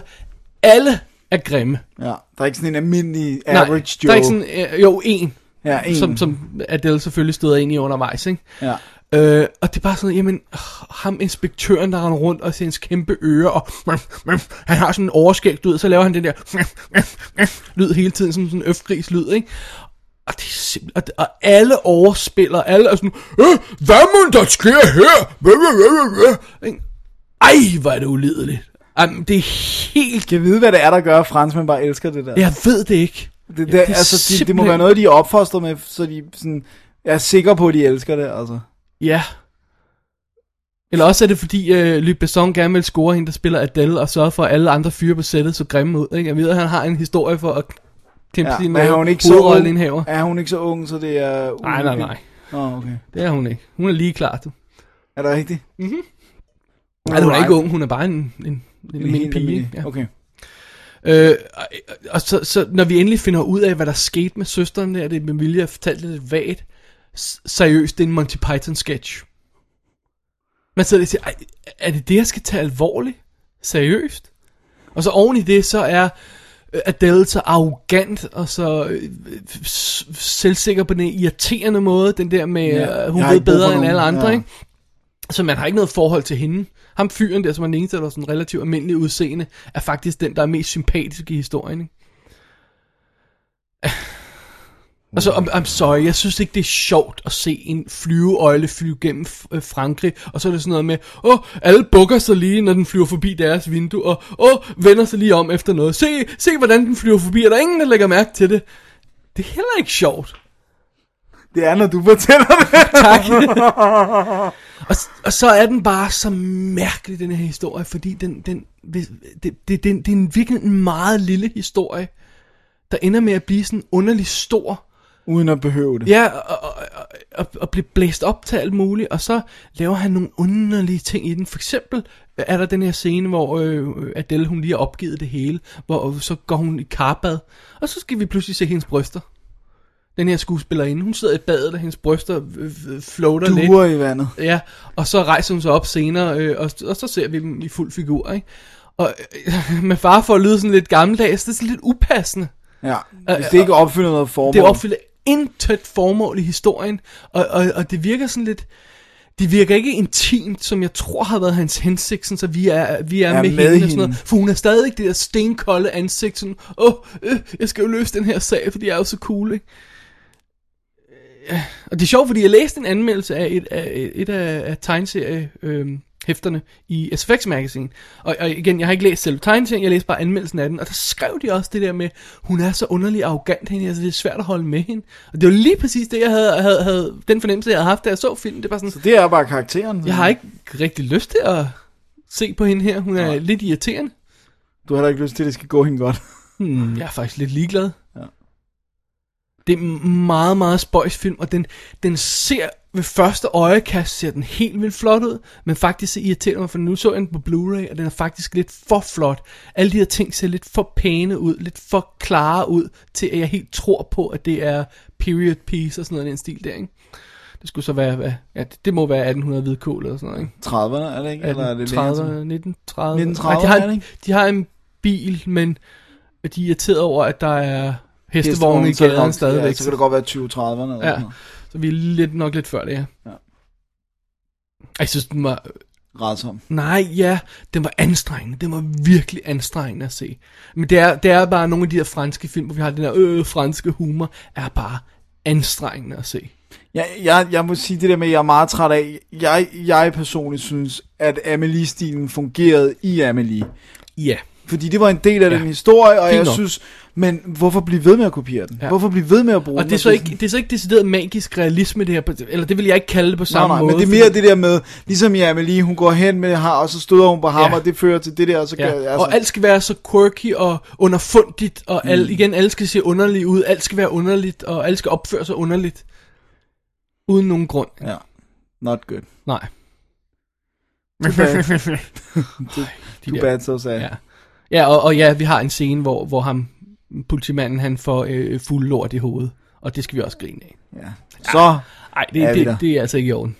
alle er grimme. Ja. Der er ikke sådan en almindelig Nej, average Joe. Der er ikke sådan, øh, jo, en, Ja, en. Som, som Adele selvfølgelig støder ind i undervejs, ikke? Ja. Øh, og det er bare sådan, jamen, øh, ham inspektøren, der render rundt og ser hans kæmpe ører, og han har sådan en overskægt ud, så laver han den der lyd hele tiden, som sådan en øfgris lyd, ikke? Og, det er simpel, og, og alle overspiller, alle er sådan, øh, hvad må der sker her? Hvad, hvad, hvad, hvad, hvad?" Ikke? Ej, hvor er det ulideligt. Jamen, det er helt... Kan jeg vide, hvad det er, der gør, at franskmænd bare elsker det der? Jeg ved det ikke. Det, det, Ja, ja, det er altså, de, det må simpelthen- være noget, de er opfostret med, så de sådan, jeg er sikker på, at de elsker det, altså. Ja. Eller også er det fordi øh, Luc Besson gerne vil score hende, der spiller Adele, og sørge for, at alle andre fyre på sættet så grimme ud. Ikke? Jeg ved, at han har en historie for at kæmpe ja, sin øh, men er hun ikke så hovedrolle ung? indhaver. Er hun ikke så ung, så det er... Nej, nej, nej. Nå, okay. Det er hun ikke. Hun er lige klar. Du. Er det rigtigt? Mm-hmm. Nej, hun er ikke ung. Hun er bare en, en, en, en Min pige. ikke? pige. Okay. Øh, og og så, så når vi endelig finder ud af, hvad der skete med søsteren der, det er med vilje, jeg fortalte det lidt vagt. S- Seriøst, det er en Monty Python sketch. Man sidder lige og siger, "Ej, er det det, jeg skal tage alvorligt? Seriøst? Og så oven i det, så er øh, Adele så arrogant og så øh, s- selvsikker på den irriterende måde, den der med, Ja, ja, hun jeg har ved ikke brug for bedre end nogen, alle andre, ja. ikke? Så man har ikke noget forhold til hende. Ham fyren der, som er den eneste, der er sådan relativt almindelig udseende, er faktisk den, der er mest sympatisk i historien. Ikke? Og så, Altså, I'm, I'm sorry, jeg synes ikke, det er sjovt at se en flyveøjle flyve gennem øh, Frankrig, og så er det sådan noget med, åh, oh, alle bukker sig lige, når den flyver forbi deres vindue, og åh, oh, vender sig lige om efter noget. Se, se, hvordan den flyver forbi, og der er ingen, der lægger mærke til det. Det er heller ikke sjovt. Det er, når du fortæller det. Tak. og, og så er den bare så mærkelig, den her historie, fordi den, den, det, det, det, det, det er en virkelig en meget lille historie, der ender med at blive sådan underlig stor. Uden at behøve det. Ja, og, og, og, og, og blive blæst op til alt muligt, og så laver han nogle underlige ting i den. For eksempel er der den her scene, hvor øh, Adele, hun lige har opgivet det hele, hvor og så går hun i karbad, og så skal vi pludselig se hendes bryster. Den her skuespillerinde, hun sidder i badet, og hendes bryster øh, øh, floater lidt. Duer i vandet. Ja, og så rejser hun sig op senere, øh, og, og så ser vi dem i fuld figur, ikke? Og øh, [laughs] med far for at lyde sådan lidt gammeldags, det er sådan lidt upassende. Ja, hvis det ikke opfylder noget formål. Øh, Det opfylder intet formål i historien, og, og, og det virker sådan lidt... Det virker ikke intimt, som jeg tror har været hans hensigt, sådan, så vi er, vi er, Er med, med hende, og sådan hende. noget. For hun er stadig ikke det der stenkolde ansigt, sådan, åh, øh, jeg skal jo løse den her sag, fordi jeg er jo så cool, ikke? Ja, Og det er sjovt, fordi jeg læste en anmeldelse af et af, et af, af tegneserie, øhm, hæfterne i SFX Magazine. Og, og igen, jeg har ikke læst selv tegneserien, jeg læste bare anmeldelsen af den. Og der skrev de også det der med, hun er så underlig arrogant hende, altså det er svært at holde med hende. Og det var lige præcis det, jeg havde, havde, havde den fornemmelse, jeg havde haft, da jeg så filmen. Det var sådan, Så det er bare karakteren. jeg har ikke rigtig lyst til at se på hende her. Hun er lidt irriterende. Du har da ikke lyst til, at det skal gå hende godt. [laughs] Hmm, jeg er faktisk lidt ligeglad. Ja. Det er en meget, meget spøjs film, og den, den ser ved første øjekast, ser den helt vildt flot ud, men faktisk så irriterer det mig, for nu så jeg den på Blu-ray, og den er faktisk lidt for flot. Alle de her ting ser lidt for pæne ud, lidt for klare ud, til at jeg helt tror på, at det er period piece og sådan noget, i den stil der, ikke? Det skulle så være, hvad? Ja, det- det må være 1800 hvidkål eller sådan noget, ikke? 30'erne, er det ikke? Eller er det længere 30, tilbage? 1930. 1930'erne, de, har er det en, ikke? de har en bil, men de er irriteret over, at der er hestevogne i Hestevogne, så er det gaden nok- stadigvæk. Ja, så kan det godt være 20-30'erne. Eller Ja. sådan noget. Så vi er lidt, nok lidt før det, ja. ja. Jeg synes, den var... Rædsom. Nej, ja, den var anstrengende. Den var virkelig anstrengende at se. Men det er, det er bare nogle af de her franske film, hvor vi har den her øh, franske humor, er bare anstrengende at se. Jeg, jeg, jeg må sige det der med, at jeg er meget træt af. Jeg, jeg personligt synes, at Amelie-stilen fungerede i Amelie. Ja. Fordi det var en del af Ja. ja. den historie, og Fint jeg nok. synes, men hvorfor blive ved med at kopiere den? Ja. Ja. Hvorfor blive ved med at bruge Og den? det er, så Jeg ikke, synes, det er så ikke decideret magisk realisme, det her. på- Eller det vil jeg ikke kalde det på Nej, samme nej, måde. men det er fordi- mere det der med, ligesom i Amelie, hun går hen med har, og så støder hun på ham, Ja. ja. og det fører til det der, og så Ja. gør Altså. Og alt skal være så quirky og underfundigt, og Mm. al, igen, alt skal se underligt ud, alt skal være underligt, og alt skal opføre sig underligt. Uden nogen grund. Ja. Not good. Nej. Too [laughs] bad. Too der- bad, so sad. Ja. Ja, og, og ja, vi har en scene, hvor, hvor ham, politimanden, han får øh, fuld lort i hovedet. Og det skal vi også grine af. Ja. Så, Nej, det, Er vi det, der? det er altså ikke i orden.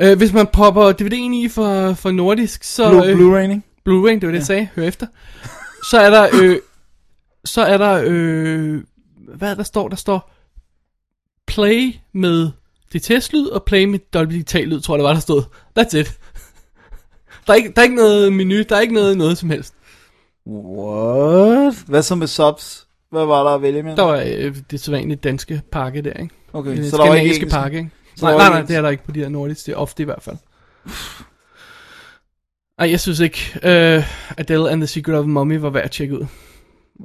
Øh, hvis man popper DVD'en i for, for nordisk, så... Blue, øh, Blue Raining. Blu-ray, det var det, jeg sagde. Hør efter. Så er der, øh, så er der, øh, hvad der står? Der står play med DTS-lyd og play med Dolby Digital-lyd, tror jeg, det var, der stod. That's it. Der er, ikke, der er ikke noget menu, der er ikke noget, noget som helst. What? Hvad så med subs? Hvad var der at vælge med? Der var øh, det sædvanlige danske pakke der, ikke? okay, Den så der var ikke Øh, skandinaviske engelsk. pakke, ikke? Så Nej, der var ikke nej, ligesom- nej, engelsk. det er der ikke på de her nordiske, det er ofte i hvert fald. Ej, jeg synes ikke, uh, Adele and the Secret of the Mummy var værd at tjekke ud.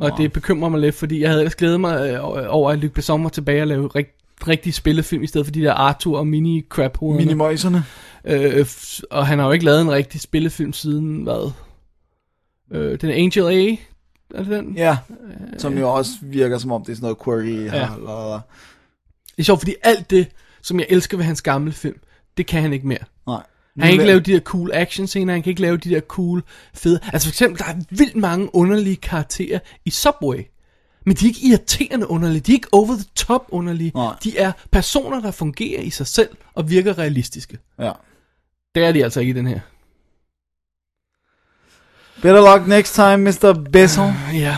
Og det bekymrer mig lidt, fordi jeg havde ellers glædet mig øh, over, at Luc Besson var tilbage og lave rigt, rigtig spillefilm, i stedet for de der Arthur og mini crap hovederne Minimøjserne. øh, f- Og han har jo ikke lavet en rigtig spillefilm siden, hvad? Øh, den er Angel A, er det den? Ja, som jo også virker som om, det er sådan noget quirky. Øh, Ja. Ja. Eller, Det er sjovt, fordi alt det, som jeg elsker ved hans gamle film, det kan han ikke mere. nej. Han kan ikke Nu- lave de der cool action scener, han kan ikke lave de der cool fede... Altså for eksempel, der er vildt mange underlige karakterer i Subway. Men de er ikke irriterende underlige, de er ikke over the top underlige. Nej. De er personer, der fungerer i sig selv og virker realistiske. Ja. Det er de altså ikke i den her. Better luck next time, Mr. Besson. Ja.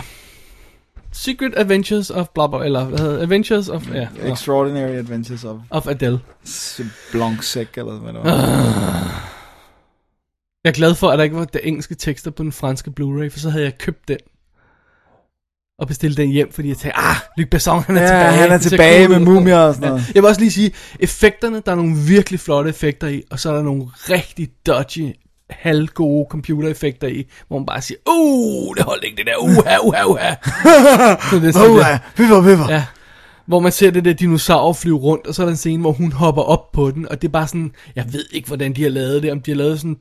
Secret Adventures of blah, blah eller hvad hedder det? Adventures of, ja, nå, Extraordinary Adventures of of Adele. Blancsac, eller hvad det [laughs] var. Jeg er glad for, at der ikke var der engelske tekster på den franske Blu-ray, for så havde jeg købt den. Og bestilt den hjem, fordi jeg tænkte, ah, Luc Besson, han er Ja, tilbage. han er Det ser tilbage cool med ud. mumier og sådan noget. Jeg vil også lige sige, effekterne, der er nogle virkelig flotte effekter i, og så er der nogle rigtig dodgy, halvgode computereffekter i, hvor man bare siger, uh, det holdt ikke det der, uha, uha, [laughs] uha. Så det er sådan Åh, lidt- ja. Pipper, pipper. [laughs] Ja. Hvor man ser det der dinosaur flyve rundt, og så er der en scene, hvor hun hopper op på den, og det er bare sådan, jeg ved ikke, hvordan de har lavet det, om de har lavet sådan en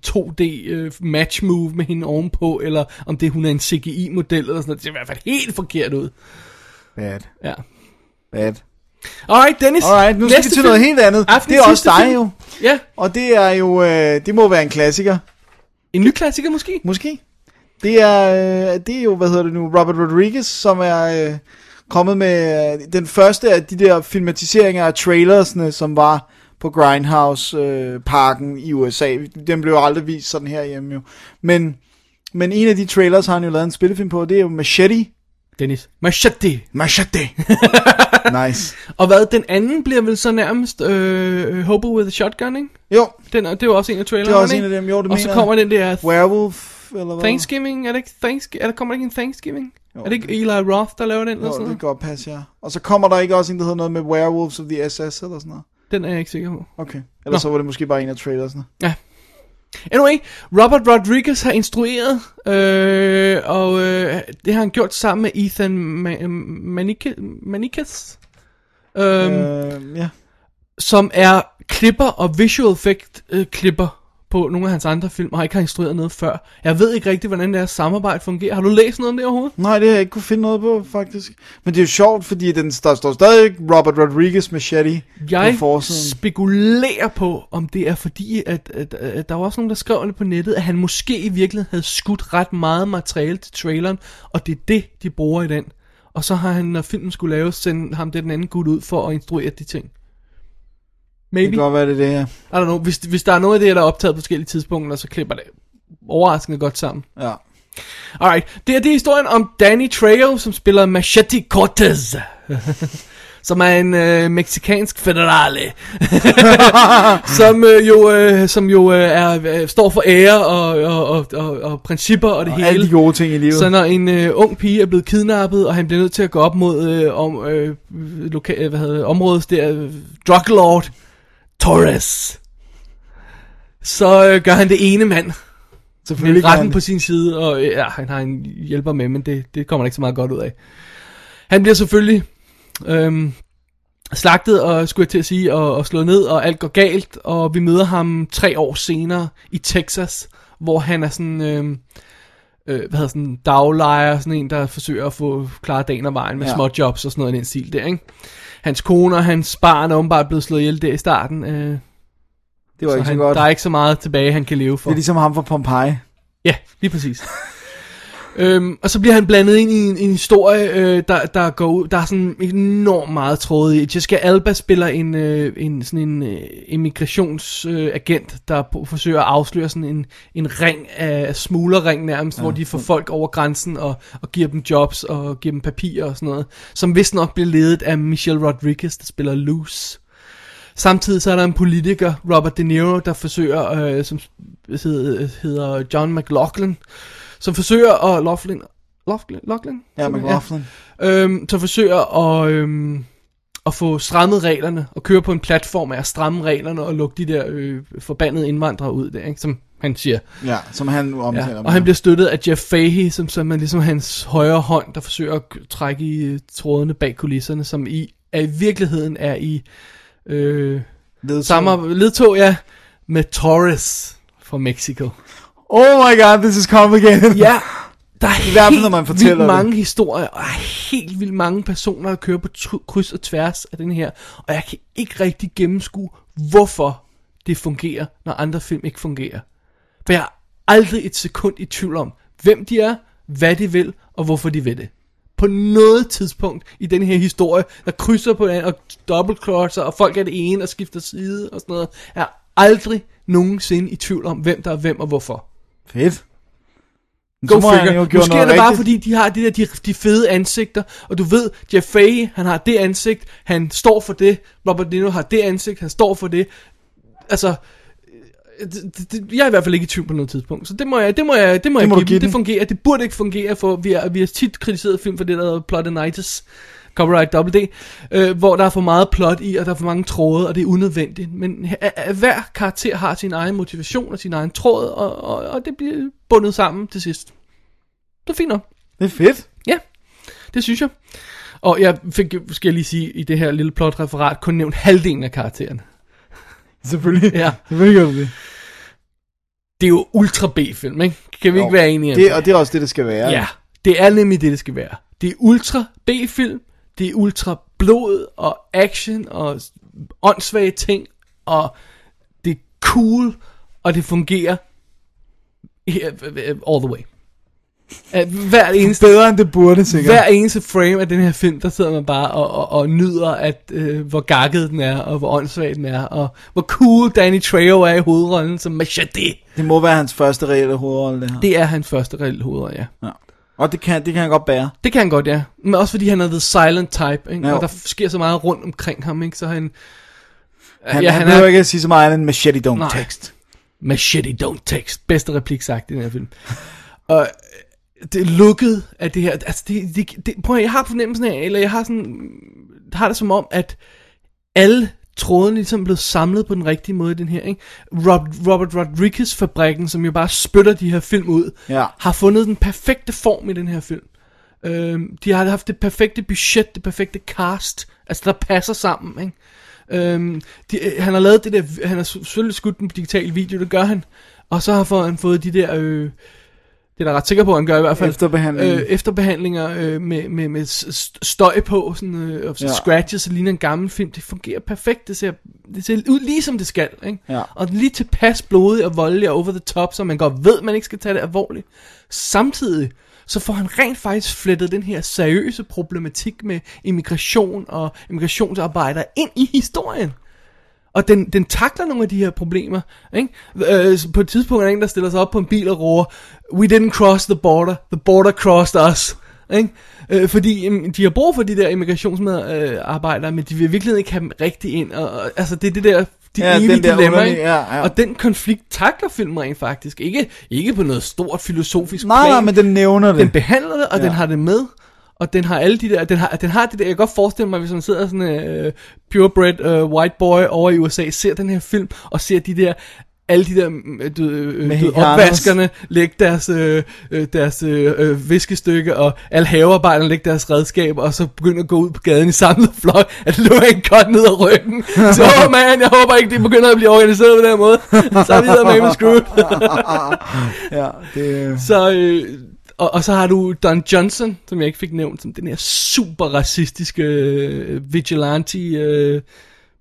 2D øh, match move med hende ovenpå, eller om det hun er en CGI-model, eller sådan noget. Det ser i hvert fald helt forkert ud. Bad. Ja. Bad. Alright, Dennis. Alright, nu skal vi til noget helt andet. Aftenens det er også sidste dig film. jo. Ja, Og det er jo, øh, det må være en klassiker. en ny klassiker måske. Måske. Det er, øh, det er jo, hvad hedder det nu, Robert Rodriguez, som er øh, kommet med øh, den første af de der filmatiseringer af trailersne, som var på øh, Grindhouse-parken i USA. Den blev jo aldrig vist sådan her hjemme jo. Men, Men en af de trailers har han jo lavet en spillefilm på, det er jo Machete. Dennis. Machete. Machete. [laughs] nice. Og hvad, den anden bliver vel så nærmest øh, Hobo with a Shotgun, ikke? Jo, Den er, det er jo også en af trailerne, det er også en ikke? af dem. Jo, det Og mener så jeg. kommer den der Werewolf, eller hvad? Thanksgiving, er det ikke Thanksgiving? Er der, kommer der ikke en Thanksgiving? Jo, er det ikke Eli Roth, der laver den? Eller Jo, sådan det kan noget? godt passe, ja. Og så kommer der ikke også en, der hedder noget med Werewolves of the SS, eller sådan noget. Den er jeg ikke sikker på. Okay. Eller Nå. så var det måske bare en af trailersne. Anyway, Robert Rodriguez har instrueret, øh, og øh, det har han gjort sammen med Ethan Ma- øh, Manikas, Manikas øhm, Øh, ja. som er klipper og visual effect øh, klipper på nogle af hans andre film, og ikke har instrueret noget før. Jeg ved ikke rigtigt, hvordan deres samarbejde fungerer. Har du læst noget om det overhovedet? Nej, det har jeg ikke kunne finde noget på, faktisk. Men det er jo sjovt, fordi den, der står stadig Robert Rodriguez machete Jeg på forsiden. spekulerer på, om det er fordi, at, at, at der var også nogen, der skrev det på nettet, at han måske i virkeligheden havde skudt ret meget materiale til traileren, og det er det, de bruger i den. Og så har han, når filmen skulle laves, sendt ham den anden gut ud for at instruere de ting. Det Maybe. kan godt være, det er det her. I don't know. Hvis, hvis der er noget af det, der er optaget på forskellige tidspunkter, så klipper det overraskende godt sammen. Ja. Alright, det er det er historien om Danny Trejo, som spiller Machete [laughs] Cortez. som er en øh, meksikansk [laughs] federale, som øh, jo, øh, som jo øh, er, øh, står for ære og, og, og, og, og principper og det Og hele. alle de gode ting i livet. Så når en øh, ung pige er blevet kidnappet, og han bliver nødt til at gå op mod øh, om, øh, loka- øh, hvad hedder, det, området der, øh, drug lord Torres, så øh, gør han det ene mand Selvfølgelig med kan retten han på det. sin side, og øh, ja, han har en hjælper med, men det, det kommer der ikke så meget godt ud af. Han bliver selvfølgelig øhm, slagtet, og skulle jeg til at sige, og, og slået ned, og alt går galt, og vi møder ham tre år senere i Texas, hvor han er sådan, øhm, øh, hvad hedder sådan, daglejer, sådan en, der forsøger at få klare dagen og vejen med Ja. ja. små jobs og sådan noget i den stil der, ikke? Hans kone og hans barn er åbenbart blevet slået ihjel der i starten, øh, Det var så ikke han, så godt. der er ikke så meget tilbage, han kan leve for. Det er ligesom ham fra Pompeji. Ja, lige præcis. [laughs] øhm, og så bliver han blandet ind i en, en historie, øh, der, der går ud. Der er sådan enormt meget tråd i. Jessica Alba spiller en, øh, en sådan en øh, immigrationsagent, øh, agent, der på, forsøger at afsløre sådan en, en ring af smuglerring nærmest, ja. hvor de får folk over grænsen og, og giver dem jobs og giver dem papirer og sådan noget. Som vist nok bliver ledet af Michelle Rodriguez, der spiller Loose. Samtidig så er der en politiker, Robert De Niro, der forsøger, øh, som hedder, hedder John McLaughlin, som forsøger at... Laughlin? Laughlin? Laughlin? Ja, McLaughlin. Øhm, som forsøger at, øhm, at få strammet reglerne, og køre på en platform af at stramme reglerne og lukke de der øh, forbandede indvandrere ud der, ikke? som han siger. Ja, som han omtaler. Ja, med. og han bliver støttet af Jeff Fahey, som, som er ligesom hans højre hånd, der forsøger at k- trække i øh, trådene bag kulisserne, som i, er i virkeligheden er i... Øh, Ledtog. samme ledtog, ja, med Torres fra Mexico. Oh my god, this is complicated. Ja, der er I hvert fald, helt når man vildt fortæller det. mange historier, og helt vildt mange personer, der kører på tr- kryds og tværs af den her, og jeg kan ikke rigtig gennemskue, hvorfor det fungerer, når andre film ikke fungerer. For jeg er aldrig et sekund i tvivl om, hvem de er, hvad de vil, og hvorfor de vil det. På noget tidspunkt i den her historie, der krydser på hinanden og dobbeltklodser, og folk er det ene og skifter side og sådan noget, jeg er aldrig nogensinde i tvivl om, hvem der er hvem og hvorfor. [laughs] Fedt. Men Go så må han figure. jo have Måske gjort er det noget bare rigtigt. fordi de har de der de, de fede ansigter Og du ved Jeff Fahey han har det ansigt Han står for det Robert Nino har det ansigt Han står for det Altså øh, det, det- det, jeg er i hvert fald ikke i tvivl på noget tidspunkt Så det må jeg, det må jeg, det må jeg må du give, give dem. Det den. fungerer Det burde ikke fungere For vi har, vi har tit kritiseret film For det der hedder Plotinitis Copyright WD øh, Hvor der er for meget plot i Og der er for mange tråde Og det er unødvendigt Men h- h- hver karakter har sin egen motivation Og sin egen tråd Og, og, og det bliver bundet sammen til sidst det er fint nok. Det er fedt. Ja, det synes jeg. Og jeg fik, jo, skal jeg lige sige, i det her lille plotreferat, kun nævnt halvdelen af karaktererne. Selvfølgelig. Ja. Selvfølgelig gør du det. Det er jo ultra B-film, ikke? Kan vi jo, ikke være enige om det. Og det er også det, det skal være. Ja, det er nemlig det, det skal være. Det er ultra B-film, det er ultra blod og action og s- åndssvage ting, og det er cool, og det fungerer he- all the way. At hver eneste, Bedre end det burde, sikkert. hver eneste frame af den her film, der sidder man bare og, og, og nyder, at øh, hvor gakket den er, og hvor åndssvag den er, og hvor cool Danny Trejo er i hovedrollen som Machete. Det må være hans første reelle hovedrolle, det her. Det er hans første reelle hovedrolle, ja. Ja. Og det kan, det kan han godt bære. Det kan han godt, ja. Men også fordi han er the silent type, ikke? Jo. og der sker så meget rundt omkring ham, ikke? så han... Han, ja, han, han behøver ikke at sige så meget andet end machete don't Nej. text. Machete don't text. Bedste replik sagt i den her film. [laughs] Og øh, det er lukket af det her. Altså, det, det, det, prøv at, høre, jeg har fornemmelsen af, eller jeg har sådan, har det som om, at alle trådene ligesom er blevet samlet på den rigtige måde i den her, ikke? Rob, Robert Rodriguez-fabrikken, som jo bare spytter de her film ud, Ja. har fundet den perfekte form i den her film. Øhm, de har haft det perfekte budget, det perfekte cast, altså der passer sammen, ikke? Øhm, de, øh, han har lavet det der, han har s- selvfølgelig skudt den på digital video, det gør han. Og så har for- han fået de der, øh, det er der ret sikker på, han gør i hvert fald. Efterbehandlinger. Øh, efterbehandlinger øh, med, med, med s- s- støj på, sådan, øh, og sådan Ja. ja. scratches, så ligner en gammel film. Det fungerer perfekt, det ser, det ser ud lige som det skal. Ikke? Ja. Og lige tilpas blodig og voldelig og over the top, så man godt ved, man ikke skal tage det alvorligt. Samtidig så får han rent faktisk flettet den her seriøse problematik med immigration og immigrationsarbejdere ind i historien. Og den, den takler nogle af de her problemer. Ikke? Øh, så på et tidspunkt er der en, der stiller sig op på en bil og råber, We didn't cross the border, the border crossed us. Ikke? Øh, fordi mm, de har brug for de der immigrationsarbejdere, men de vil virkelig ikke have dem rigtig ind. Og, og, altså det er det der, de Ja, ja, evige den der dilemma. underlige- Ikke? ja, ja. Og den konflikt takler filmen rent faktisk. Ikke, ikke på noget stort filosofisk Nej, plan. nej, men den nævner det. Den behandler det, og ja. den har det med. Og den har alle de der, den har, den har det der, jeg kan godt forestille mig, hvis man sidder sådan en uh, purebred uh, white boy over i USA, ser den her film, og ser de der, alle de der mm, du, øh, du, ved, Mexicanos. opvaskerne lægge deres, øh, øh, deres øh, øh, viskestykke, og alle havearbejderne lægge deres redskaber, og så begynder at gå ud på gaden i samlet flok, at løbe en godt ned ad ryggen. Så oh, man, jeg håber ikke, de begynder at blive organiseret på den her måde. så er vi der med screwed. ja, det, Så, øh, og, og så har du Don Johnson, som jeg ikke fik nævnt, som den her super racistiske øh, vigilante øh,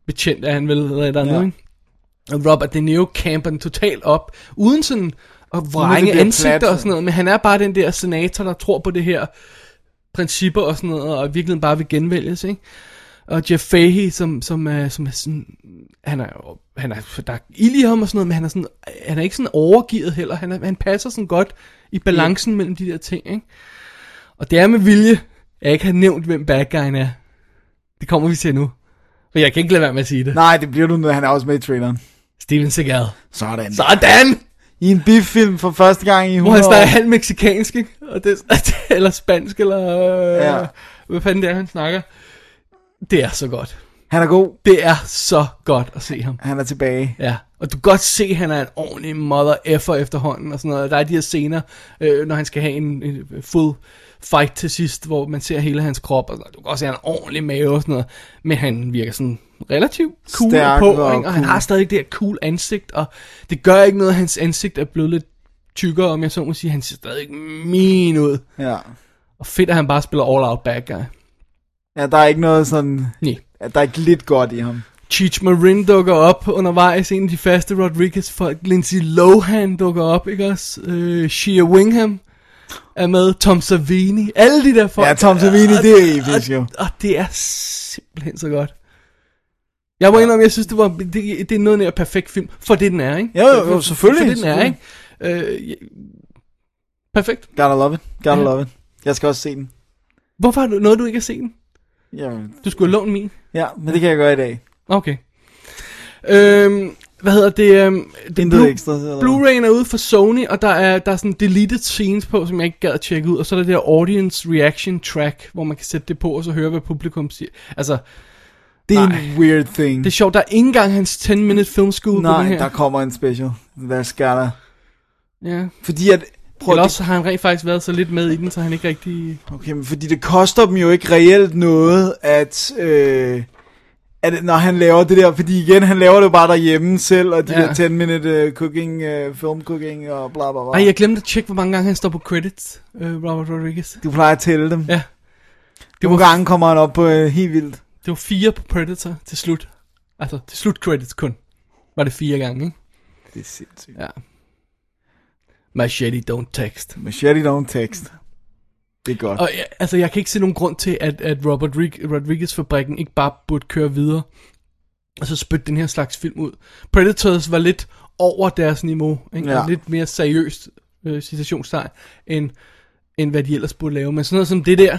betjent af han vel, eller et andet, Ja. ja. ikke? Og Robert De Niro camper den totalt op, uden sådan at det vrænge bliver ansigter plat, og sådan noget, men han er bare den der senator, der tror på det her principper og sådan noget, og virkelig bare vil genvælges, ikke? Og Jeff Fahey, som, som, er, som er sådan, han er, jo- han er, der er ild i ham og sådan noget, men han er, sådan, han er ikke sådan overgivet heller. Han, er, han passer sådan godt i balancen ja. mellem de der ting, ikke? Og det er med vilje, jeg ikke har nævnt, hvem bad guyen er. Det kommer vi til nu. For jeg kan ikke lade være med at sige det. Nej. nej, det bliver du nødt Han er også med i traileren. Steven Seagal. Sådan. Så. Sådan! I en biffilm for første gang i 100 Hvor han snakker år. halvt meksikansk, ikke? Og [laughs] det, eller spansk, eller... Øh, Ja. ja. Hvad fanden det er, han snakker. Det er så godt. Han er god. Det er så godt at se ham. Han er tilbage. Ja, og du kan godt se, at han er en ordentlig mother effer efterhånden og sådan noget. Der er de her scener, øh, når han skal have en, en full fight til sidst, hvor man ser hele hans krop, og du kan også se, at han har en ordentlig mave og sådan noget. Men han virker sådan relativt cool Stærk Stærk på, og og, ikke? og han cool. har stadig det her cool ansigt, og det gør ikke noget, at hans ansigt er blevet lidt tykkere, om jeg så må sige. Han ser stadig min ud. Ja. Og fedt, at han bare spiller all out bad guy. ja, der er ikke noget sådan... Nej. at Der er ikke lidt godt i ham. Cheech Marin dukker op undervejs, en af de faste Rodriguez folk, Lindsay Lohan dukker op, ikke også? Øh, Shia Wingham er med, Tom Savini, alle de der folk. Ja, Tom Savini, Og- det er episk jo. Og, og det er simpelthen så godt. Jeg må indrømme, jeg synes, det, var, det, det er noget nær perfekt film, for det den er, ikke? Jo, jo, jo, selvfølgelig, For det den er, ikke? Øh, ja. perfekt. Gotta love it. Gotta Ja. love it. Jeg skal også se den. Hvorfor har du noget, du ikke har set den? Jamen, Du skulle have lånt min. ja, men det kan jeg gøre i dag. Okay. Øhm, hvad hedder det? Øhm, det Intet Blue- ekstra. Eller? Blu-ray'en er ude for Sony, og der er, der er sådan deleted scenes på, som jeg ikke gad at tjekke ud. Og så er der det her audience reaction track, hvor man kan sætte det på, og så høre, hvad publikum siger. Altså, Det er en weird thing. det er sjovt, der er ikke engang hans 10-minute film school på Nej, den her. der kommer en special. Der skal der. Ja. Fordi at... Prøv, Eller at- også har han rent faktisk været så lidt med i den, så han ikke rigtig... Okay, men fordi det koster dem jo ikke reelt noget, at, øh, at når han laver det der, fordi igen, han laver det jo bare derhjemme selv, og de ja. Ja. der 10-minute uh, cooking, uh, film cooking og bla bla bla. Ej, jeg glemte at tjekke, hvor mange gange han står på credits, øh, Robert Rodriguez. Du plejer at tælle dem. Ja. Det Nogle gange kommer han op på uh, helt vildt. Det var fire på Predator til slut. Altså, til slut credits kun. Var det fire gange, ikke? Det er sindssygt. Ja. Machete don't text. Machete don't text. Det er godt. Og ja, altså, jeg kan ikke se nogen grund til, at, at Robert Rig- Rodriguez-fabrikken ikke bare burde køre videre, og så spytte den her slags film ud. Predators var lidt over deres niveau, ikke? Ja. Ja. lidt mere seriøst, øh, citationstegn, end, end hvad de ellers burde lave. Men sådan noget som det der,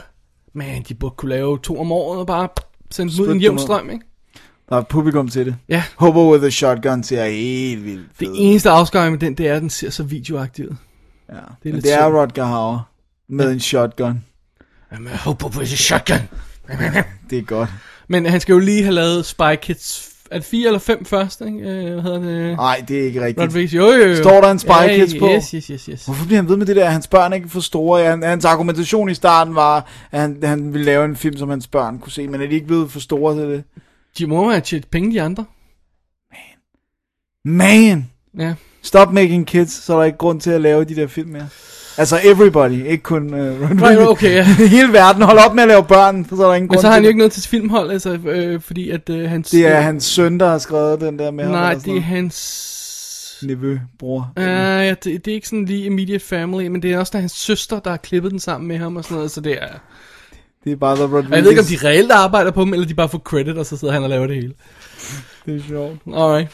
man, de burde kunne lave to om året og bare sende dem ud i Spytte en jævn dem ud. strøm, ikke? Der er publikum til det. Ja. Hobo with a shotgun ser helt vildt fed. Det eneste afskrækkende med den, det er, at den ser så videoaktiv ud. ja. lidt Men det er synd. Rodger Hauer med en shotgun. I'm a hobo with a shotgun. Det er godt. Men han skal jo lige have lavet Spy Kids... Er det 4 eller 5 først, ikke? Øh, Hvad hedder det? Nej, Ah, det er ikke rigtigt. Rodriguez, jo, jo, jo. Står der en Spy Kids på? Yes, yes, yes, yes. Hvorfor bliver han ved med det der, at hans børn er ikke for store? Ja, han- hans argumentation i starten var, at han, han ville lave en film, som hans børn kunne se, men er de ikke blevet for store til det? De må jo have tjent penge, de andre. Man! Ja. Stop making kids, så er der ikke grund til at lave de der film mere. Altså everybody, ikke kun uh, Ron Right, okay, ja. [laughs] Hele verden, hold op med at lave børn, for så er der ingen Men grund så har han jo til ikke noget til sit filmhold, altså, øh, fordi at øh, hans... det. Det er hans søn, der har skrevet den der med ham. Nej, eller sådan det er noget. hans... Nevø, bror. Uh, ja, det, det, er ikke sådan lige immediate family, men det er også der er hans søster, der har klippet den sammen med ham og sådan noget, så det er... Det er bare The Rodriguez. Og jeg ved ikke, om de reelt arbejder på dem, eller de bare får credit, og så sidder han og laver det hele. Det er sjovt. Alright.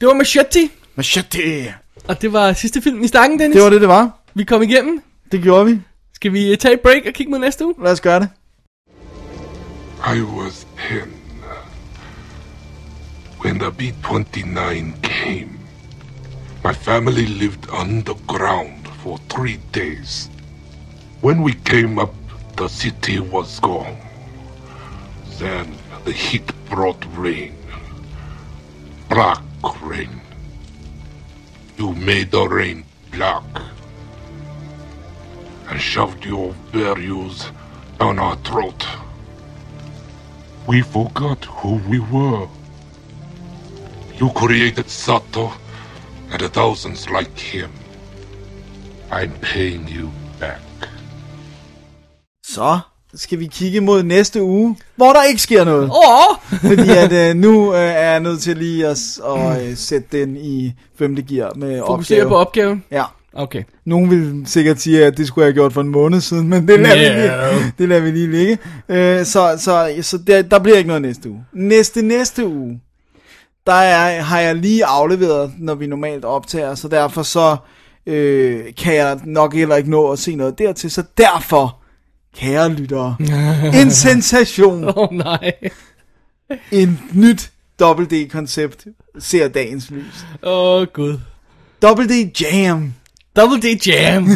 Det var Machete, Machete. og det var sidste film i stakken, Dennis. Det var det, det var. Vi kom igennem. Det gjorde vi. Skal vi øh, tage et break og kigge mod næste uge? Lad os gøre det. I was 10 when the B 29 came. My family lived underground for three days. When we came up, the city was gone. Then the heat brought rain. Black rain. You made the rain black and shoved your values down our throat. We forgot who we were. You created Sato and the thousands like him. I'm paying you back. Så skal vi kigge mod næste uge, hvor der ikke sker noget. Åh! Oh! Fordi at øh, nu øh, er jeg nødt til lige at, s- at øh, sætte den i femte gear med [laughs] Fokusere opgave. på opgaven. Ja. Okay. [laughs] Nogen vil sikkert sige, at det skulle jeg have gjort for en måned siden, men det lader, yeah. vi, lige, det lader vi lige ligge. Øh, så så, så der, der bliver ikke noget næste uge. Næste næste uge, der er, har jeg lige afleveret, når vi normalt optager, så derfor så øh, kan jeg nok heller ikke nå at se noget dertil. Så derfor, kære lyttere, en sensation Åh oh, nej. en nyt WD-koncept ser dagens lys. Åh oh, gud. WD Jam. Double D [laughs] Jam.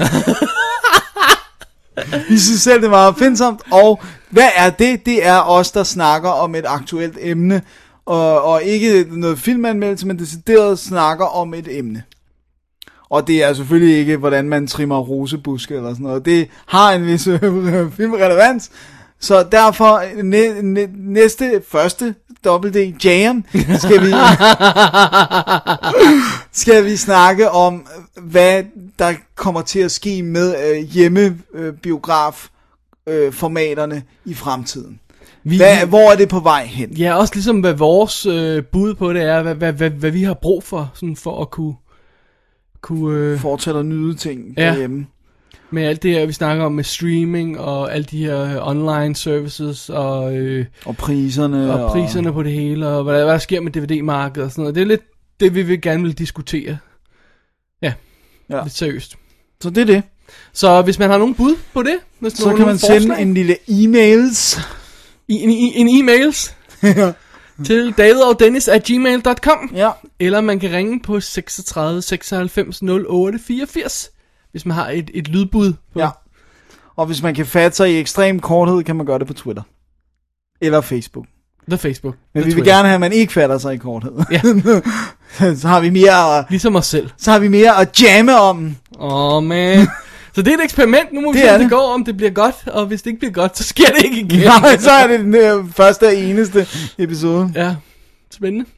Vi synes selv, det er meget opfindsomt. Og hvad er det? Det er os, der snakker om et aktuelt emne. Og, og ikke noget filmanmeldelse, men decideret snakker om et emne. Og det er selvfølgelig ikke, hvordan man trimmer rosebuske eller sådan noget. Det har en vis øh, filmrelevans. Så derfor, næ- næ- næste, første, WD Jam, skal vi... skal vi snakke om, hvad der kommer til at ske med øh, hjemmebiograf-formaterne øh, formaterne i fremtiden. vi, Hvad, hvor er det på vej hen? Ja, også ligesom hvad vores øh, bud på det er, hvad, hvad, hvad, hvad vi har brug for, sådan for at kunne, kunne øh, Fortsætter nyde ting øh, Ja. derhjemme. med alt det her, vi snakker om med streaming og alle de her øh, online services og, øh, Og priserne. og priserne på det hele, og hvad, hvad der sker med DVD-markedet og sådan noget. Det er lidt det, vi vil gerne vil diskutere. Ja, Ja. ja. lidt seriøst. Så det er det. Så hvis man har nogen bud på det, hvis Så nogen kan har man sende nogen forslag- en lille e-mails. I- en, en, en [laughs] e-mails til davidogdennis at gmail.com, Ja. eller man kan ringe på 36 96 08 84, hvis man har et, et lydbud. På. ja. Og hvis man kan fatte sig i ekstrem korthed, kan man gøre det på Twitter. Eller Facebook. The Facebook. Men the vi vil Twitter. gerne have, at man ikke fatter sig i korthed. Ja. [laughs] så har vi mere, Ligesom os selv. så har vi mere at jamme om. Åh, oh, [laughs] man. Så det er et eksperiment, nu må vi Det se, er om det det. går, om det bliver godt, og hvis det ikke bliver godt, så sker det ikke [laughs] igen. Nej, så er det den øh, første og eneste episode. Ja, spændende. Det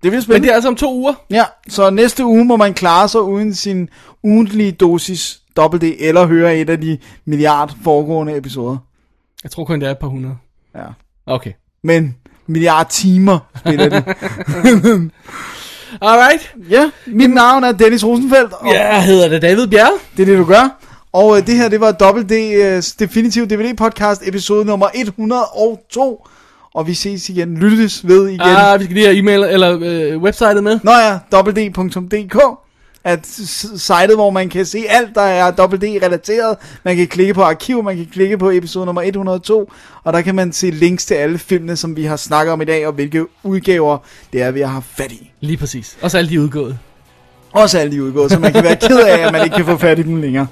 bliver Men det spændende. er altså om to uger. Ja, så næste uge må man klare sig uden sin ugentlige dosis dobbelt D, eller høre et af de milliard foregående episoder. Jeg tror kun, det er et par hundrede. Ja. Okay. Men milliard timer spiller de. Alright. [laughs] Ja, mit navn er Dennis Rosenfeldt, og yeah. Jeg hedder det David Bjerre. det er det, du gør. Og øh, det her, det var øh, Double D's Definitive DVD-podcast, episode nummer 102. Og vi ses igen, lyttes ved igen. Ah, vi skal lige have e-mail eller øh, websitet med. Nå ja, www.dk at s- sitet, hvor man kan se alt, der er WD-relateret. Man kan klikke på arkiv, man kan klikke på episode nummer 102, og der kan man se links til alle filmene, som vi har snakket om i dag, og hvilke udgaver det er, vi har haft fat i. Lige præcis. Og så er alle de udgået. Også alle de udgået, så man kan være ked af, at man ikke kan få fat i dem længere.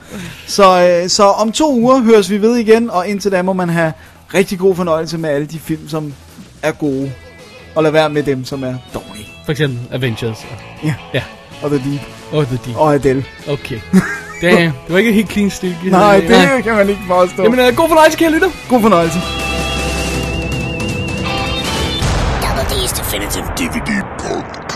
Så, øh, så om to uger høres vi ved igen, og indtil da må man have rigtig god fornøjelse med alle de film, som er gode. Og lad være med dem, som er dårlige. For eksempel Avengers Og The Deep. og The Deep. Og Adele. Okay. Damn, det var ikke helt clean stil. Nej, det kan man ikke forstå. Jamen, øh, god fornøjelse, kære lytter. God fornøjelse. Double D's Definitive DVD podcast.